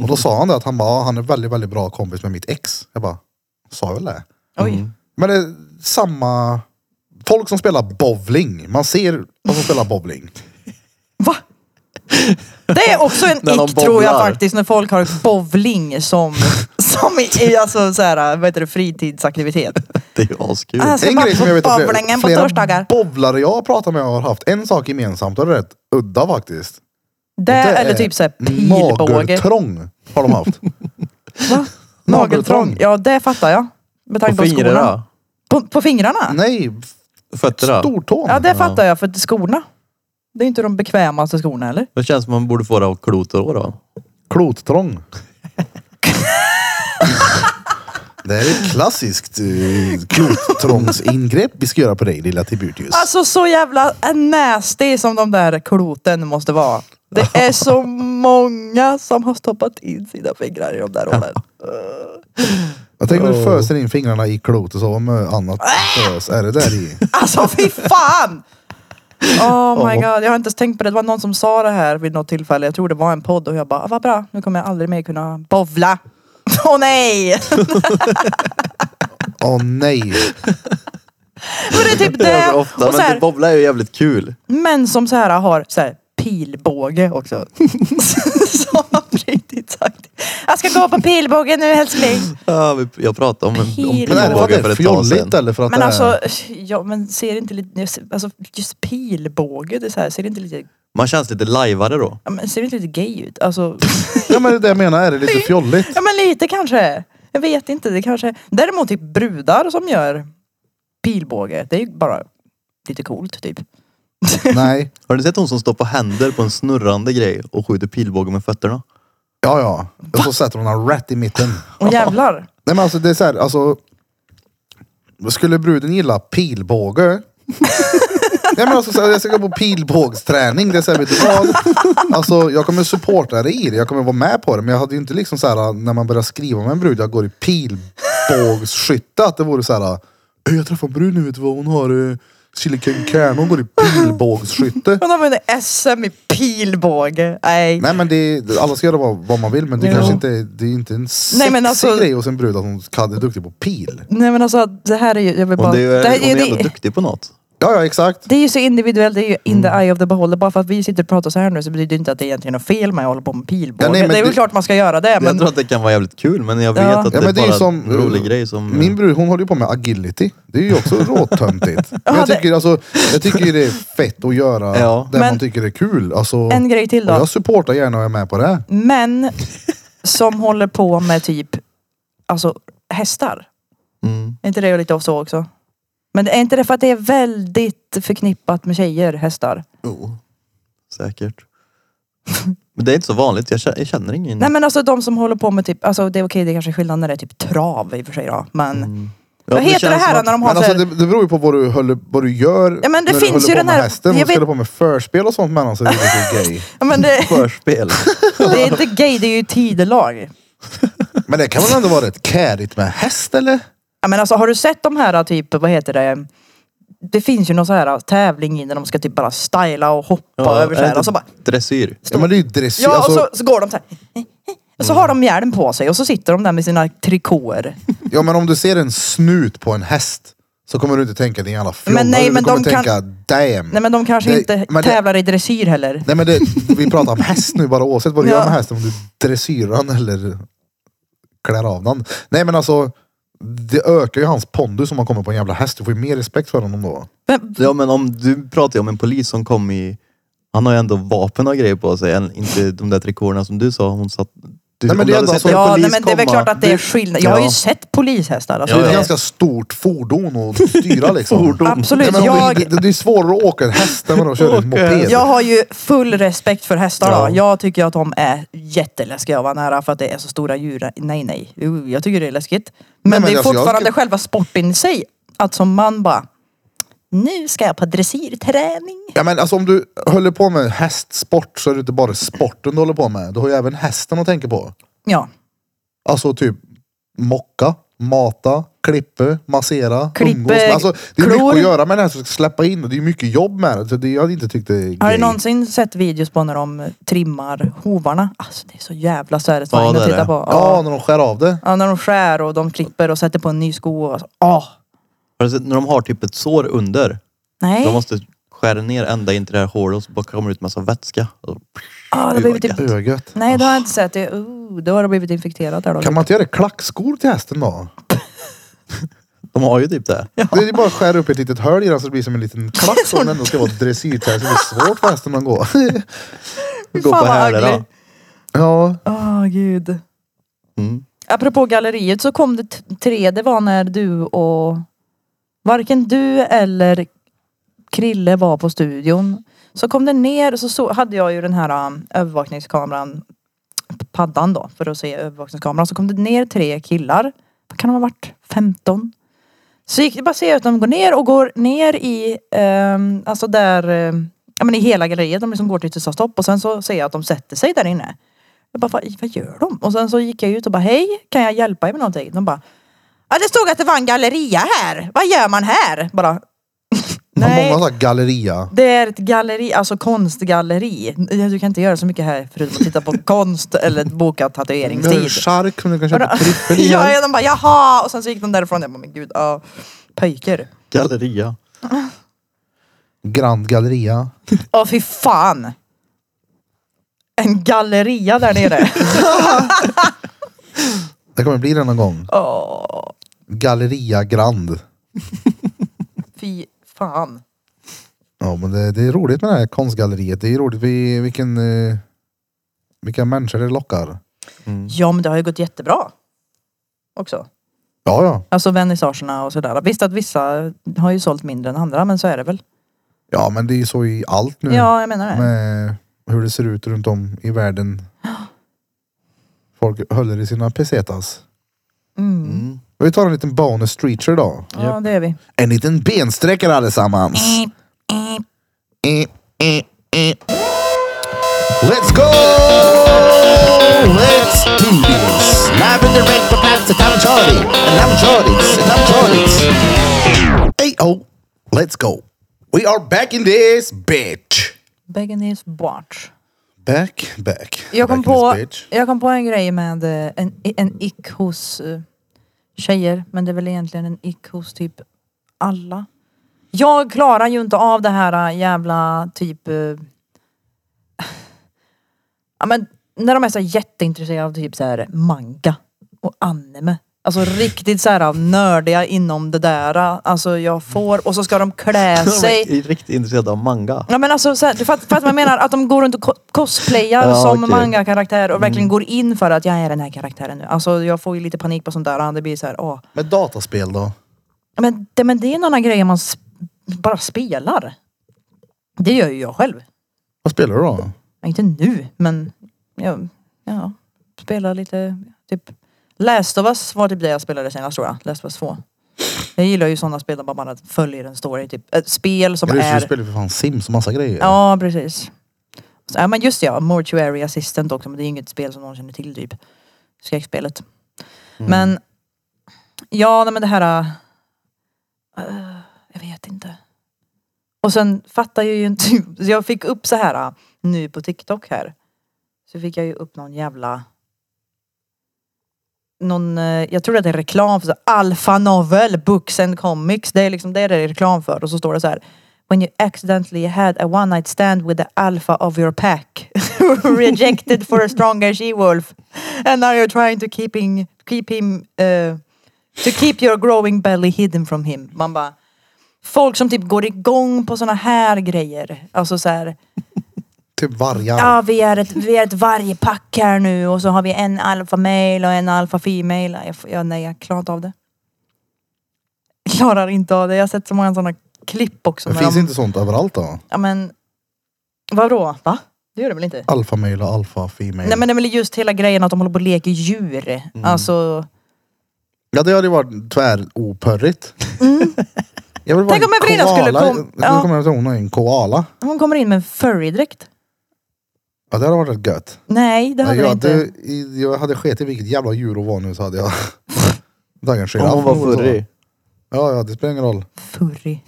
Och då sa han det att han bara "Ja, han är väldigt väldigt bra kompis med mitt ex. Jag bara sa jag väl det?
Oj.
Mm.
Men det är samma. Folk som spelar bowling. Man ser de som spelar bowling.
Va? Det är också en
När de
ick tror jag
bowlar.
faktiskt när folk har bowling som, som i, alltså så här, vad heter det, fritidsaktivitet.
Det är ju askul.
Ah, så-
En
bara
grej som
på
jag vet att
bowlingen
flera,
på torsdagar.
flera bowlare jag har pratat med har haft en sak gemensamt och det är rätt udda faktiskt.
Det,
Det
eller
är
typ såhär pilbåge.
Nageltrång har de haft.
[laughs] Va? Nageltrång. Ja det fattar jag. Med tanke
På
på, skorna.
fingrarna?
På, på fingrarna?
Nej,
Fötterna?
stortån.
Ja det fattar jag för att skorna. Det är inte de bekvämaste skorna eller?
Det känns som man borde få det av klotor då.
[laughs]
Klottrång. det här är ett klassiskt eh, klottrångsingrepp vi ska göra på dig lilla Tibutius.
Alltså så jävla nasty som de där kloten måste vara. Det är så många som har stoppat in sina fingrar i de där hålen.
jag tänker du
Oh.
föser in fingrarna i klot och så vad med annat
Äh!
fös är det där i.
Alltså fy fan! Oh my god, jag har inte ens tänkt på det. Det var någon som sa det här vid något tillfälle. Jag tror det var en podd och jag bara, ah, vad bra, nu kommer jag aldrig mer kunna bovla. [laughs] Åh nej!
Åh nej.
Men det är typ
Det
det.
är ofta,
och så
men
här,
det bobbla är ju jävligt kul.
Men som så här har så här, pilbåge också. [laughs] som riktigt sagt. Jag ska gå på pilbåge nu älskling.
Ja, vi- jag pratade om, en- om
Pil-
Men är det för att
pilbåge
det är
för ett tag sedan.
fjolligt eller för att
Men
det är...
alltså, ja, men ser inte lite, jag ser- alltså just pilbåge, det är så här, ser det inte lite,
Man känns lite lajvare då.
ja, men ser det inte lite gay ut? Alltså,
Ja men det är det jag menar, är det lite fjolligt?
[laughs] ja men lite kanske. Jag vet inte, det kanske, däremot typ brudar som gör pilbåge, det är ju bara lite coolt typ.
Nej.
Har ni sett hon som står på händer på en snurrande grej och skjuter pilbåge med fötterna?
Ja ja. Och så sätter hon en rätt i mitten.
Och jävlar.
Nej men alltså det är så här, alltså. Skulle bruden gilla
[laughs]
pilbåge? Nej men alltså så här, jag ska gå på pilbågsträning. Det är så här, vet du vad? Alltså jag kommer supporta dig i det. Jag kommer vara med på det. Men jag hade ju inte liksom så här när man börjar skriva med en brud. Jag går i pilbågsskytte. Att det vore så här. "Ey, Jag träffade en brud nu vet du vad hon har? eh, Silicon Kern. Hon går i pilbågsskytte.
Hon har vunnit SM i pilbåge. Nej.
Nej men det, alla ska göra vad, vad man vill men det
Jo.
kanske inte, det är inte en sexig
Nej, men alltså-
grej hos en brud att hon kan- är duktig på pil.
Nej men alltså det här är ju, jag vill bara...
Hon, det är, ju-
här
hon är
det-
ändå duktig på något.
Ja, ja exakt.
Det är ju så individuellt, det är ju in the eye of the beholder. Bara för att vi sitter och pratar så här nu så betyder det inte att det egentligen är något fel med att hålla på med pilbåge.
Ja, nej, men
det är väl
det-
klart man ska göra det
Jag
men...
tror att det kan vara jävligt kul men jag vet
Ja.
att
Ja,
det är
men det är
bara
ju som-
en rolig grej som...
Min brud hon håller ju på med agility. Det är ju
[laughs]
också råtöntigt. Men jag
det-
tycker, alltså, jag tycker ju det är fett att göra
Ja.
det
Men-
man tycker är kul. Alltså,
En grej till
och
då.
jag supportar gärna och är med på det.
Män som håller på med typ, alltså hästar.
Mm.
Är inte det lite av så också? Men är inte det för att det är väldigt förknippat med tjejer, hästar?
Jo, säkert. Men det är inte så vanligt, jag kä- jag känner ingen.
Nej men alltså de som håller på med typ, alltså det är okej det är kanske skillnad när det är typ trav i och för sig då. Men
Ja,
vad heter det,
känns som
här
att-
när de har
Men
så här,
alltså, det, det beror ju på vad du, höll, vad du gör
Ja, men det
när
finns
du håller
ju
på
den
med
här-
hästen. Om
jag
du
vet-
spelar på med förspel och sånt med någon så är det ju
[laughs]
gay.
ja, men det,
[laughs]
[laughs]
Förspel.
det är inte gay, det är ju tidelag.
Men det kan väl ändå vara rätt kärigt med häst eller?
Ja, men alltså har du sett de här typ, vad heter det? Det finns ju någon så här tävling i när de ska typ bara styla och hoppa över så
är
här.
det
Och så bara,
Dressyr.
Ja, men det är ju dressyr.
ja
alltså,
och så, så går de så här. Och så har de hjälm på sig och så sitter de där med sina trikåer.
ja men om du ser en snut på en häst så kommer du inte tänka din jävla flumma.
nej,
du
men
kommer
de kan-
tänka damn.
Nej men de kanske
Det-
inte
men det-
tävlar i dressyr heller.
Nej men det, vi pratar om häst nu bara oavsett vad du
Ja.
gör med hästen. Om du dressyrar den eller klär av den. Nej men alltså. Det ökar ju hans pondus om man kommer på en jävla häst. Du får ju mer respekt för honom då.
Men,
Ja men om du pratar ju om en polis som kom i... Han har ju ändå vapen och grejer på sig. än- Inte de där trikåerna som du sa. Hon satt... Du,
Nej, men
om
det
du
är
hade
ändå
sett
så-
en
ja
polis
nej, men det är väl
komma-
klart att det är skillnad. Jag har ju
Ja.
sett polishästar. Alltså.
Det är
Ja,
ett
ja.
ganska stort fordon att styra
[laughs]
liksom.
Absolut.
Nej, men om
Jag,
du, det, det är svårare att åka en häst än vad de kör en
Åka.
moped.
Jag har ju full respekt för hästar
Ja.
då. Jag tycker att de är jätteläskiga att vara nära för att det är så stora djur. Nej nej, Uh, jag tycker det är läskigt. Men,
men
det
alltså,
är
jag
fortfarande
skulle-
själva sporten i sig. Att som man bara, nu ska jag på dressyrträning.
Ja men alltså om du håller på med hästsport så är det inte bara sporten du håller på med. Du har ju även hästen att tänka på.
Ja,
Alltså typ mocka, mata, klippe, massera,
Klippe,
umgås. med. Alltså, det är mycket
klor.
att göra med det här som ska släppa in och det är mycket jobb med det. Så det jag hade inte tyckt det är
har du
grej.
någonsin sett videos på när de trimmar hovarna? Alltså det är så jävla satisfying
Ja, det
att
är
titta
det.
på.
Ja, när de skär av det.
Ja, när de skär och de klipper och sätter på en ny sko. och så- Ah,
Har du sett när de har typ ett sår under?
nej.
De måste skära ner ända in till det här hålet och så bara kommer ut massa vätska. Och-
ah, det
Gud,
blir
vad
typ...
gött.
Ögat.
Nej, det har jag inte sett. Det, uh, då har det blivit infekterat där då.
Kan man inte göra klackskor till hästen då?
De har ju typ det.
Det är bara att skära upp ett litet hål i den så det blir som en liten klack som den ändå ska vara dressyrtävling. Så det är svårt för hästen att gå. [laughs]
Fy
Gå
fan,
på
vad
hälarna.
ugly.
Ja,
Åh gud.
Mm.
Apropå galleriet så kom det t- tre, det var när du och varken du eller Krille var på studion. Så kom det ner så, så hade jag ju den här um, övervakningskameran, paddan då, för att se övervakningskameran. Så kom det ner tre killar, vad kan de ha varit, 15? Så gick det bara att se att de går ner och går ner i, ehm, alltså där, ehm, ja men i hela galleriet. De liksom går till yttersta stopp och sen så ser jag att de sätter sig där inne. Jag bara, vad, vad gör de? Och sen så gick jag ut och bara, hej, kan jag hjälpa er med någonting? De bara, ja det stod att det var en galleria här. Vad gör man här? Bara, [laughs]
man
nej.
många sådana galleria.
Det är ett galleri, alltså konstgalleri. Du kan inte göra så mycket här förutom att titta på konst eller
Men
boka
har du
tatueringstid.
Chark som du kan köpa tryffel i.
[laughs] Ja, ja, de bara jaha och sen så gick de därifrån. Jag bara men gud, ja. Pöjker.
Galleria.
Grand Galleria.
Åh fy fan. En galleria där nere.
Det kommer bli det någon gång.
Åh,
Galleria Grand.
fy fan.
Ja men det, det är roligt med det här konstgalleriet. Det är roligt vi, vilken, eh, vilka människor det lockar.
Ja men det har ju gått jättebra. Också.
Ja ja.
Alltså vernissagerna och sådär. Visst att vissa har ju sålt mindre än andra men så är det väl.
Ja men det är ju så i allt nu.
Ja jag menar det.
Med hur det ser ut runt om i världen. Folk håller i sina pesetas.
Mm.
Vi tar en liten bonus streacher då.
Ja det är vi.
En liten bensträckare allesammans. Eh, eh, eh. Let's go! Let's do this! Live and direct from Pastor Tom Charlie. And I'm Charlie's. And I'm Charlie's. Hey, oh, let's go. We are back in this bitch.
Beganis Barch.
Back, back.
Jag kom,
back in
på,
this bitch.
jag kom på en grej med eh, en, en ick hos eh, tjejer, men det är väl egentligen en ick hos typ alla. Jag klarar ju inte av det här äh, jävla typ... eh, ja men när de är så här jätteintresserade av typ så här manga och anime. Alltså riktigt så här nördiga inom det där. Alltså jag får, och så ska
[laughs]
de klä sig.
Jag är riktigt intresserad av manga.
Ja men alltså, så här, du fatt- fattar vad jag menar? Att de går runt och ko- cosplayar
Ja,
som
okej.
manga-karaktär och verkligen går in för att jag är den här karaktären nu. Alltså jag får ju lite panik på sånt där. Det blir så här, åh.
Med dataspel då?
Men det, men det är några grejer man sp- bara spelar. Det gör ju jag själv.
Vad spelar du då?
Inte nu, men jag ja, spelar lite, typ Last of Us var typ det jag spelade senast tror jag. Last of Us 2. Jag gillar ju sådana spel där man bara följer en story. Typ ett spel som
Just,
är...
Du spelar ju för fan Sims och massa grejer.
Ja, precis. Så, ja, men just det, ja, Mortuary Assistant också, men det är ju inget spel som någon känner till typ. Skräckspelet. Men, ja nej, men det här... äh, jag vet inte. Och sen fattar jag ju inte, [laughs] så jag fick upp så här äh, nu på TikTok här. Så fick jag ju upp någon jävla... Någon, eh, jag tror att det är reklam för så här, Alpha Novel, Books and Comics. Det är liksom det det är reklam för. Och så står det så här. When you accidentally had a one night stand with the alpha of your pack. [laughs] Rejected for a stronger she-wolf. And now you're trying to keeping, keep him... eh, to keep your growing belly hidden from him. Man bara... Folk som typ går igång på såna här grejer. Alltså så här...
Typ vargar.
Ja, vi är ett, vi är ett vargpack här nu och så har vi en alfa male och en alfa female. Jag, får- jag, nej, jag klarar inte av det. Klarar inte av det. Jag har sett så många sådana klipp också.
det
med
finns
dem.
inte sånt överallt då?
Ja men... Vadå? Va? Det gör det väl inte?
Alfa male och alfa female.
Nej men det är väl just hela grejen att de håller på och leker djur.
Mm.
Alltså...
Ja det hade ju varit tväropörrigt. Jag vill vara
Mm. Tänk om
en
Evelina skulle
koala.
kom-
Nu
ja.
kommer jag att hon är en koala.
Hon kommer in med en furry-dräkt.
Ja det hade varit rätt gött.
Nej, det hade
jag,
det inte.
hade, i- jag hade sket i vilket jävla djur hon var nu så hade jag [laughs] tagit en
Om
giraff.
hon var furry.
Ja, ja det spelar ingen roll. [laughs]
Furry.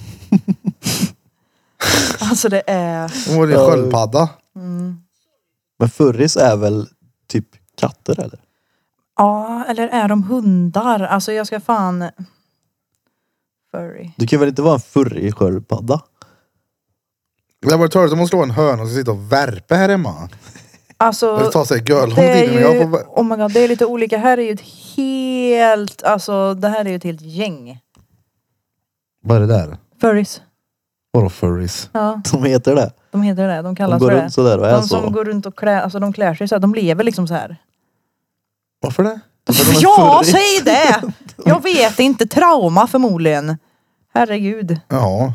alltså det är...
Hon var en
Ja.
sköldpadda.
Men furries är väl typ katter eller?
Ja, eller är de hundar? Alltså jag ska fan... Furry.
Du kan väl inte vara en furry sköldpadda?
Det hade varit törligt om hon slår en höna och så sitter och värper här hemma. Det
Alltså...
tar sig göl lång
Det är
tid innan jag
ju,
får... vä-
oh my god, det är lite olika. Här är ju ett helt, alltså det här är ju ett helt gäng.
Vad är det där?
Furries.
Vadå furries?
Ja,
De heter det.
de heter det. De
De
kallas
går
för det.
runt sådär och är
De som
så.
går runt och klär, alltså de klär sig så här, de lever liksom så här.
Varför det?
är
Ja,
furries.
säg det! Jag vet inte, trauma förmodligen. Herregud.
Ja,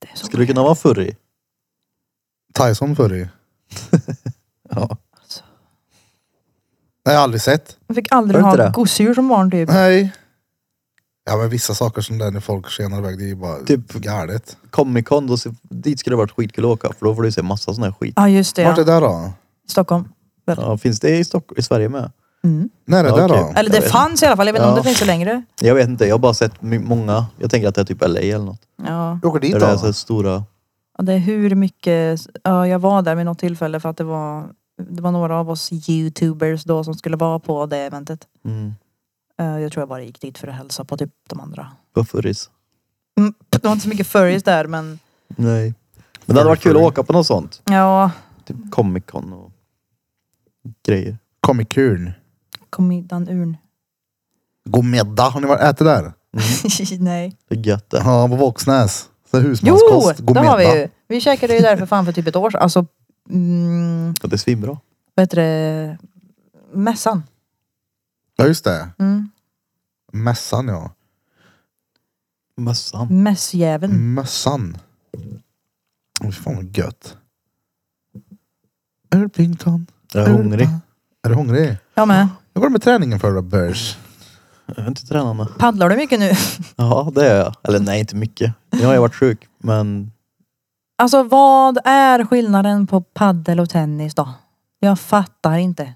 Det är så
Skulle du kunna vara furry?
Tyson furry.
[laughs] Ja.
Nej, jag har aldrig sett.
Jag fick aldrig
Var det inte
ha
det?
gosedjur som barn typ.
Nej. Ja men vissa saker som där när folk skenar iväg det är ju bara
Typ-
galet.
Comic Con, då, se- dit skulle det varit skitkul att åka för då får du se massa sån här skit.
Ja, just det.
Vart är
Ja.
det där då?
Stockholm.
Ja, finns det i, Stock- i Sverige med?
Mm.
När är det
Ja,
där
okej.
då?
Eller det
Jag vet
fanns i alla fall, jag vet inte om
Ja.
det finns så längre.
Jag vet inte, jag har bara sett my- många. Jag tänker att det är typ LA eller något.
Ja.
Jag åker dit
Där det alltså- är så här
då.
stora...
Ja, Det är hur mycket, ja, jag var där vid något tillfälle för att det var, det var några av oss youtubers då som skulle vara på det eventet.
Mm,
Eh, Jag tror jag bara gick dit för att hälsa på typ de andra.
på furries.
Mm, Det var inte så mycket furries där men
Nej. Men det hade varit kul att åka på något sånt.
ja,
Typ Comic Con och grejer.
Kom i kul.
kom i den urn.
God middag. Har ni varit ätit där?
[laughs] Nej.
Det är gött det.
Ja, på Våxnäs. Så här
Jo,
husmanskost. God
det har vi
middag.
ju. Vi käkade ju där för fan för typ ett år sedan. Alltså, mm,
Ja, Det är svinbra.
vad heter det, mässan.
Ja just det.
Mm.
Mässan ja.
Mössan.
Mässjäveln.
Mm. Mössan. Åh, Fy fan vad gött. Örpington.
Jag är hungrig.
Är du hungrig?
Jag med.
Hur var det med träningen förra
Mm.
börs?
Jag är inte tränat med.
Paddlar du mycket nu?
Ja, det är jag. Eller nej, inte mycket. Nu har jag varit sjuk, men
Alltså vad är skillnaden på paddel och tennis då? Jag fattar inte.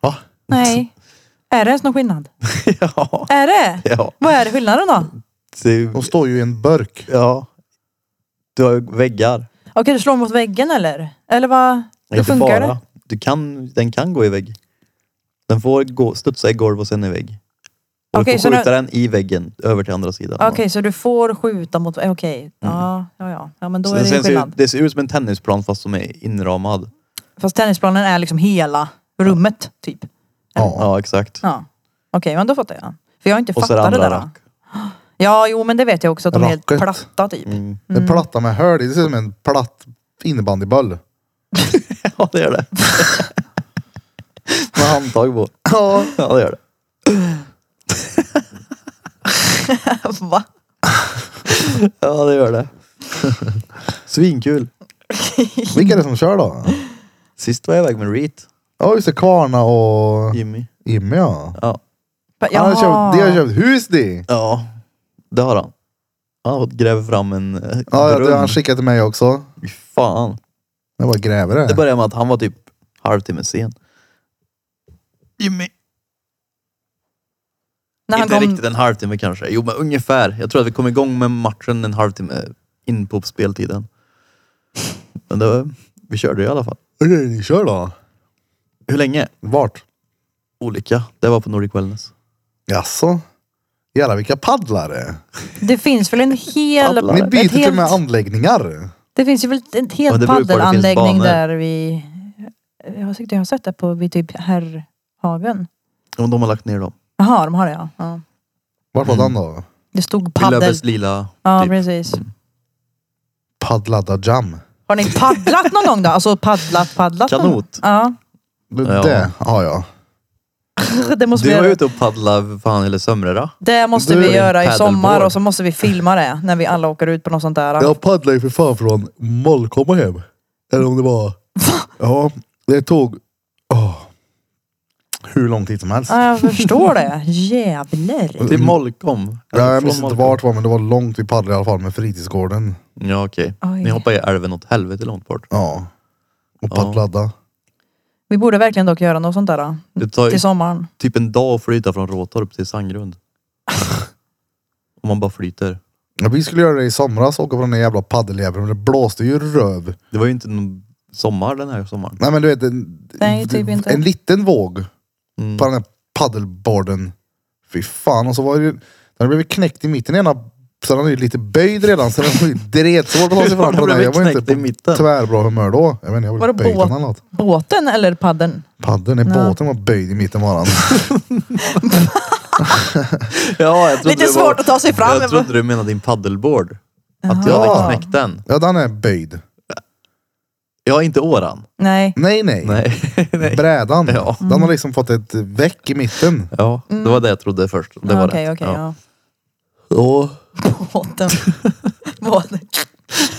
Va?
Nej. Är det ens någon skillnad?
[laughs] ja.
Är det?
Ja.
Vad är skillnaden då?
Det,
De står ju i en burk.
ja. Du har ju väggar.
Okej, du slår mot väggen eller? Eller vad? Hur
Inte
funkar
bara.
det?
Du kan, den kan gå i vägg. Den får gå, studsa i golv och sen i vägg. Och
Okej,
du
så
får
nu-
skjuta den i väggen över till andra sidan.
Okej, så du får skjuta mot... Okej, ja, ja, ja. Ja, men då
Mm. Så
är
den
det ju
ser,
skillnad.
ut- det ser ut som en tennisplan fast som är inramad.
Fast tennisplanen är liksom hela rummet, typ.
Ja,
Ja.
exakt.
Ja. Okej, men då fattar jag. För jag har inte
Och så är det
fattat det
andra
där.
rack.
Ja, jo, men det vet jag också att de är helt
Racket.
platta, typ.
Mm.
Det är platta med hål i. Det ser ut som en platt innebandyboll.
[laughs] Ja det gör det. [laughs] Med handtag på.
Ja.
[laughs] Ja det gör det.
[laughs] Va?
Ja det gör det. [laughs] Svinkul.
Vilka är det som kör då?
Sist var jag iväg med Reet.
Ja just det, Kvarna och
Jimmy.
Jimmy ja.
Ja.
Han har köpt, de har köpt hus de.
Ja. Det har han. Han har fått gräva fram en eh,
Ja, ja,
brunn.
det har han skickat till mig också.
Fy Fan.
Jag bara gräver det.
Det började med att han var typ halvtimme sen. Jimmy.
När han
inte
kom...
riktigt en halvtimme kanske. Jo men ungefär. Jag tror att vi kom igång med matchen en halvtimme in på speltiden. Men det var, vi körde i alla fall.
Okej, ni kör då.
Hur länge?
Vart?
Olika. Det var på Nordic Wellness.
Jaså? Jävlar vilka paddlare.
Det finns väl en hel...
Paddlar.
Ni
ett
byter till och med
helt-
anläggningar.
Det finns ju väl en
Ja,
hel
det beror på var det finns
paddelanläggning
banor.
där vi... Jag har, jag har sett det på vid typ Herrhagen.
Och de har lagt ner dem.
Jaha, de har det ja. ja.
Vart var den då?
Det stod
Lilla
paddel.
Väst Lila.
Ja,
typ.
precis.
Paddlada jam.
Har ni paddlat någon gång då? Alltså paddlat, paddlat? någon gång?
Kanot.
Ja. [laughs]
Det,
Ja.
det har jag.
Det måste vi
Du var
göra.
ute och paddlade för fan eller Sömrera.
Det måste
Du-
vi göra i
Paddleboard.
sommar och så måste vi filma det när vi alla åker ut på något sånt där.
Jag paddlade ju för fan från Molkom hem. Eller om det var... Ja, det tog... åh, hur lång tid som helst.
Ja, jag förstår det. Jävlar.
Till Molkom. Eller
Ja, Mm. jag
från
minns inte
Molkom.
vart det var men det var långt vi paddlade i alla fall med fritidsgården.
Ja okej.
Oj.
Ni hoppade i älven åt helvete långt bort.
Ja. Och
Ja.
paddlade.
Vi borde verkligen dock göra något sånt där
Det tar ju
Mm. till sommaren.
typ en dag att flyta från Råtorp
[laughs]
till Sandgrund. Om man bara flyter.
Ja, vi skulle göra det i somras, åka på den där jävla paddeljäveln men det blåste ju röv.
Det var ju inte någon sommar den här sommaren.
Nej men du vet, en,
Nej, typ inte.
en liten våg
Mm.
på den här paddelboarden. Fy fan, och så var det ju... Den hade blivit knäckt i mitten ena, så den är ju lite böjd redan så den var ju dretsvårt att ta sig
Hur har
fram
den
på den. här. Jag
blivit
var ju
knäckt i
inte på
mitten?
tvärbra humör då. Jag vet inte, jag
Var
var
det
böjd
båt?
eller något.
Båten eller paddeln?
Paddeln, nej
Ja.
båten var böjd i mitten var den.
Ja, jag trodde
Lite
det var-
svårt att ta sig fram.
Jag trodde du menade din paddelboard. Att jag
Jaha.
hade knäckt den.
Ja den är böjd.
Ja, inte åran.
Nej.
Nej nej.
Nej. [laughs] Nej.
Brädan.
Ja.
Den har liksom fått ett väck i mitten.
Ja, det var det jag trodde först. Det var
Ah, Okej,
rätt.
okej.
ja.
Mm. ja.
Åh.
[laughs] Båten. Båten.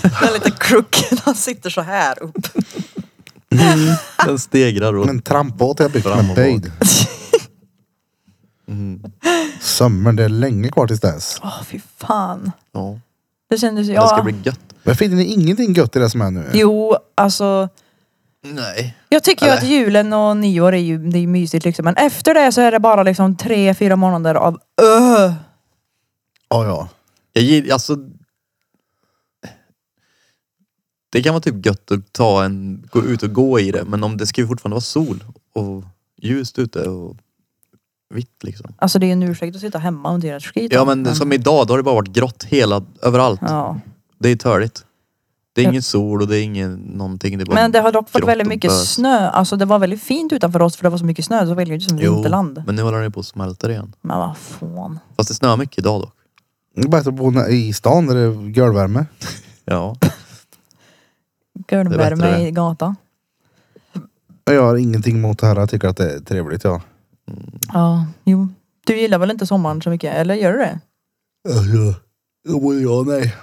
Den är lite crooked. Han sitter så här upp.
Den stegrar åt
Men trampbåt har jag byggt
Fram och
med
bak.
böjd.
Mm.
Sommaren, det är länge kvar tills dess.
Åh, fy fan.
Ja.
Det kändes ju...
Det ska
Ja.
bli gött.
Men finner ni ingenting gött i det som är nu?
Jo, alltså.
Nej.
Jag tycker ju
Eller?
att julen och nyår är ju det är mysigt liksom. Men efter det så är det bara liksom tre, fyra månader av öh.
Ja, ja.
Jag gillar, alltså. Det kan vara typ gött att ta en, gå ut och gå i det, men om det ska ju fortfarande vara sol och ljust ute och vitt liksom.
Alltså det är ju en ursäkt att sitta hemma och inte göra ett skit.
Ja men som idag, då har det bara varit grått hela, överallt.
Ja.
Det är törligt. Det är
Ja.
ingen sol och det är ingen någonting. Det är bara
Men det har dock
grått
varit
och
väldigt mycket
bös.
snö. Alltså det var väldigt fint utanför oss för det var så mycket snö så det var ju som
Jo,
vinterland.
men nu håller den ju på att smälta igen.
Men vad fan.
Fast det snöar mycket idag dock.
Det är bättre att bo nä- i stan där det är görvärme.
Ja. Det är
Gulvärme
bättre
i gata.
Jag har ingenting emot det här. Jag tycker att det är trevligt, ja.
Ja, jo. Du gillar väl inte sommaren så mycket? Eller gör du det?
Ja, Alltså, ja, nej.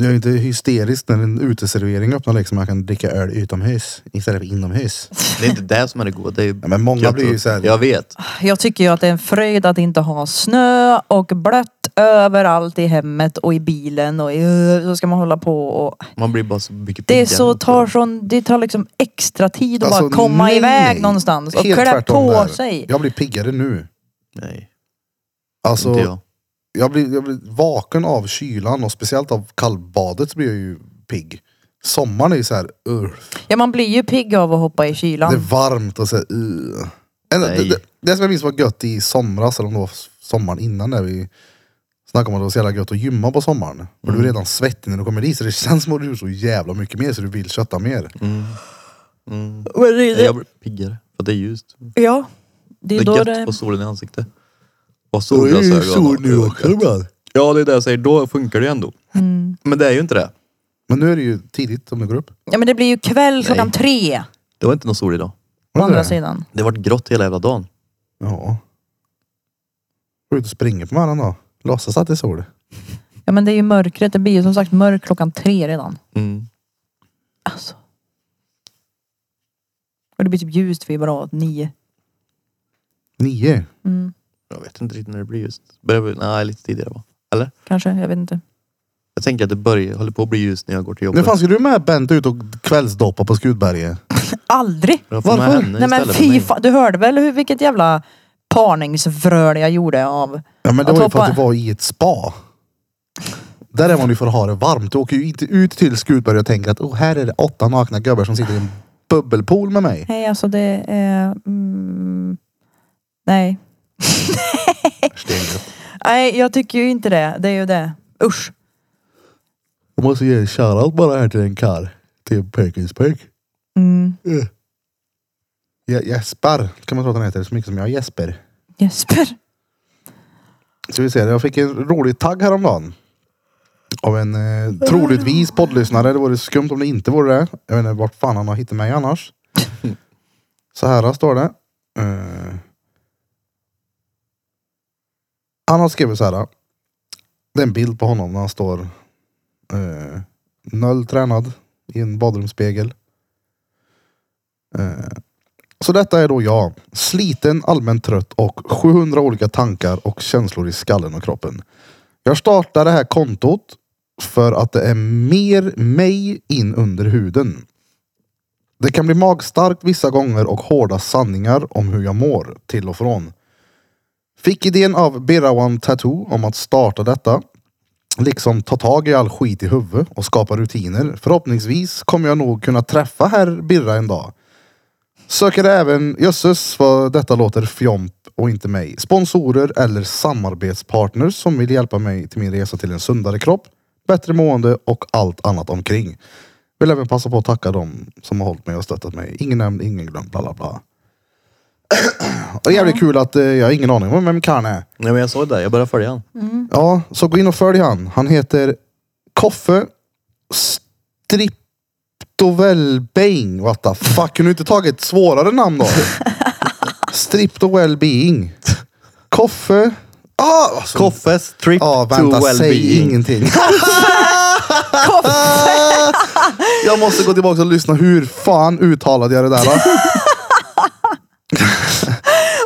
Jag är inte hysterisk när en uteservering öppnar liksom. Jag kan dricka öl utomhus istället för inomhus.
Det är inte det som är det goda. Det är ju
[laughs] Ja, men många
gött
blir ju
och-
så här-
Jag vet.
Jag tycker ju att det är en fröjd att inte ha snö och blött överallt i hemmet och i bilen och i, så ska man hålla på och
Man blir bara så mycket
det är
piggare
så
också.
tar sån, det tar liksom extra tid att
Alltså,
bara komma
nej,
iväg
nej.
någonstans och
Helt
klä
tvärtom
på
där.
sig.
Jag blir piggare nu.
Nej,
Alltså,
inte jag.
jag blir, jag blir vaken av kylan och speciellt av kallbadet så blir jag ju pigg. Sommaren är ju så här, uh,
Ja man blir ju pigg av att hoppa i
det är
kylan.
varmt och så här, uh. En, det,
Nej.
det, det som jag minns var gött i somras, eller om det var sommaren innan när vi snackade om att det var så jävla gött att gymma på sommaren. För
Mm.
du är redan svettig när du kommer dit så det känns som att du är så jävla mycket mer så du vill kötta mer.
Mm. Mm.
Men det,
Nej,
det,
Jag blir piggare för att det är ljust.
ja, det
Det
är då
är
det...
gött att få solen i ansiktet. Och
Så det är ju
solglasögon.
sol
och-
nu också ibland.
Ja det är det jag säger, då funkar det ju ändå.
Mm.
Men det är ju inte det.
Men nu är det ju tidigt om du går upp.
Ja men det blir ju kväll klockan
Nej.
tre.
Det var inte någon sol idag.
Å
Var det
andra
det?
sidan.
Det har varit grått hela jävla dagen.
Ja. Var du ute och springer på morgonen då? Låtsas att det är sol.
Ja men det är ju mörkret. Det blir ju som sagt mörkt klockan tre redan.
Mm.
Alltså. Och det blir typ ljust vid bara nio.
Nio.
Mm,
Jag vet inte riktigt när det blir ljust. Börjar vi... Nej, lite tidigare va?
kanske, jag vet inte.
Jag tänker att det börjar, håller på att bli ljust när jag går till
Nu
jobbet.
fan ska du med Bent ut och kvällsdoppa på Skutberget?
Aldrig!
Jag får med
Varför?
henne
Nej men
istället
fy
för mig.
fan, du hörde väl hur, vilket jävla parningsvröl jag gjorde av...
Ja men det
Att
var ju för
hoppa-
att det var i ett spa. Där är man ju för att ha det varmt. Du åker ju inte ut till Skutberg och tänker att oh, här är det åtta nakna gubbar som sitter i en bubbelpool med mig.
Nej alltså det är... Mm, nej.
Stengött.
Nej jag tycker ju inte det. Det är ju det. Usch.
Jag måste ge en shoutout bara här till en karl. Till Perkins Perk.
Mm.
Ja, Jesper kan man tro att han heter. Så mycket som jag Jesper.
Jesper. [laughs]
Ska vi se. Jag fick en rolig tagg häromdagen. Av en eh, troligtvis poddlyssnare. Det vore skumt om det inte vore det. Jag vet inte vart fan han har hittat mig annars. Så här står det. Eh, han har skrivit så här. Det är en bild på honom när han står eh, noll tränad i en badrumsspegel. Eh, så detta är då jag. Sliten, allmänt trött och 700 olika tankar och känslor i skallen och kroppen. Jag startar det här kontot för att det är mer mig in under huden. Det kan bli magstarkt vissa gånger och hårda sanningar om hur jag mår till och från. Fick idén av Birawan Tattoo om att starta detta. Liksom ta tag i all skit i huvudet och skapa rutiner. Förhoppningsvis kommer jag nog kunna träffa herr Birra en dag. Söker även, jösses vad detta låter fjomp och inte mig, sponsorer eller samarbetspartners som vill hjälpa mig till min resa till en sundare kropp, bättre mående och allt annat omkring. Vill även passa på att tacka dem som har hållit mig och stöttat mig. Ingen nämnd, ingen glömd, bla bla bla. [clears throat] Och jävligt kul att eh, jag har ingen aning om vem Karn är.
Nej men jag sa ju det, jag börjar följa han.
Mm.
Ja, så gå in och följ han. Han heter Koffe Striptowellbeing. What the fuck, kunde du inte tagit ett svårare namn då? Striptowellbeing. Koffe. Ah, alltså,
Koffes trip
Ja, vänta,
to
säg
well-being.
ingenting. jag måste gå tillbaka och lyssna. Hur fan uttalade jag det där? va?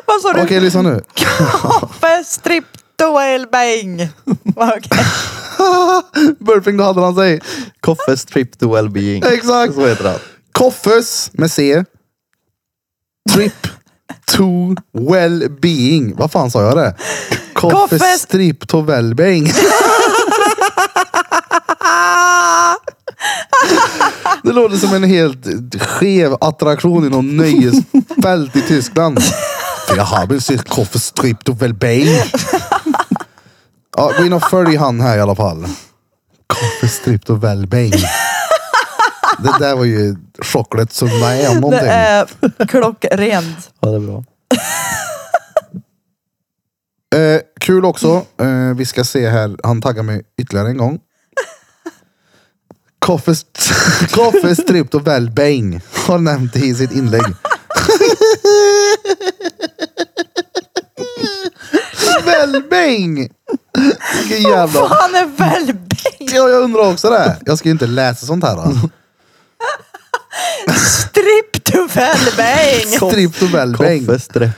Vad sa
Okej,
du?
lyssna nu.
Kaffe, striptoelbäng. Okej.
Burping, då hade han sig.
Koffes trip to well-being.
Exakt.
Så heter han.
Koffes med C. Trip to well-being. Vad fan sa jag det?
Koffes-
Koffes trip to well-being.
[laughs] Ah!
Det låter som en helt skev attraktion i någon nöjesfält i Tyskland. För jag har väl sett Koffes trip to well-being. Ja, gå in och följ han här i alla fall. Koffes trip to well-being. Det där var ju chocklet som mig om
Det
någonting.
är klockrent.
Ja det är bra.
Eh, kul också. Eh, vi ska se här. Han taggar mig ytterligare en gång. Koffes, [laughs] Koffes Stript och Wellbane har nämnt det i sitt inlägg. [laughs] Wellbane! Vilken jävla...
Han är välbäng.
Ja, jag undrar också det. Jag ska ju inte läsa sånt här. Då. [laughs]
Striptoelbäng.
Stript och Wellbane.
Koffes trip.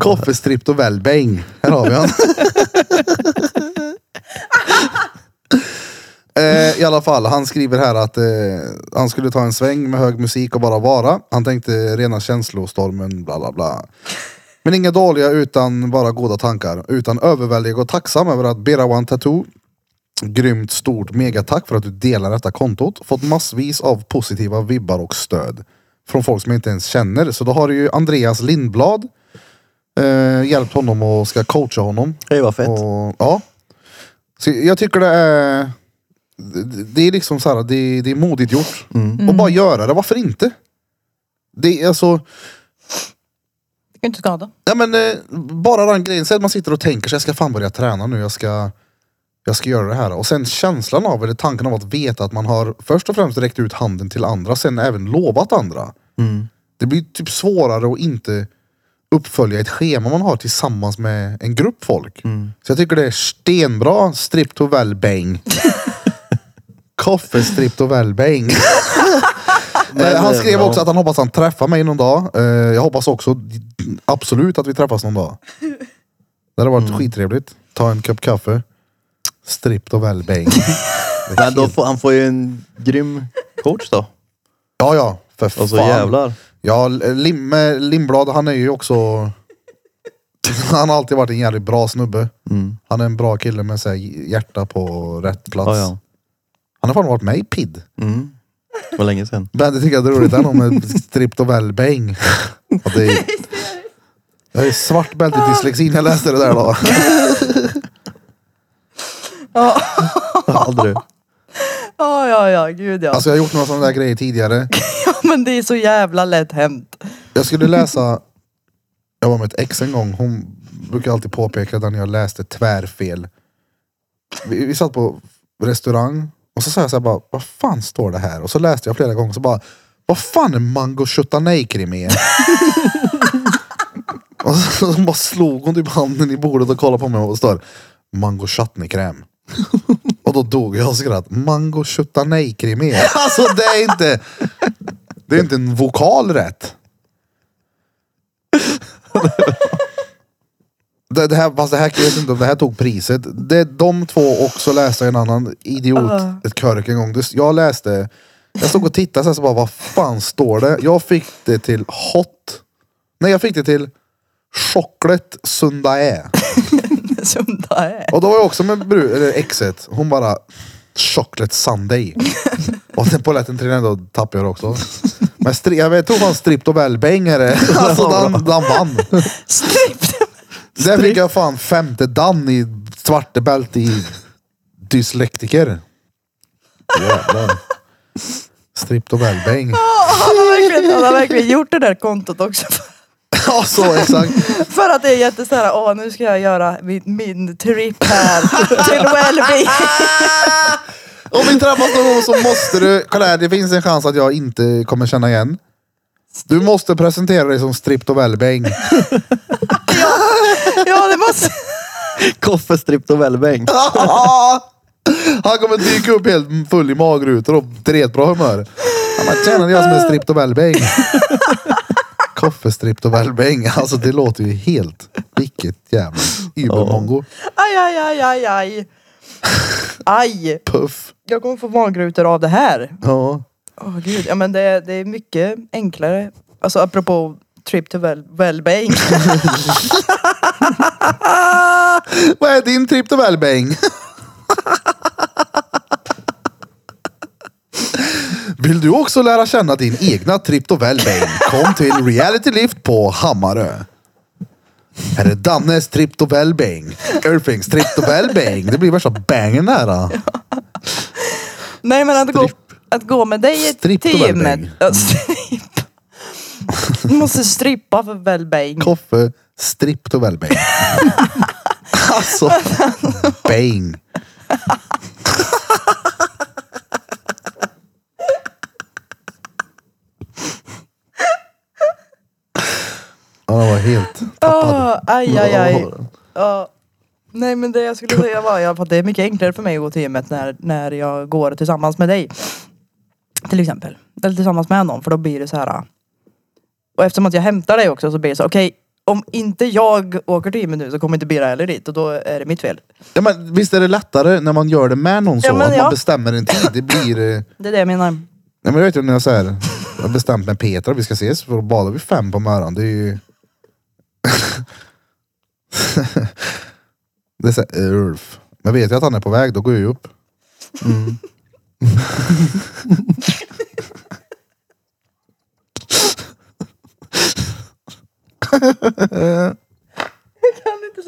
Koffestript och välbäng. Här har vi han. eh, I alla fall, han skriver här att eh, han skulle ta en sväng med hög musik och bara vara. Han tänkte rena känslostormen, bla bla bla. Men inga dåliga utan bara goda tankar. Utan överväldig och tacksam över att Berawan Tattoo Grymt stort megatack för att du delar detta kontot. Fått massvis av positiva vibbar och stöd. Från folk som jag inte ens känner. Så då har du ju Andreas Lindblad, eh, hjälpt honom och ska coacha honom.
Hej vad fett.
Och, ja. Så jag tycker det är... det- Det är liksom så här, det, det är modigt gjort.
Mm.
Och bara göra det, varför inte? Det är alltså...
Det kan ju inte skada.
Ja men eh, bara den grejen. Säg att man sitter och tänker sig, jag ska fan börja träna nu. Jag ska, jag ska göra det här. Och sen känslan av, eller tanken av att veta att man har först och främst räckt ut handen till andra. Sen även lovat andra.
Mm.
Det blir typ svårare att inte uppfölja ett schema man har tillsammans med en grupp folk.
Mm.
Så jag tycker det är stenbra strip to well bang. [laughs] Koffe strip to well
[laughs]
bang.
Men,
Eh, han
eh,
skrev
ja.
också att han hoppas han träffar mig någon dag. Eh, Jag hoppas också absolut att vi träffas någon dag. Det hade varit
Mm.
skittrevligt. Ta en kopp kaffe. Strip to well
[laughs]
bang.
Men då får, han får ju en grym coach då.
Ja, ja. För fan.
Alltså jävlar.
Ja, Lim, eh, Lindblad han är ju också... [laughs] Han har alltid varit en jävligt bra snubbe.
Mm.
Han är en bra kille med så här hjärta på rätt plats.
Ja, ja.
Han har fan varit med i PID.
Mm. Vad länge sedan.
Bandet tycker att det är roligt ändå med stripped och well bang.
[laughs]
Att det är, jag är svart bälte i dyslexi när jag läste det där
[laughs]
då.
Ja,
[laughs]
Aldrig.
ja, ja, ja, gud ja.
Alltså jag har gjort några sådana där grejer tidigare.
Men det är så jävla lätt hänt.
Jag skulle läsa, jag var med ett ex en gång, hon brukar alltid påpeka den jag läste tvärfel. Vi, vi satt på restaurang och så sa jag så här bara, vad fan står det här? Och så läste jag flera gånger så bara, vad fan är mango chuttanejkrimé? [laughs] och så, så bara slog hon typ handen i bordet och kollade på mig och står, mango chutneykräm. och då dog jag av skratt. Mango chuttanejkrimé. Alltså det är inte, det är inte en vokal rätt. Det, det här, fast det här, jag vet inte om det här tog priset. Det, de två också läste en annan idiot,
Ah.
ett körk en gång. Det- Jag läste, jag stod och tittade så här så bara, vad fan står det? Jag fick det till hot. Nej, jag fick det till chocklet sundae.
Som det är.
Och då var jag också med bru, eller exet. Hon bara, chocklet sunday. och sen på lätten trillen då tappade jag det också. Men stri, jag vet, tog fan stripped och välbäng är det. [laughs] Alltså den, den vann.
Stripp.
Där fick jag fan femte dan i svarte bälte i dyslektiker. Jävlar. Stripped och välbäng.
Han har verkligen, han har verkligen gjort det där kontot också.
[laughs] Ja, så exakt.
[laughs] För att det är jätte så här, åh nu ska jag göra min, min trip här till Wellby.
Om vi träffas någon gång så måste du, kolla här, det finns en chans att jag inte kommer känna igen. Du måste presentera dig som stripped och välbäng.
[laughs] Ja [laughs] det måste...
Koffe, stripped och välbäng.
[laughs] Han kommer dyka upp helt full i magrutor och dretbra humör. Han bara, tjena det är jag som är stripped och välbäng. [laughs] Koffe stripped och välbäng. Alltså det låter ju helt, vilket jävla übermongo.
Aj, aj, aj, aj, aj. Aj.
Puff.
Jag kommer få magrutor av det här.
Ja.
Åh gud, ja men det, är- det är mycket enklare. Alltså apropå trip to well, [laughs] wellbeing.
[laughs] Vad är din tripp till välbäng? [laughs] Vill du också lära känna din egna tripp och välbäng? Kom till Reality Lift på Hammarö. Här är Dannes tripp och välbäng. Irvings tripp och välbäng. Det blir värsta bangen här. då.
Nej men att gå, att gå med dig i
Stripp
ett
to
team.
wellbeing.
Ja, stripp. Du måste strippa för wellbeing.
Koffe, stripp och välbäng. [laughs] Alltså, bäng. Ja, det var helt tappad.
Åh, Ah, aj, aj, aj. Ja. Nej men det jag skulle säga var i alla fall att det är mycket enklare för mig att gå till gymmet när, när jag går tillsammans med dig. Till exempel. Eller tillsammans med någon för då blir det så här. ah. Och eftersom att jag hämtar dig också så blir det så okej om inte jag åker till gymmet nu så kommer inte Bira heller dit och då är det mitt fel.
Ja, men visst är det lättare när man gör det med någon så?
Ja, men
att
ja.
man bestämmer en tid. Det blir... eh,
Det är det jag menar.
Nej men jag vet ju när jag säger jag har bestämt med Petra att vi ska ses för då badar vi fem på morgonen. Det är ju... [laughs] det är så här, Ulf. Men vet jag att han är på väg då går jag ju upp.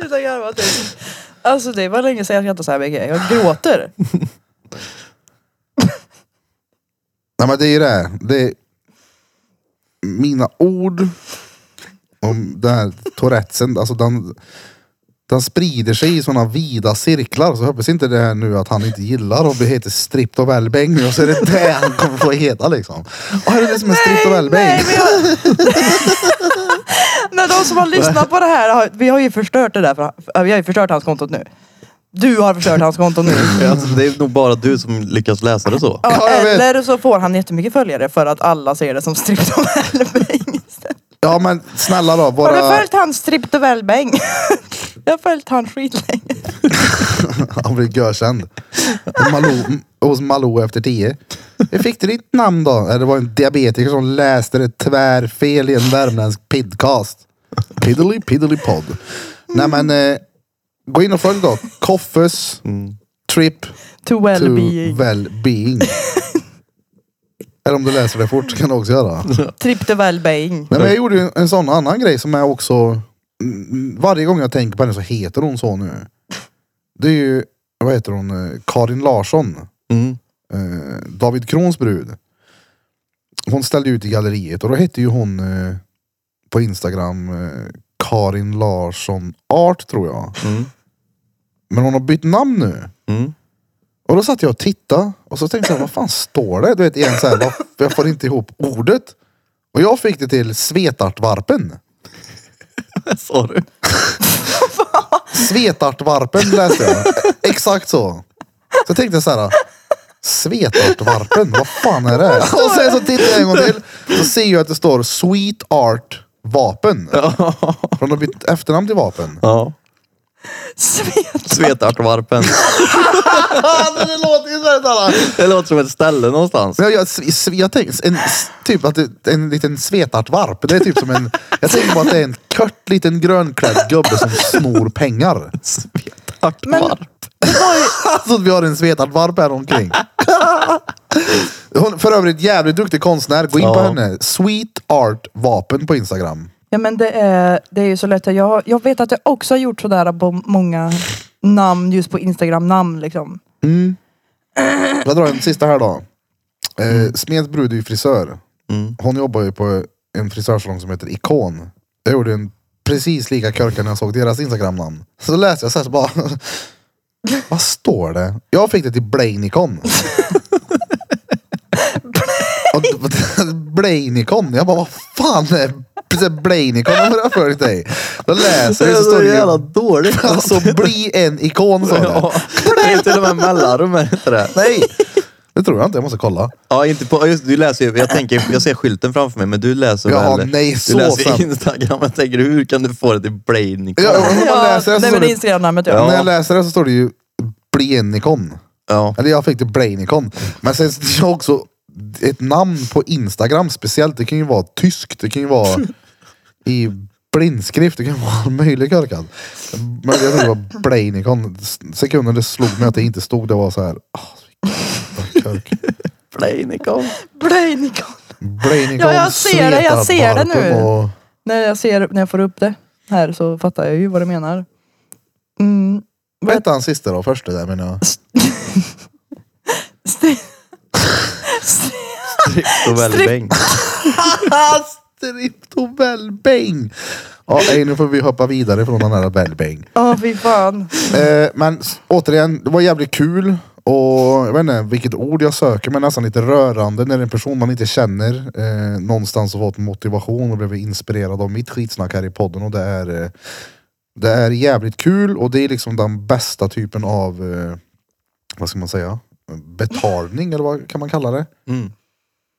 Sluta garva typ. Alltså det var länge sedan jag skrattade så här mycket. Jag gråter.
Nej men det är ju det. här. det är mina ord om den här tourettesen, alltså den, den sprider sig i sådana vida cirklar. Så jag hoppas inte det här nu att han inte gillar att bli heter Stripped of Elbing nu och så är det det han kommer få heta liksom. Och är det det som är Stripped of Elbing?
Nej, men jag... [laughs] Nej, de som har lyssnat på det här, har, vi har ju förstört det där. För, äh, vi har ju förstört hans kontot nu. Du har förstört hans konto [laughs] nu.
Alltså, det är nog bara du som lyckas läsa det så.
Ja,
Ja, jag vet.
eller så får han jättemycket följare för att alla ser det som Stripped of Elbäng [laughs] istället.
Ja men snälla då,
Har du
våra...
följt han Stripped of Elbäng? [laughs] Jag har följt han skitlänge.
Han blir görkänd. Malou, hos Malou efter tio. Hur fick du ditt namn då? Eh, Det var en diabetiker som läste det tvärfel i en värmländsk podcast. Piddly piddly podd. Nej men, eh, gå in och följ då. Koffes trip
To
to
well-being.
well-being. Eller om du läser det fort kan du också göra.
Tripped of Elbäng.
Nej, men jag gjorde ju en sån annan grej som är också... Mm, Varje gång jag tänker på henne så heter hon så nu. Det är ju, vad heter hon, Eh, Karin Larsson.
Mm.
Eh, David Krons brud. Hon ställde ut i galleriet och då hette ju hon eh, på Instagram eh, Karin Larsson Art tror jag.
Mm.
Men hon har bytt namn nu.
Mm.
Och då satt jag och tittade och så tänkte jag, vad fan står det? Du vet igen så här, vad- jag får inte ihop ordet. Och jag fick det till Svetartvarpen.
Sa du?
Svetartvarpen läste jag. E- Exakt så. Så tänkte jag så här. Svetartvarpen, vad fan är det? Och sen så tittar jag en gång till. Så ser jag att det står Sweet Art Vapen. För de har bytt efternamn till [laughs] vapen.
Ja.
Svet.
Svetartvarpen.
det låter ju sådär.
Det låter som ett ställe någonstans.
Jag, jag, sve- jag tänker en, s- typ att det, en liten svetartvarp. Det är typ som en, jag tänker bara att det är en kort liten grönklädd gubbe som snor [laughs] pengar.
Svetartvarp.
Alltså att vi har en svetad varp här omkring. Hon är för övrigt jävligt duktig konstnär. Gå in på
Ja.
henne. Sweet Art Vapen på Instagram.
Ja men det är, det är ju så lätt. Jag, jag vet att jag också har gjort sådär på många namn, just på Instagram namn liksom.
Jag drar en sista här då. Eh, Smeds brud är ju frisör. Hon jobbar ju på en frisörsalong som heter Ikon. Jag gjorde en precis lika körka när jag såg deras Instagram-namn. Så läste jag så här så bara... [laughs] Vad står det? Jag fick det till [laughs] Blainikon. Och [laughs] d- Blainikon. Jag bara, vad fan är precis Blainikon? Varför har jag följt dig? Då läser jag så står Alltså, det ju...
[laughs]
[laughs]
dåligt.
Alltså bli en ikon sa det.
[laughs] Ja, det är till och med mellanrum är det inte det?
Nej, det tror jag inte. Jag måste kolla.
Ja, inte på, ja, just, du läser ju, jag, tänker, jag ser skylten framför mig, men du läser
Ja,
väl?
nej,
du
så
läser
sant.
Instagram, jag tänker hur kan du få det till Blaine?
Ja, om man läser det så
nej,
står
men det är
det
Instagram-namnet
Ja.
ja.
När jag läser det så står det ju Blenikon.
Ja.
Eller jag fick det Blainikon. Men sen så är det också ett namn på Instagram speciellt. Det kan ju vara tyskt. Det kan ju vara i blindskrift. Det kan vara all möjlig korkad. Men jag tror det var Blainikon. Sekunden det slog mig att det inte stod. Det var så här. "Ah, så jävla
[laughs]
kork."
Blaine
Blainikon.
Blainikon.
Ja, jag ser det, jag ser det nu.
Svetarbarpen och-
När jag ser, när jag får upp det här så fattar jag ju vad du menar. Mm.
Vad hette han sista då? Första där menar jag.
Sti- Sti-
Striptovellbäng.
Stripto Wellbäng. Ja, ej, nu får vi hoppa vidare från den här Wellbäng.
Ja fy fan.
Eh, men s- återigen, det var jävligt kul. Och jag vet inte vilket ord jag söker, men nästan lite rörande när en person man inte känner eh, någonstans har fått motivation och blivit inspirerad av mitt skitsnack här i podden. Och det är, eh, det är jävligt kul och det är liksom den bästa typen av, eh, vad ska man säga, betalning eller vad kan man kalla det?
Mm.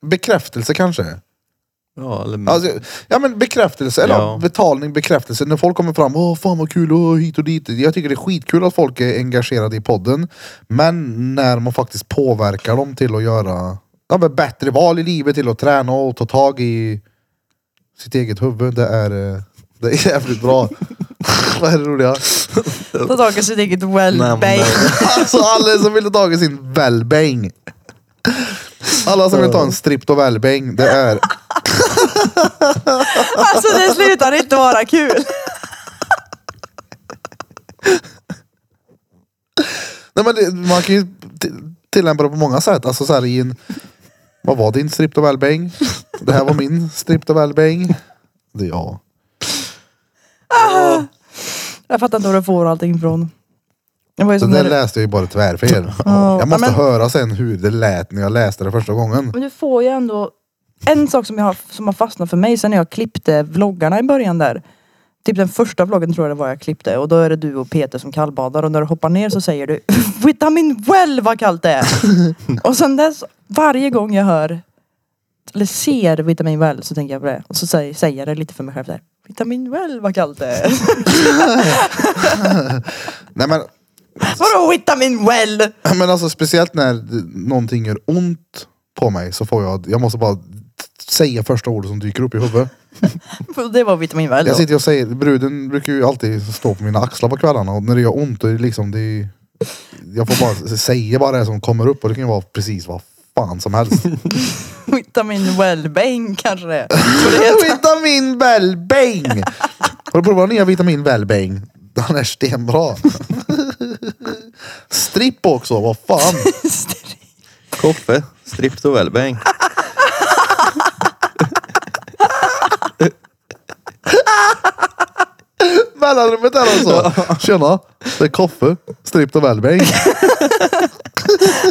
Bekräftelse kanske?
Ja, eller,
Alltså, ja men bekräftelse, eller
Mm. Ja.
betalning, bekräftelse. När folk kommer fram, åh fan vad kul, åh, hit och dit. Jag tycker det är skitkul att folk är engagerade i podden. Men när man faktiskt påverkar dem till att göra ja, men bättre val i livet, till att träna och ta tag i sitt eget huvud. Det är, eh, det är jävligt bra. [laughs] vad är det roliga?
Ta tag i sitt eget
Nej, men-
well-being.
Alltså alla som vill ta tag i sin välbäng. Alla som vill ta en stripped och välbäng, det är
Alltså det slutar inte vara kul.
Nej, men det, man kan ju t- tillämpa det på många sätt. Alltså så här i en... Vad var din stripped of elbäng? Det här var min stripped of elbäng. Det är jag.
Jag fattar inte var du får allting ifrån. Det var ju
Så
som
det
när
där
du,
läste jag ju bara tvärfel.
Ja.
Jag måste
Ja, men-
höra sen hur det lät när jag läste det första gången.
men du får ju ändå... En sak som, jag har, som har fastnat för mig sen när jag klippte vloggarna i början där. Typ den första vloggen tror jag det var jag klippte och då är det du och Peter som kallbadar och när du hoppar ner så säger du [laughs] Vitamin well vad kallt det är! och sen dess, varje gång jag hör eller ser Vitamin well så tänker jag på det. Och så säger, säger jag det lite för mig själv där. Vitamin well vad kallt det är! [laughs]
Nej men,
Vadå Vitamin well?
men alltså speciellt när det- någonting gör ont på mig så får jag, jag måste bara t- säga första ordet som dyker upp i huvudet.
För Det var Vitamin well då.
Jag sitter och säger, bruden brukar ju alltid stå på mina axlar på kvällarna och när det gör ont då är det liksom, det är, jag får bara säga bara det som kommer upp och det kan ju vara precis vad fan som helst.
Vitamin Wellbäng kanske det är.
vitamin Wellbäng! Har du provat nya vitamin Wellbäng? Den är stenbra. Stripp också, vad fan.
Koffe, stripped och wellbang.
Mellanrummet här alltså. Tjena, det är Koffe. Stripp och Wellbäng.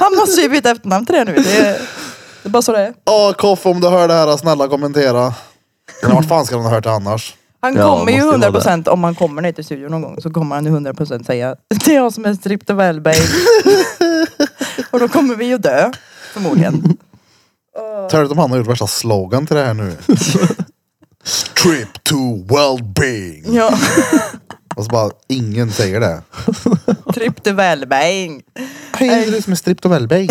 Han måste ju byta efternamn till det nu. Det är, det är bara så det är.
Ja Koffe om du hör det här, snälla kommentera. Eller vart fan ska de ha hört det annars?
Han
Ja,
kommer ju
måste ju vara
100 procent, om han kommer ner till studion någon gång så kommer han ju 100 procent säga det är jag som är stripped of
[laughs]
Wellbäng. och då kommer vi ju dö.
[laughs]
Förmodligen.
Turret om han har gjort värsta slogan till det
[laughs]
här nu. Strip to well-being.
Ja.
Och så bara ingen säger det.
Stripped of Wellbäng.
Hej, du som är stripped
[laughs]
och wellbeing.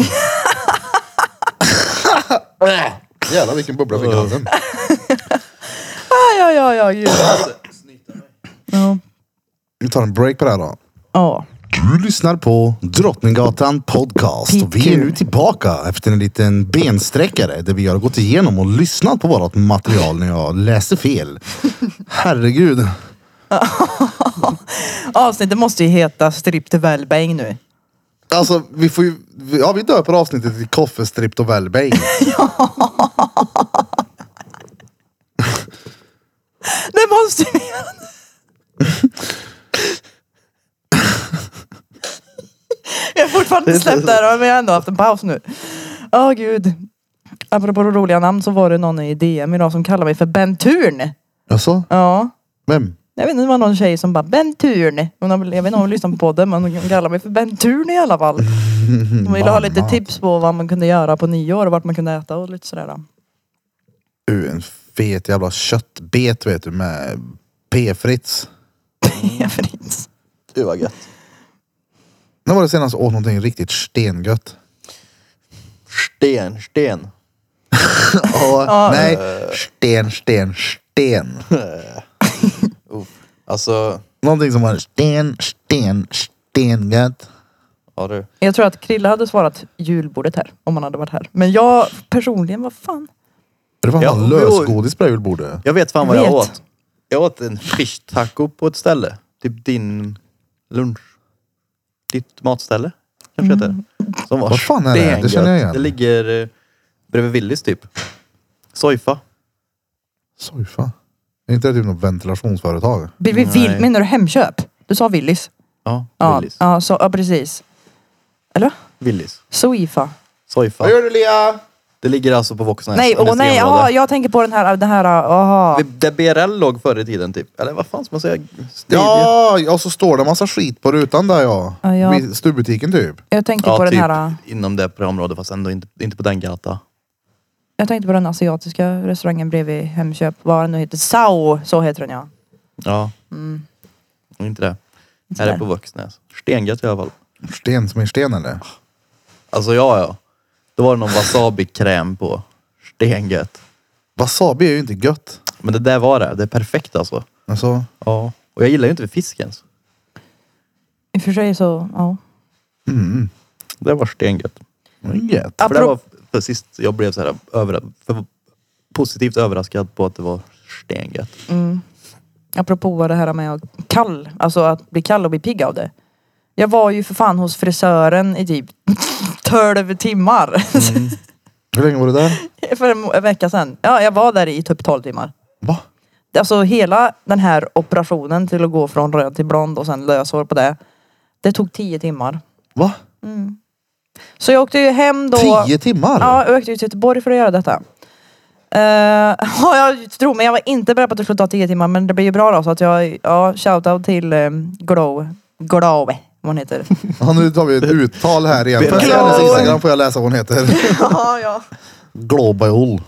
Jävlar vilken bubbla jag fick
[laughs]
i halsen.
Ah, ja, ja, ja, gud. Ja.
Vi tar en break på det här då.
Ja.
Du lyssnar på Drottninggatan Podcast. Och vi är nu tillbaka efter en liten bensträckare där vi har gått igenom och lyssnat på vårt material när jag läste
[laughs]
fel. Herregud.
Avsnittet måste ju heta Stripped of Wellbäng nu.
Alltså vi får ju, ja vi döper avsnittet till Koffe stripped och [laughs] wellbeing.
Det måste vi Jag har fortfarande inte släppt det här men jag har ändå haft en paus nu. Åh gud. Apropå roliga namn så var det någon i DM idag som kallade mig för Benturn.
Alltså,
Ja.
vem?
Jag vet inte, det var någon tjej som bara Benturn. Hon har, väl- jag vet inte om hon lyssnar på podden men hon kallar mig för Benturn i alla fall. Hon ville ha lite
Mamma.
tips på vad man kunde göra på nyår och vart man kunde äta och lite sådär. då. [laughs]
Du, en fet jävla köttbet vet du med P-Fritz.
Ja, Fritz.
Du var gött.
När var det senast jag åt någonting riktigt stengött?
Sten, sten.
Åh, nej, sten, sten, [laughs] sten.
Alltså,
Någonting som var sten, sten, stengött.
ja du.
Jag tror att Krilla hade svarat julbordet här om han hade varit här. Men jag personligen, vad fan?
Det var
Ja,
fan lösgodis på det här julbordet.
Jag vet fan vad
Jag
jag,
vet.
åt. Jag åt en fish taco på ett ställe. Typ din lunch. Ditt matställe. Kanske heter
Mm.
det. Som var
Vad fan är det? Det
stengött.
känner jag igen.
Det ligger eh, bredvid Willys typ. Soifa.
Sojfa. Är inte det typ något ventilationsföretag?
Vill vi
Nej.
vill, menar du Hemköp? Du sa Willys.
Ja,
Ja,
Willys.
ja, så, ja precis. Eller?
Willys.
Soifa.
Soifa.
Vad gör du Lea?
Det ligger alltså på Voxnäs
nej, åh nej, ja, jag tänker på den här, den här, aha.
Där BRL låg förr i tiden typ. Eller vad fan ska man säga? Stadia.
Ja, och så står det massa skit på rutan där ja.
Ja, ja.
Vid stubbutiken typ.
Jag tänkte
Ja,
på
typ
den här, äh.
inom det på det området fast ändå inte, inte på den gata.
jag tänkte på den asiatiska restaurangen bredvid Hemköp. Vad den nu heter. Sao, så heter den ja.
Ja. Inte det.
Inte
Här är
där.
på Våxnäs. Stengött i alla fall.
Sten som är sten eller?
Alltså ja, ja. Då var det någon wasabi-kräm på. Stengött.
Wasabi är ju inte gött.
Men det där var det. Det är perfekt alltså.
Alltså,
Ja. Och jag gillar ju inte fisk ens.
I och för sig så, ja.
Det var stengött.
det är gött.
För det
Apropå-
var för sist jag blev så här över, för positivt överraskad på att det var stengött.
Apropå vad det här med att kall, alltså att bli kall och bli pigg av det. Jag var ju för fan hos frisören i typ [laughs] 12 timmar. [laughs]
Hur länge var du där?
för en, en vecka sedan. Ja, jag var där i typ 12 timmar.
Va?
Alltså hela den här operationen till att gå från röd till blond och sen löshår på det. Det tog 10 timmar.
Va?
Så jag åkte ju hem då.
Tio timmar?
Ja, jag åkte ju till Göteborg för att göra detta. Eh, [laughs] ja, jag tror men jag var inte beredd på att det skulle ta 10 timmar men det blir ju bra då så att jag, ja, shoutout till um, Glow, Glow, vad hon heter. [laughs]
Ja, nu tar vi ett uttal här igen. Först
Glow.
hennes instagram får jag läsa vad hon heter.
ja, ja.
Globajol.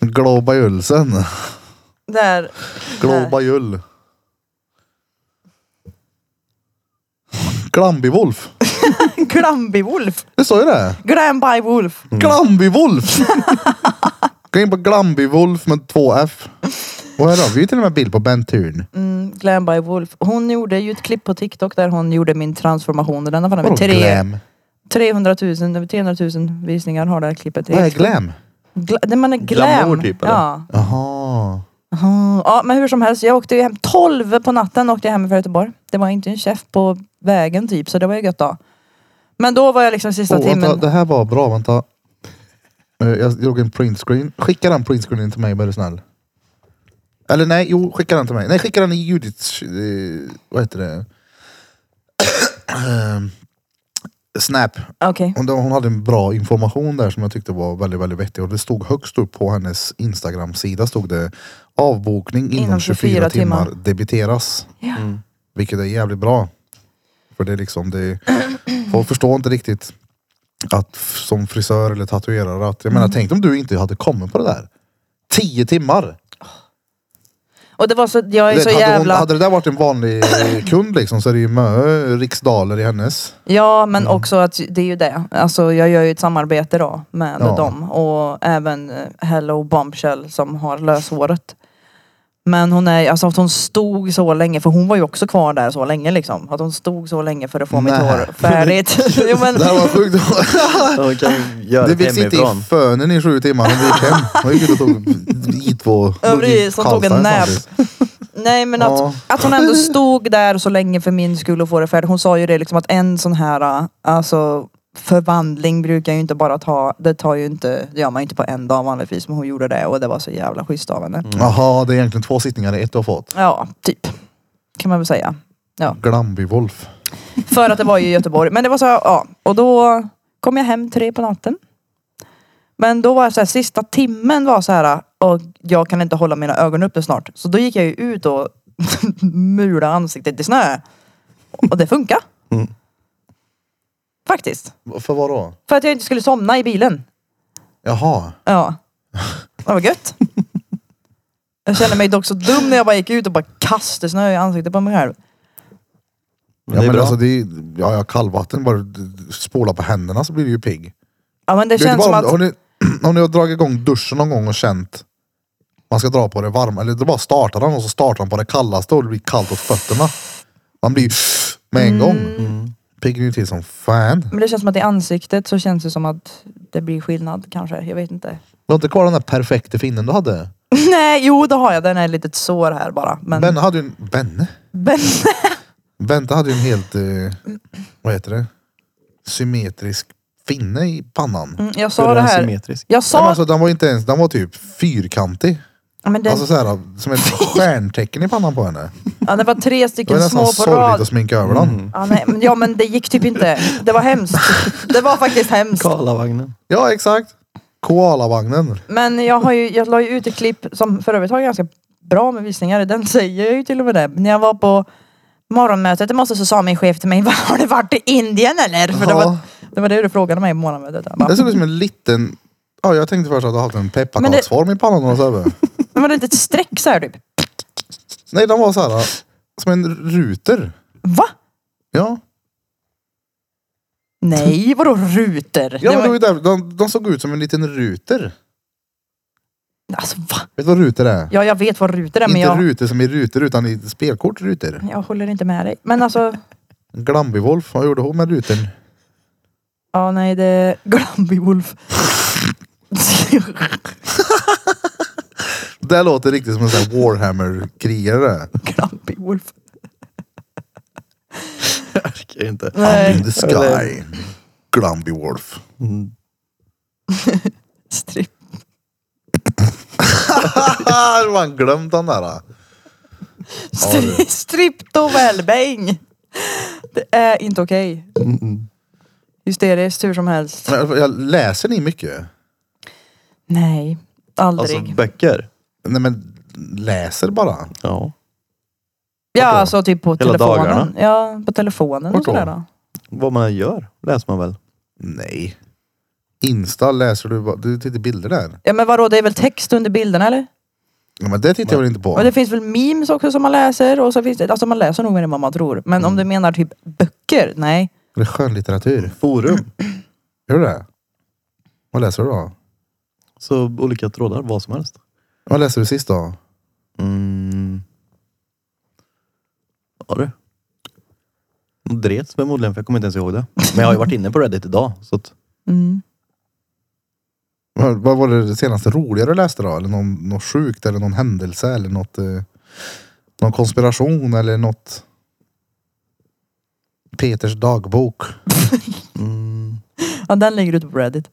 Globajulsen.
Där.
Globajull. Glambivolf.
Glambi-Wolf.
Det står ju det.
Mm. Glambi-Wolf. [laughs]
Glambivolf! Gå in på Glambivolf med två F. Och här har vi ju till och med bild på Ben Thun.
Mm, Glam by Wolf. Hon gjorde ju ett klipp på TikTok där hon gjorde min transformation. Den har fan över
Vadå
tre-
glam?
300 000, över 300 000 visningar har det här klippet.
Vad är glam?
Gla, nej, men glam.
Glamour typ, eller?
ja.
Jaha.
Aha. Mm, ja, men hur som helst. Jag åkte ju hem 12 på natten åkte jag hem från Göteborg. Det var inte en chef på vägen typ, så det var ju gött då. Men då var jag liksom sista
Oh,
timmen.
vänta, det här var bra, vänta. Eh, Jag drog en printscreen. Skicka den printscreenen till mig, var du snäll. Eller nej, jo, skicka den till mig. Nej, skicka den i Judiths... eh, Vad heter det? Ehm, Snap.
Okej.
Hon, hon hade en bra information där som jag tyckte var väldigt, väldigt vettig. Och det stod högst upp på hennes Instagram-sida stod det avbokning inom, 24, timmar, debiteras.
Ja.
Vilket är jävligt bra. För det är liksom, det, folk förstår inte riktigt att f- som frisör eller tatuerare att, jag
Mm.
menar tänk om du inte hade kommit på det där. Tio timmar!
Och det var så, jag är
Det-
så
hade, hon,
jävla...
hade det där varit en vanlig eh, kund liksom så är det ju mö riksdaler i hennes.
Ja men
Mm.
också att det är ju det. Alltså jag gör ju ett samarbete då med
Ja.
dem och även eh, Hello Bombshell som har löshåret. Men hon är, alltså att hon stod så länge, för hon var ju också kvar där så länge liksom. Att hon stod så länge för att få mitt
Nej.
hår
[laughs]
färdigt. [laughs] jo, men,
Det här var sjukt.
[laughs]
De kan ju göra
Det
det
växte inte
hemifrån.
i fönen i sju timmar. Hon gick hem. Hon gick ut och tog I2.
Övrig som tog en
Karlstad
nap.
snart.
[laughs] nej men att,
Ja.
att hon ändå stod där så länge för min skull och få det färdigt. Hon sa ju det liksom att en sån här eh, alltså, förvandling brukar ju inte bara ta, det tar ju inte, det gör man ju inte på en dag vanligtvis men hon gjorde det och det var så jävla schysst av
Mm.
henne.
Jaha, det är egentligen två sittningar i ett du har fått.
Ja, typ. Kan man väl säga.
Glambi-Wolf.
För att det var ju i Göteborg. Men det var så, här, ja. Och då kom jag hem tre på natten. Men då var jag så här, sista timmen var så här, och jag kan inte hålla mina ögon uppe snart. Så då gick jag ju ut och [laughs] mula ansiktet i snö. Och det funkar.
Mm.
Faktiskt.
För vad då?
För att jag inte skulle somna i bilen.
Jaha.
Ja. Det var gött. Jag kände mig dock så dum när jag bara gick ut och bara kastade snö i ansiktet på mig själv.
Men
Ja,
det är
men
bra.
alltså, det är, ja, ja, kallvatten. Bara d- d- spola på händerna så blir du ju pigg.
Ja men det,
Det är
känns
inte
som
bara
att...
om- Har ni, om ni [clears throat] har dragit igång duschen någon gång och känt man ska dra på det varma, eller du bara startar den och så startar den på det kallaste och det blir kallt åt fötterna. Man blir ju [sniffs] med
Mm.
en gång. Piggar ju till som fan.
Men det känns som att i ansiktet så känns det som att det blir skillnad kanske. Jag vet inte. [laughs]
Du har inte kvar den där perfekta finnen du hade?
Mm. Nej, jo det har jag. Den är ett litet sår här bara. Men,
Benne hade ju en... Benne?
Ben-
Bente hade ju en helt... Eh,
Mm.
vad heter det? Symmetrisk finne i pannan.
Mm, [laughs] jag
Hur
sa
är
det
den
här.
symmetrisk?
Jag
Nej, men
sa...
alltså, den var inte ens... Den var typ fyrkantig.
Men den,
Alltså så här,
[laughs]
som ett stjärntecken i pannan på henne.
ja, det var tre
Det var
stycken
nästan
små på
sorgligt
rad.
att sminka över den.
Ja, nej, men, ja men det gick typ inte. Det var hemskt. Det var faktiskt hemskt.
[laughs] Karlavagnen.
Ja, exakt. Koalavagnen.
Men jag har ju, jag la ju ut ett klipp som för övrigt har ganska bra med visningar. Den säger jag ju till och med det. När jag var på morgonmötet i morse så sa min chef till mig, har du varit i Indien eller? För det,
Ja.
var, det var det du frågade mig på morgonmötet. Jag bara,
Det såg ut som en liten... Ja, jag tänkte först att du hade haft en pepparkaksform i pannan. Och så här.
Men var det inte ett streck så här typ?
Nej, den var så här som en ruter.
Va?
Ja,
Nej, vadå ruter?
ja men
det
det var
var...
ju där, de, de såg ut som en liten ruter.
Alltså va?
Vet du vad ruter är?
Ja, jag vet vad ruter är men
inte
jag...
ruter som i ruter utan i spelkort ruter.
jag håller inte med dig. Men alltså,
Glambivolf, vad gjorde hon med rutern?
ja nej det... [laughs] Glambi-Wolf.
Det låter riktigt som en sån här Warhammer-krigare.
Glambi-Wolf.
orkar ju inte.
Nej.
Up in the
[laughs]
sky. Glumby Wolf.
Mm.
Stripp.
[laughs] Har man glömt den där? då?
Stri- Striptovellbäng! Det är inte okej. Hysteriskt hur som helst.
Men Jag läser ni mycket?
Nej, aldrig.
Alltså böcker.
Nej men läser bara.
Ja.
ja, alltså typ på
Hela
telefonen.
dagarna?
Ja, på telefonen
Vart
och
då?
sådär då.
Vad man än gör läser man väl.
Nej. Insta läser du bara. Du tittar bilder där.
Ja men vadå, det är väl text under bilderna eller?
Ja, men det tittar jag väl inte
Men
på.
det finns väl memes också som man läser och så finns det, alltså man läser nog mer än vad man tror. Men
Mm.
om du menar typ böcker, nej.
Det är skönlitteratur.
Forum.
Gör du det? Vad läser du då?
Så olika trådar, vad som helst.
Vad läser du sist då?
Mm. Ja du. Dret förmodligen för jag kommer inte ens ihåg det. Men jag har ju varit inne på Reddit idag. Så att,
Mm.
Vad, vad var det senaste roliga du läste då? Eller någon, något sjukt eller någon händelse eller något, eh, någon konspiration eller något? Peters dagbok.
mm,
Ja den ligger ute på Reddit.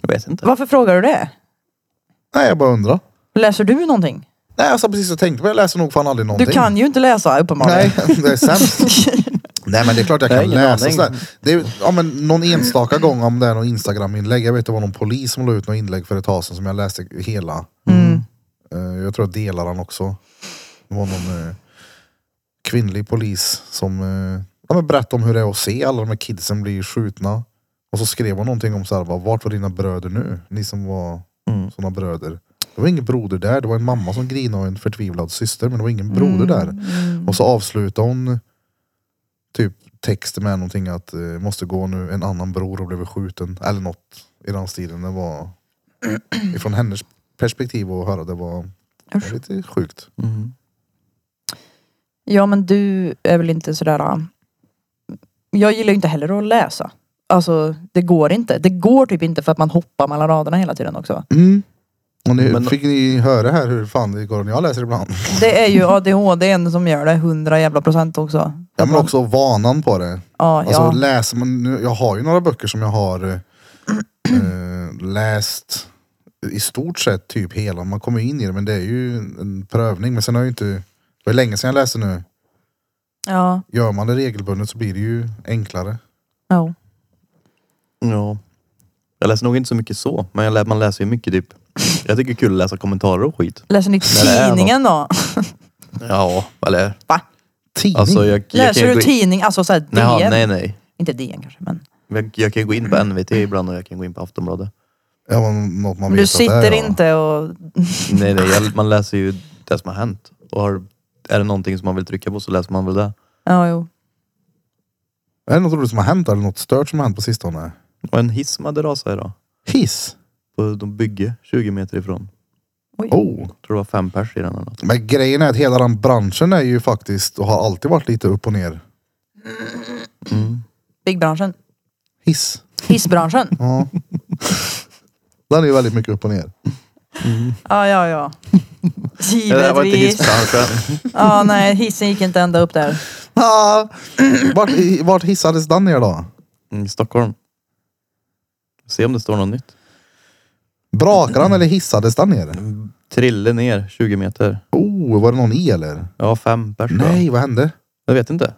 jag vet inte.
Varför frågar du det?
Nej, jag bara undrar.
Läser du någonting?
Nej, jag satt precis och tänkte, men jag läser nog fan aldrig
Du
någonting.
kan ju inte läsa uppenbarligen.
Nej,
[laughs]
det är sämst. Nej men det är klart jag
Jag har
kan
ingen
läsa
aning.
sådär. Det är, ja, men någon enstaka gång om det är någon Instagram-inlägg. Jag vet det var någon polis som la ut något inlägg för ett tag sedan som jag läste hela.
Mm.
Eh, Jag tror jag delar han också. Det var någon eh, kvinnlig polis som eh, ja, men berättade om hur det är att se alla de här kidsen bli skjutna. Och så skrev hon någonting om så här, bara, vart var dina bröder nu? Ni som var
Mm.
sådana bröder. Det var ingen broder där, det var en mamma som grinade och en förtvivlad syster men det var ingen
Mm.
Mm.
broder där. Och så avslutade hon typ texten med någonting att eh, måste gå nu, en annan bror har blivit skjuten. Eller något i den stilen. Det var [clears throat] ifrån hennes perspektiv att höra. Det var det var
Usch.
lite sjukt.
Mm.
Ja men du är väl inte sådär... ah. Jag gillar ju inte heller att läsa. Alltså det går inte. Det går typ inte för att man hoppar mellan raderna hela tiden också.
Mm. Och nu
Men-
fick ni höra här hur fan det går när jag läser ibland.
Det är ju ADHD som gör det, hundra jävla procent också.
Ja, men också vanan på det.
Ja,
Alltså
ja.
läser man, nu, jag har ju några böcker som jag har eh, eh, läst i stort sett typ hela. Man kommer ju in i det men det är ju en prövning. Men sen har jag ju inte, det var länge sedan jag läste nu.
ja.
Gör man det regelbundet så blir det ju enklare.
ja.
Ja. Jag läser nog inte så mycket så. Men jag lä- man läser ju mycket typ. Jag tycker det är kul att läsa kommentarer och skit.
Läser ni
Nej, det är
tidningen då?
Ja, eller.
Tidning?
Alltså jag, jag kan
Läser
ju
du
gå in-
tidning? Alltså såhär DN?
Nej, nej, nej.
Inte DN kanske men.
Jag, jag kan ju gå in på NVT ibland och jag kan gå in på Aftonbladet.
ja, men något man
Men
vet
du
att det är,
sitter
ja.
inte och...
Nej, nej, jag, man läser ju det som har hänt. Och har, är det någonting som man vill trycka på så läser man väl det.
Ja jo.
Är det något roligt som har hänt eller något stört som har hänt på sistone?
Och en hiss som hade rasat idag.
Hiss?
På de bygge 20 meter ifrån.
Oj.
Oh.
Jag tror det var fem pers i den eller något.
Men grejen är att hela den branschen är ju faktiskt och har alltid varit lite upp och ner.
Byggbranschen.
Hiss.
Hissbranschen.
Ja. [laughs] den är ju väldigt mycket upp och ner.
Ja ja ja.
Ja, det där var inte
Givetvis.
hissbranschen.
Ja nej hissen gick inte ända upp där.
Ah, vart, i- vart hissades den ner då?
Mm, I Stockholm. Se om det står något nytt.
Brakade den eller hissades den ner?
Trille ner 20 meter.
Oh, var det någon i eller?
Ja, fem pers. tror jag.
Nej, vad hände?
Jag vet inte.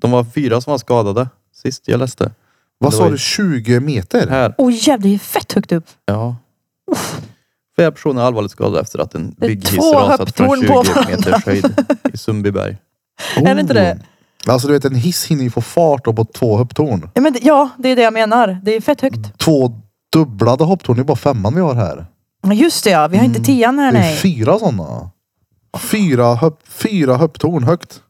De var fyra som var skadade sist jag läste.
Vad
Det
sa
var
du,
ju-
20 meter?
Här.
Oj jävlar det är fett högt upp.
Ja. Flera personer är allvarligt skadade efter att en
Det är
bygghiss
två
rasat från
höpptorn
20
på
meters höjd i Sundbyberg.
Är det inte det?
Oh. Alltså du vet en hiss hinner ju få fart upp på två hopptorn.
Ja, men, det- ja det är det jag menar. Det är fett högt.
Två dubblade hopptorn, det är bara femman vi har här.
Ja, Just det ja, vi har inte tian här
Det är
nej.
fyra sådana. Fyra, höpp, fyra hopptorn högt.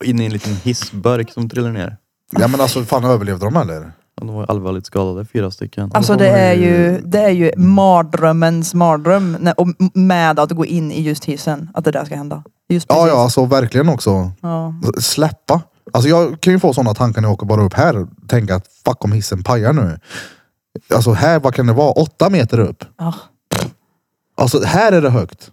Och in i en liten hissburk som trillar ner.
Ja men alltså fan överlevde de eller?
Och de var allvarligt skadade, fyra stycken.
Alltså det är ju, det är ju mardrömmens mardröm när- och m- med att gå in i just hissen. Att det där ska hända. Just
Ja
precis.
ja alltså verkligen också.
ja.
släppa. Alltså jag kan ju få sådana tankar när jag åker bara upp här och tänka att fuck om hissen pajar nu. Alltså här, vad kan det vara? Åtta meter upp.
Ja.
Alltså här är det högt.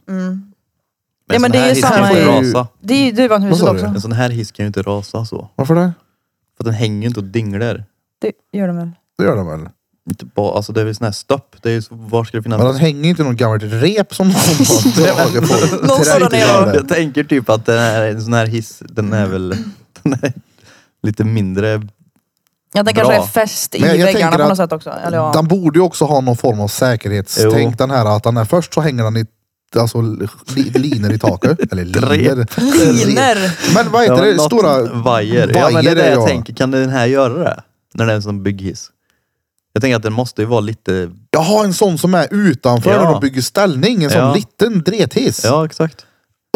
Ja, men
en sån
det är
här
ju
hiss kan
samma
inte
i-
rasa.
Det är ju duvanhuset
Vad sa du?
också.
En sån här hiss kan ju inte rasa så.
Varför det?
För den hänger ju inte och dinglar.
Det gör de väl?
Det gör den väl?
Inte bara, alltså det är väl sån här stopp. Det är ju, så- var ska det finnas?
Men den hänger ju inte i någon gammalt rep som någon har
[laughs]
dragit på.
Någon står
Träffar
där nere och-
den.
jag tänker typ att den här, en sån här hiss, den är väl den är lite mindre.
Ja, den
Bra.
kanske är fäst i
Men jag- jag
väggarna
tänker
på något
att
sätt också. Eller ja.
Den borde ju också ha någon form av säkerhetstänk
Jo.
den här. Att den är, först så hänger den i alltså, li, liner i
[laughs]
taket. Eller liner.
Liner!
Men vad heter det?
något
Stora
vajer. Ja men det är det
är
jag tänker. Kan den här göra det? När den är en sån bygghiss. Jag tänker att den måste ju vara lite,
Jaha, en sån som är utanför
Ja.
när de bygger ställning. En sån
Ja.
liten drethiss.
ja exakt.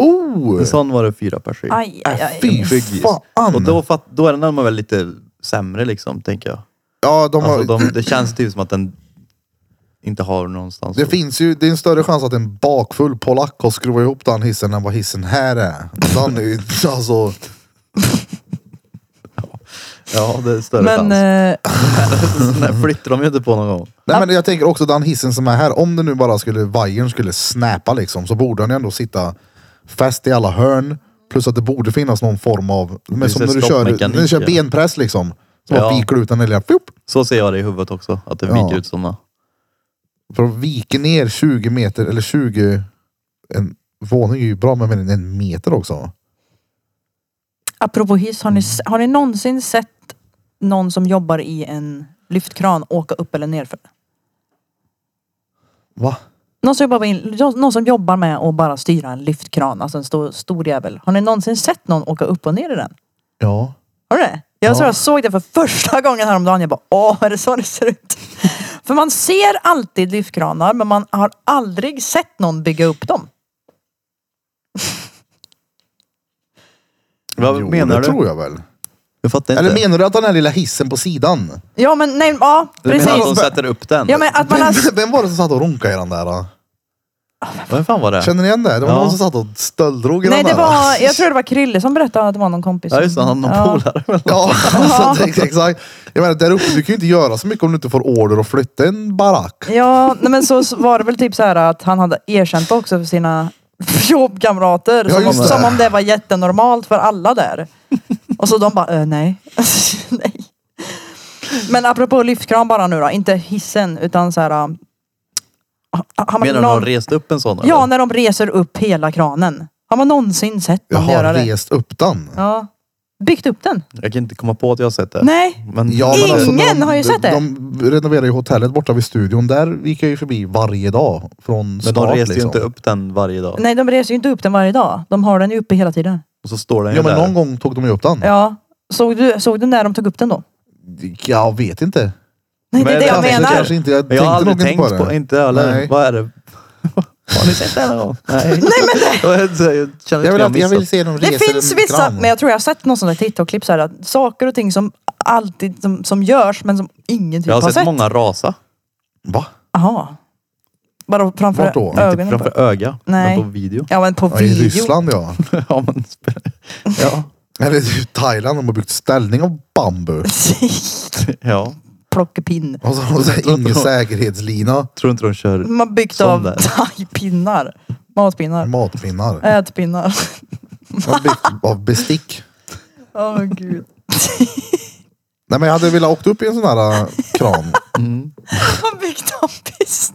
Oh! Äh,
En sån var det fyra personer.
Aj, aj, aj.
Fy
Byggis.
fan!
Och då, fatt, då är den närmare väl lite sämre liksom, tänker jag.
ja, de har,
Alltså, de, det känns typ som att den inte har någonstans.
Det
att-
finns ju, det är en större chans att en bakfull polack har skruvat ihop den hissen än vad hissen här är. Den är ju, alltså,
Ja, det är större
Men
[laughs] chans.
eh,
Den här flyttar de ju inte på någon gång.
nej men jag tänker också den hissen som är här, om det nu bara skulle, vajern skulle snäpa liksom, så borde den ju ändå sitta fäst i alla hörn. Plus att det borde finnas någon form av, men
finns
som
en
när du, kör,
stoppmekanik,
när du kör
ja.
benpress liksom. Så
Ja.
bara viker du ut den lilla, pjup,
Så ser jag det i huvudet också, att det
Ja.
viker ut sådana.
för att vika ner 20 meter, eller 20, en våning är ju bra men jag menar en meter också.
apropå hiss, har ni, s- har ni någonsin sett någon som jobbar i en lyftkran åka upp eller nerför?
Va?
Någon som jobbar, med, någon som jobbar med att bara styra en lyftkran, alltså en stor, stor jävel. Har ni någonsin sett någon åka upp och ner i den?
Ja.
Har du det? Jag
Ja.
tror jag såg det för första gången häromdagen. Jag bara, åh, är det så det ser ut? [laughs] för man ser alltid lyftkranar, men man har aldrig sett någon bygga upp dem.
Vad
Jo,
menar
det
du?
tror jag väl.
Jag fattar inte.
Eller menar du att den här lilla hissen på sidan?
Ja, men nej, ja,
Du menar att de
precis.
sätter upp den?
Ja, men att
[laughs]
man
Vem,
har...
vem var det som satt och runkade i den där? Då?
Vem fan var det?
Känner ni igen det? Det var
Ja.
någon som satt och stölddrog i
Nej,
den
det
där.
[laughs]
var, jag tror det var Krille som berättade att det var någon kompis.
Ja just det, han har
Ja.
polare. väl?
[laughs] Ja, alltså, det- exakt. Jag menar, där uppe, du kan ju inte göra så mycket om du inte får order att flytta en barack.
Ja, nej, men så så var det väl typ så här att han hade erkänt också för sina [laughs] jobbkamrater.
Ja,
som, om,
just det.
som om det var jättenormalt för alla där. Och så de bara, "Eh, nej. [laughs] nej. Men apropå lyftkran bara nu då, inte hissen utan så här. äh, har- Har man
Menar du
någon,
någon rest upp en sån?
ja,
eller?
när de reser upp hela kranen. Har man någonsin sett
Jag
dem
har
göra det?
rest upp den.
Ja. Byggt upp den?
Jag kan inte komma på att jag har sett det.
Nej.
Men,
Ja,
Ingen
men alltså, när
har ju sett det.
De renoverar ju hotellet borta vid studion. Där gick jag ju förbi varje dag. Från
men
start
de reser ju
liksom.
inte upp den varje dag.
Nej, de reser ju inte upp den varje dag. De har den ju uppe hela tiden.
Och så står den ju
Ja men
där.
någon gång tog de ju upp den.
Ja. Såg du, såg du när de tog upp den då?
Jag vet inte.
Nej,
Men
det är det jag
Kanske,
menar.
alltså, kanske inte. Jag
Men jag har
tänkte
aldrig
nog
tänkt
inte på
på,
det.
inte jag heller.
Nej.
Vad är det? Har ni sett det någon gång? [laughs] Nej. Nej men det... Jag, känner inte
Jag vill,
att
alltid- jag vill
missat.
se dem resa
Det finns
en
vissa,
kran.
men jag tror jag har sett någon sån där TikTok-klipp så här, att saker och ting som alltid som, som görs men som ingen typ
Jag har
har
sett många rasa. typ
Va?
Aha. Bara framför
Vart då? Inte
ögonen. på-
Typ Framför öga.
Nej.
Men på video. [laughs]
Ja men på
Ja, I
video.
Ryssland ja. [laughs]
ja, men, ja.
Eller det är ju Thailand, de har byggt ställning av bambu.
ja.
[laughs] Plockepinn.
Och så har de så
[laughs]
här ingen säkerhetslina.
Tror inte de kör...
Man har byggt
Sån
av
där.
thajpinnar.
Mm.
Matpinnar.
Matpinnar.
Ätpinnar. [laughs]
De har byggt Av bestick.
Åh gud.
Nej men jag hade velat åkt upp i en sån här äh,
[laughs]
kran.
Man har byggt av pist.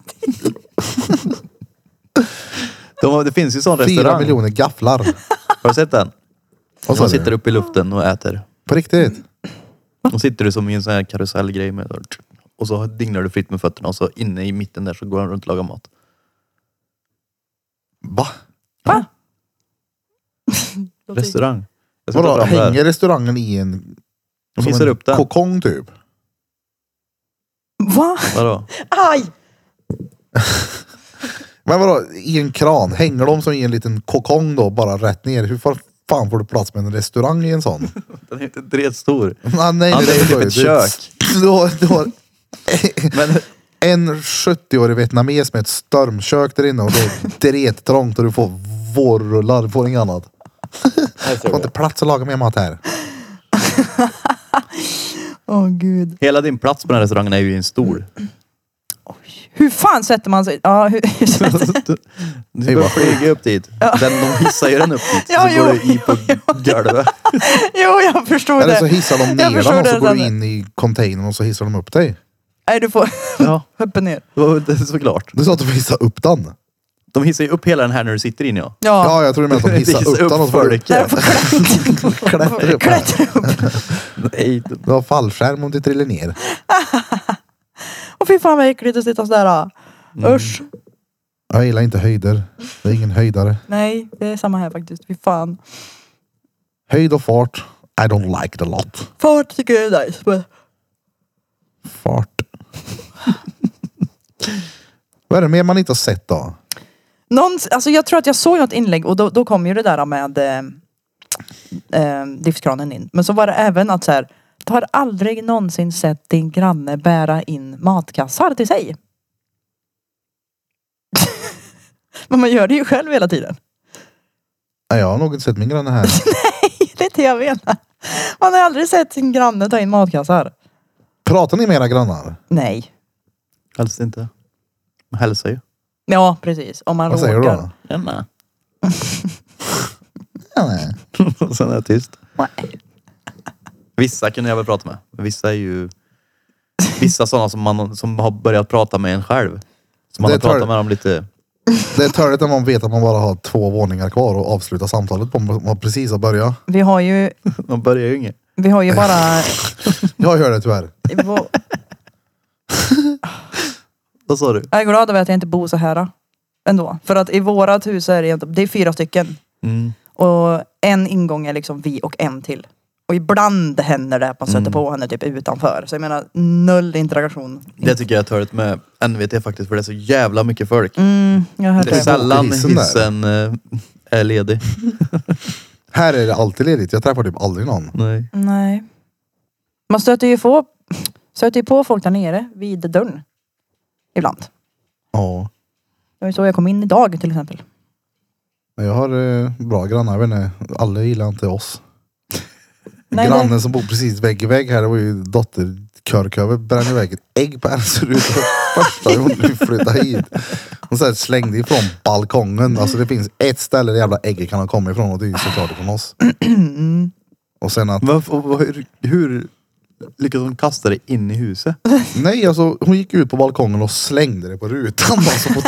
De, har- det finns ju sån
Fyra
restaurang.
miljoner gafflar.
Har du sett den?
Vad sa
de
du?
sitter uppe i luften och äter.
På
Mm.
riktigt.
Då sitter du som i en sån här karusellgrej med och så dinglar du fritt med fötterna och så inne i mitten där så går han runt och lagar mat.
Va?
Restaurang. Jag ska
Vadå,
ta fram det här.
hänger restaurangen i en,
De
som
hissar
en
upp den.
kokong typ?
Va?
Vadå?
Aj!
Men vadå, i en kran? Hänger de som i en liten kokong då bara rätt ner? Hur fan- fan får du plats med en restaurang i en
[laughs]
sån?
Den är inte dret stor.
Nej, nej,
Ja,
nej,
det
nej,
är typ
nej,
ett
det-
kök.
Du har, du har
Men [laughs]
en 70-årig vietnames med ett stormkök där inne och det är drettrångt och du får vårrullar, du får inget annat. Du får inte plats att laga mer mat här.
Åh gud.
hela din plats på den här restaurangen är ju i en stol.
Oj. Hur fan sätter man sig? Ja, hur... [laughs]
[laughs] Du bara flyga upp dit. Den, de hissar ju den upp dit.
Ja,
så går
jo,
du i på golvet.
jo, jag förstod
Eller
det.
så hissar de
Jag
ner
förstår
den och
det,
så går
Danne.
du in i containern och så hissar de upp dig.
Nej, du får [laughs]
Ja,
hoppa ner.
det var- det är såklart.
Du sa att de hissar upp den. Ja,
De hissar ju upp hela den här när du sitter in ja.
Ja.
jag tror du [laughs] menar att de hissar upp den och så får du
Där
folk.
[laughs] får klättra upp. Klättra upp.
Nej,
Du har fallskärm om du trillar ner.
Och fy fan vad äckligt att sitta sådär. Usch.
Jag gillar inte höjder. Det är ingen höjdare.
Nej, det är samma här faktiskt. Fy fan.
Höjd och fart. I don't like it a lot.
Fart tycker jag är nice. men- [laughs]
Fart. Vad är det mer man inte har sett då?
Någon, alltså jag tror att jag såg något inlägg och då, då kom ju det där med eh, eh, livskranen in. Men så var det även att så här, du har aldrig någonsin sett din granne bära in matkassar till sig. [laughs] Men man gör det ju själv hela tiden. [laughs]
Nej, jag har nog inte sett min granne här.
Det är det jag menar. Man har aldrig sett sin granne ta in matkassar.
Pratar ni med era grannar?
Nej.
helst inte. Man hälsar ju.
Ja, precis. Om man
Vad säger du
råkar.
då?
Tjena.
Ja, nej.
Och [laughs] Sen är jag tyst.
Nej.
Vissa kunde jag väl prata med. Men vissa är ju... Vissa sådana som man som har börjat prata med en själv. Så man
Det
har pratat
tar-
med dem lite...
Det är törligt när man vet att man bara har två våningar kvar och avsluta samtalet på om man precis har börjat.
Vi har ju,
De börjar ju inget.
vi har ju
[laughs]
bara...
Jag gör det tyvärr.
Vad sa du?
Jag är glad över att jag inte bor så här. Ändå. För att i vårat hus är det, det är fyra stycken.
Mm.
Och en ingång är liksom vi och en till. Och ibland händer det att man
Mm.
stöter på henne typ utanför. Så jag menar, noll interaktion.
Det tycker jag är törligt med NVT faktiskt. För det är så jävla mycket folk.
Mm, jag hörde
Det är
det.
sällan
Hissen där.
hissen eh, är ledig.
Här är det alltid ledigt. Jag träffar typ aldrig någon.
Nej.
Nej. Man stöter ju, på, stöter ju på folk där nere vid dörren. Ibland.
Ja.
Det var ju så jag kom in idag till exempel.
Men Jag har eh, bra grannar. Jag vet inte, alla gillar inte oss.
Nej, det-
Grannen som bor precis vägg i vägg här, det var ju dotter Körköver brände iväg ett ägg på hennes ruta första gången vi flyttade hit. Hon så här slängde ifrån balkongen. Alltså det finns ett ställe där jävla ägget kan ha kommit ifrån och det är ju såklart ifrån oss.
Mm.
Och sen att,
Varför, och vad- hur, hur lyckas de kasta det in i [laughs] huset?
nej alltså hon gick ut på balkongen och slängde det på rutan. Alltså på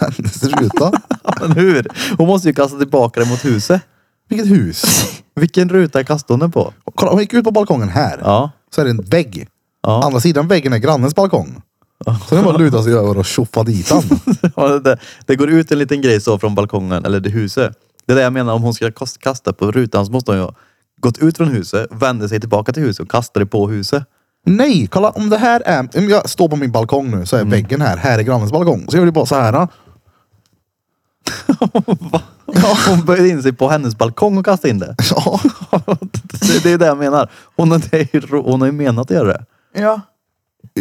hennes ruta.
Men hur? Hon måste ju kasta tillbaka det mot huset.
Vilket hus.
Vilken ruta kastade hon den på?
Kolla, hon gick ut på balkongen här.
Ja. [laughs]
Så är det en vägg.
Ja.
Andra sidan väggen är grannens balkong. Så det är bara att luta sig över och tjoffa dit han.
Ja, det, där. det går ut en liten grej så från balkongen, eller det huset. Det är det jag menar, om hon ska kast- kasta på rutan så måste hon ju ha gått ut från huset, vände sig tillbaka till huset och kasta det på huset.
Nej, kolla om det här är... Om jag står på min balkong nu så
Mm.
är väggen här. Här är grannens balkong. Så jag blir bara så här.
Ja. [laughs] Hon böjde in sig på hennes balkong och kastade in det.
Ja.
Det, det är det jag menar. Hon har, det är ju ro- hon har ju menat att göra det.
Ja.
[laughs]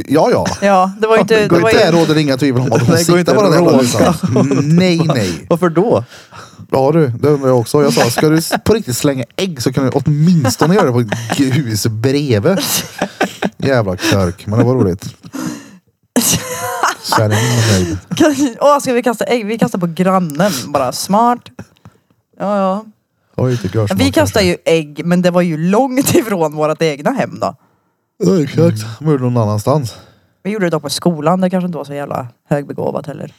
Ja, ja.
Ja, det var ju inte... Det
Går
var
inte, där
ju,
råder inga tvivel om att hon
Nej, går inte
siktar på den här
råka.
balkongen. Mm,
[laughs]
Nej, nej.
Varför då?
Ja du, det undrar jag också. Jag sa, ska du på riktigt slänga ägg så kan du åtminstone göra det på ett hus bredvid. Jävla körk, men det var
[laughs]
roligt. Kärringen var nöjd.
[laughs] åh, ska vi kasta ägg? Vi kastar på grannen bara. Smart. Ja, ja.
Oj, tycker jag
Vi kastar ju ägg, men det var ju långt [laughs] ifrån vårt egna hem då.
Ja, Exakt, de gjorde det någon annanstans.
Vi gjorde det dock på skolan, det kanske inte var så jävla högbegåvat heller.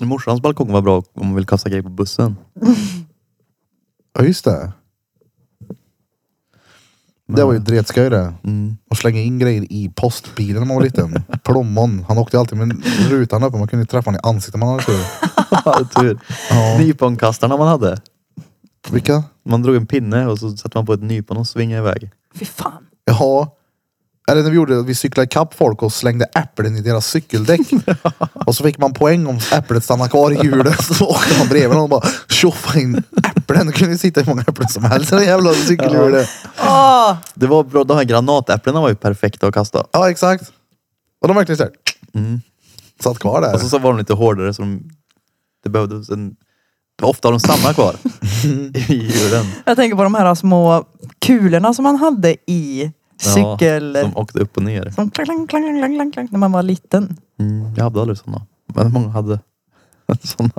Morsans balkong var bra om hon vill kasta grejer på bussen. [laughs]
Ja just det. Det var ju dretskoj det.
Mm.
Och slänga in grejer i postbilen när man var
[laughs]
liten. Plommon. Han åkte alltid med rutan uppe. Man kunde ju träffa honom i ansiktet om man hade tur.
Ja, tur. Nyponkastarna man hade.
Vilka?
Man drog en pinne och så satte man på ett nypon och svingade iväg.
Fy fan.
Jaha. Eller när vi gjorde det, vi cyklade ikapp folk och slängde äpplen i deras
[laughs]
cykeldäck. och så fick man poäng om äpplet stannade kvar i hjulet. Så åkte man bredvid någon och bara tjoffade in äpplen. Det kunde ju sitta hur många äpplen som helst i det jävla cykelhjulet.
[laughs] Åh!
Det var bra, de här granatäpplena var ju perfekta att kasta.
Ja exakt. Och de verkligen såhär.
Mm.
Satt kvar där.
Och så, så var de lite hårdare så de, det behövdes en... Det var ofta de stannar kvar i hjulen.
Jag tänker på de här små kulorna som man hade i Cykel...
Som åkte upp och ner.
Som klang, klang, klang, klang, klang, klang, när man var liten.
Mm, jag hade aldrig sådana. Men många hade [laughs] sådana.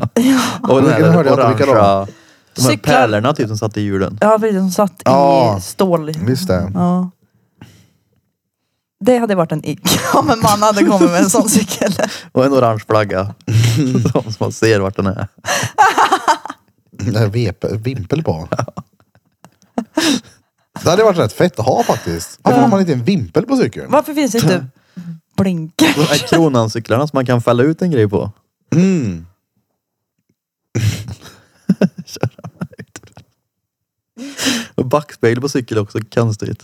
Och den
Vilken
här
hörde jag inte vilka då?
orangea. De här
Cyklar.
pärlorna typ som satt i hjulen.
Ja, precis. Som satt
Ja.
i stål.
Visst det.
Ja. Det hade varit en ick [laughs] om en man hade kommit med en sån cykel.
Och en orange
[laughs]
flagga. [laughs] som man ser vart den är.
Det här vep- vimpel på.
Det hade varit rätt fett att ha faktiskt. Varför har man inte en vimpel på cykeln?
Varför finns det inte
[laughs]
blinkers?
De här kronancyklarna som man kan fälla ut en grej på.
Mm.
Och backspegel på cykel är också konstigt.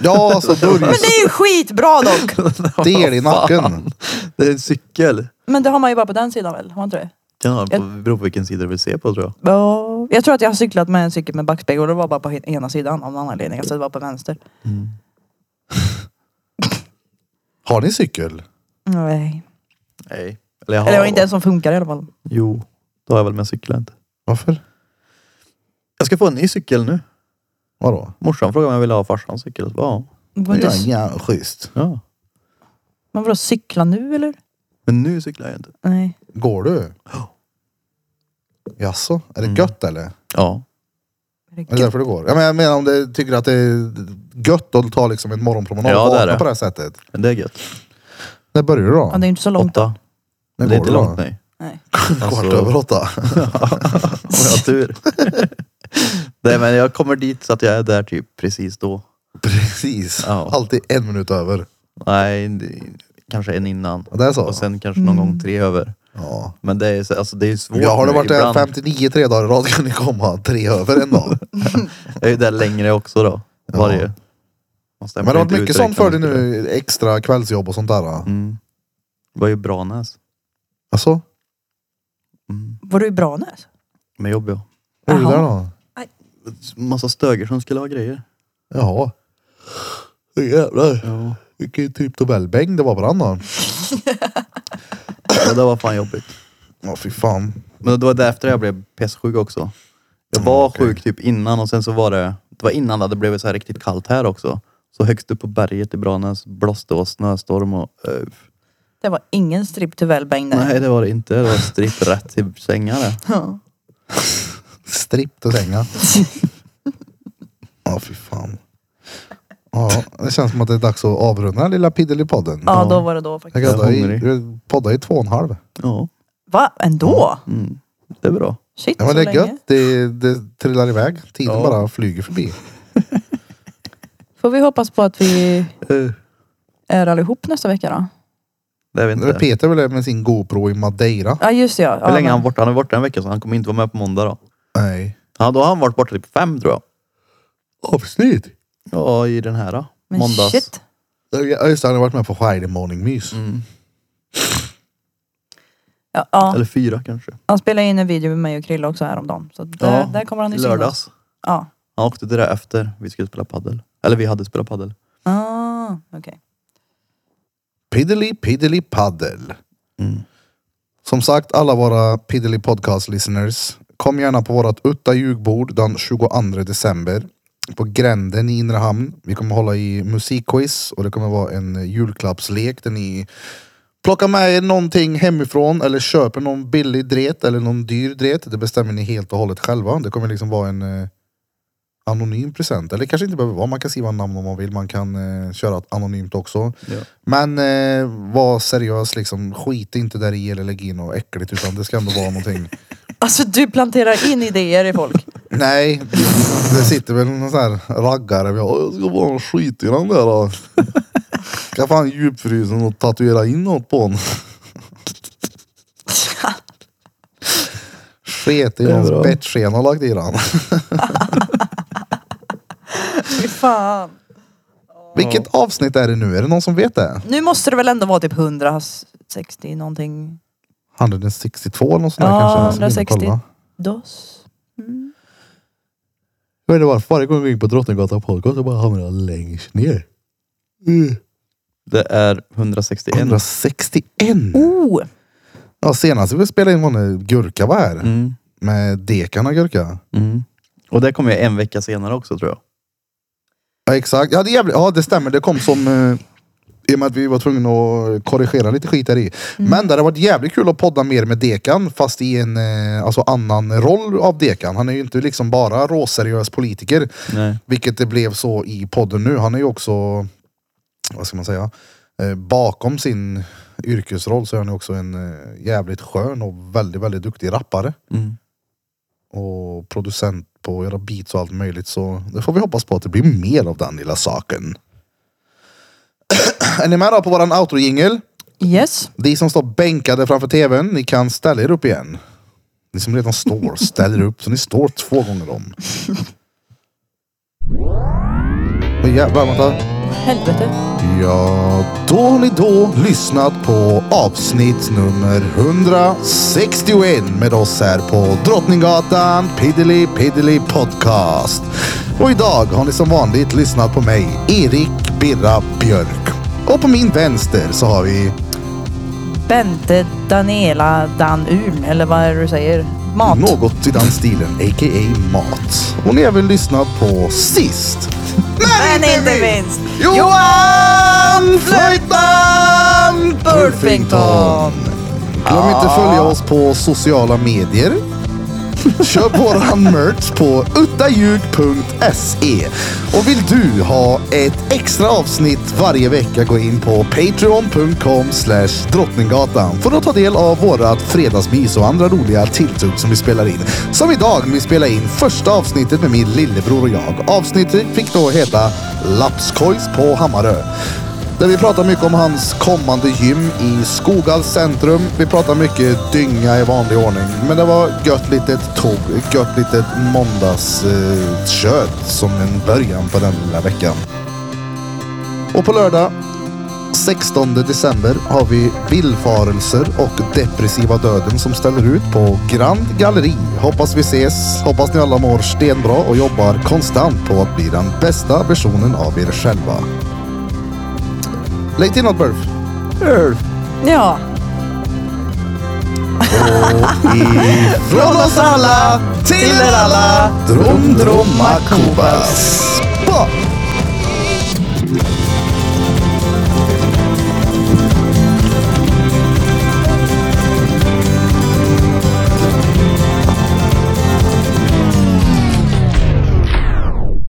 Ja,
[laughs]
så dörr...
Men det är ju skitbra dock!
Del i nacken.
Det är en cykel.
Men det har man ju bara på den sidan väl? Har man inte det?
Kan ha, på, beror på vilken sida du vill se på tror jag.
Ja, Jag tror att jag har cyklat med en cykel med backspegel och det var bara på he- ena sidan av någon anledning. Alltså det var på vänster.
Har ni cykel?
Nej.
Nej. Eller jag har.
Eller det var inte en som funkar i alla fall.
Jo, då har jag väl med cyklar inte.
Varför?
Jag ska få en ny cykel nu.
Vadå?
Morsan frågade om jag ville ha farsans cykel. Så bara, ja.
Man får
Ja,
inte
ja, schysst.
ja.
Man får cykla nu eller?
Men nu cyklar jag inte.
Nej.
Går du? Jaså, är det
Mm.
gött eller?
Ja.
Är det
Är det
gött?
därför det går? Ja, men jag menar om du tycker att det är gött att ta liksom en morgonpromenad
Ja,
och
det är
vakna
det.
på det här sättet.
Men det är gött.
När börjar du då?
Ja, det är ju inte så långt.
Åtta.
När
det
går
är inte
du då?
långt nej.
Nej.
Alltså,
[laughs] Kvart
[laughs]
över åtta. [laughs]
Om jag har tur. nej men jag kommer dit så att jag är där typ precis då.
Precis.
Ja.
Alltid en minut över.
Nej, det- kanske en innan.
Ja, Det är så?
Och sen kanske någon gång tre över.
Ja.
Men det är, så- alltså, det är ju svårt.
Ja, har
nu.
det varit
Ibland-
Ibland... 59 tre dagar i rad kan ni komma tre över en
[laughs]
dag.
Jag är ju där längre också då.
Ja.
Varje. Man
Men
stämmer
det har
inte
varit
ut
mycket sånt
direkt
för dig
när man ska
nu. Extra kvällsjobb och sånt där.
där. Mm. Det var ju Branäs.
Jaså?
Mm.
Var du i Branäs?
Med jobb ja.
Vad gjorde du där
Jaha.
då?
Massa stöger som skulle ha grejer.
Jaha. Jävlar.
Ja.
Vilken triptobellbäng det var på den då.
det var fan jobbigt.
Ja, fy fan.
Men det var därefter jag blev pestsjuk också. Jag var sjuk typ innan och sen så var det, det var innan det hade blivit så här riktigt kallt här också. Så högst upp på berget i Branäs blåste och snöstorm och... eh,
Det var ingen strip till Wellbäng där.
nej det var det inte. Det var stripp rätt till sängar det.
Ja.
Stripp till sänga. Ja, fy fan. Ja, det känns som att det är dags att avrunda den lilla Piddelipodden.
ja, då var det då faktiskt.
Jag kan
Jag
ta
är
i,
hungrig.
du podda i två och en halv.
Ja,
Va? Ändå?
mm. det är bra.
Shit,
Ja, men
så
det är
länge.
gött. Det, det trillar iväg. Tiden
Ja.
bara flyger förbi.
Får vi hoppas på att vi
Eh,
är allihop nästa vecka då?
det är vi
Det är
inte.
Peter väl med sin GoPro i Madeira?
Ja just det ja. ja
Hur länge är han
men-
borta? Han är borta en vecka så han kommer inte vara med på måndag då.
Nej.
Ja, då har han varit borta typ fem tror jag.
Avsnitt?
Ja, i den här då.
Men
Måndags.
shit.
Ja, just det. Han har varit med på Friday Morning Mys.
Mm.
Ja, ja.
Eller fyra kanske.
Han spelade in en video med mig och Krille också häromdagen. Så där,
Ja,
där kommer han ju synas.
Lördags.
Ja.
Han åkte till det efter vi skulle spela paddel. Eller vi hade spelat paddel.
Ah, okej.
Piddly Piddly Paddel.
Mm.
Som sagt, alla våra Piddly Podcast listeners. Kom gärna på vårat Utta ljugbord den 22 december. På gränden i Inre Hamn. Vi kommer hålla i musikquiz och det kommer vara en julklappslek där ni plockar med er någonting hemifrån eller köper någon billig dret eller någon dyr dret. Det bestämmer ni helt och hållet själva. Det kommer liksom vara en eh, anonym present. Eller kanske inte behöver vara. Man kan skriva namn om man vill. Man kan eh, köra anonymt också.
Ja.
Men eh, var seriös liksom. Skit inte där i eller lägg in något äckligt utan det ska ändå vara
[laughs]
någonting.
Alltså du planterar in idéer i folk.
Nej, det sitter väl någon sån här raggare. Jag, jag ska bara skita i den där. Då. Ska fan djupfrysen och tatuera in något på
[laughs]
honom. Sket i
Det är bra.
någons bettskena och lagt i den.
Fy [laughs] fan.
Vilket avsnitt är det nu? Är det någon som vet det?
Nu måste det väl ändå vara typ 160 någonting.
162 eller något sånt där
Ja,
kanske? Jag ska in och
160.
kolla.
Dos. Mm.
Jag vet inte varför. Varje gång jag går in på Drottninggatan podcast så bara hamnar jag längst ner. Mm.
Det är 161.
161!
Oh!
Ja, senast vi spelade in var när Gurka var här.
Mm.
Med Dekan och Gurka.
Mm. Och det kommer jag en vecka senare också tror jag.
Ja, exakt. Ja det, är jävligt, ja, det stämmer. Det kom som... Eh, I och med att vi var tvungna att korrigera lite skit där i. Men det hade varit jävligt kul att podda mer med Dekan, fast i en eh, alltså annan roll av Dekan. Han är ju inte liksom bara råseriös politiker.
Nej.
Vilket det blev så i podden nu. Han är ju också, vad ska man säga, eh, bakom sin yrkesroll så är han ju också en eh, jävligt skön och väldigt, väldigt duktig rappare.
Mm.
Och producent på era beats och allt möjligt. Så det får vi hoppas på att det blir mer av den lilla saken. [clears throat] är ni med då på våran outro-jingel?
Yes.
De som står bänkade framför tvn, ni kan ställa er upp igen. Ni som redan står, ställ er upp. Så ni står två gånger om. Åh, Jävlar, vänta.
Helvete.
Ja, då har ni då lyssnat på avsnitt nummer 161 med oss här på Drottninggatan Piddly Piddly Podcast. Och idag har ni som vanligt lyssnat på mig, Erik Birra Björk. Och på min vänster så har vi
Bente Daniela Danum, eller vad är det du säger? Mat.
något i den stilen, a.k.a. Mat. Och ni har även lyssnat på sist,
Men inte minst.
Johan Flöjtnant
Burfington.
Glöm inte att följa oss på sociala medier. Köp våran merch på uttaljug.se. E. Och vill du ha ett extra avsnitt varje vecka, gå in på patreon.com slash drottninggatan för att ta del av vårat fredagsmys och andra roliga tilltugg som vi spelar in. Som idag när vi spelar in första avsnittet med min lillebror och jag. Avsnittet fick då heta Lapskojs på Hammarö. Där vi pratar mycket om hans kommande gym i Skogalls centrum. Vi pratar mycket dynga i vanlig ordning. Men det var gött litet tog, gött litet måndagskött eh, kött som en början på den lilla veckan. Och på lördag 16 december har vi Villfarelser och Depressiva döden som ställer ut på Grand Galleri. Hoppas vi ses. Hoppas ni alla mår stenbra och jobbar konstant på att bli den bästa versionen av er själva. Lägg till något Burf.
Ja.
Från oss alla till er alla. Drom, dromma, kobas. Ba!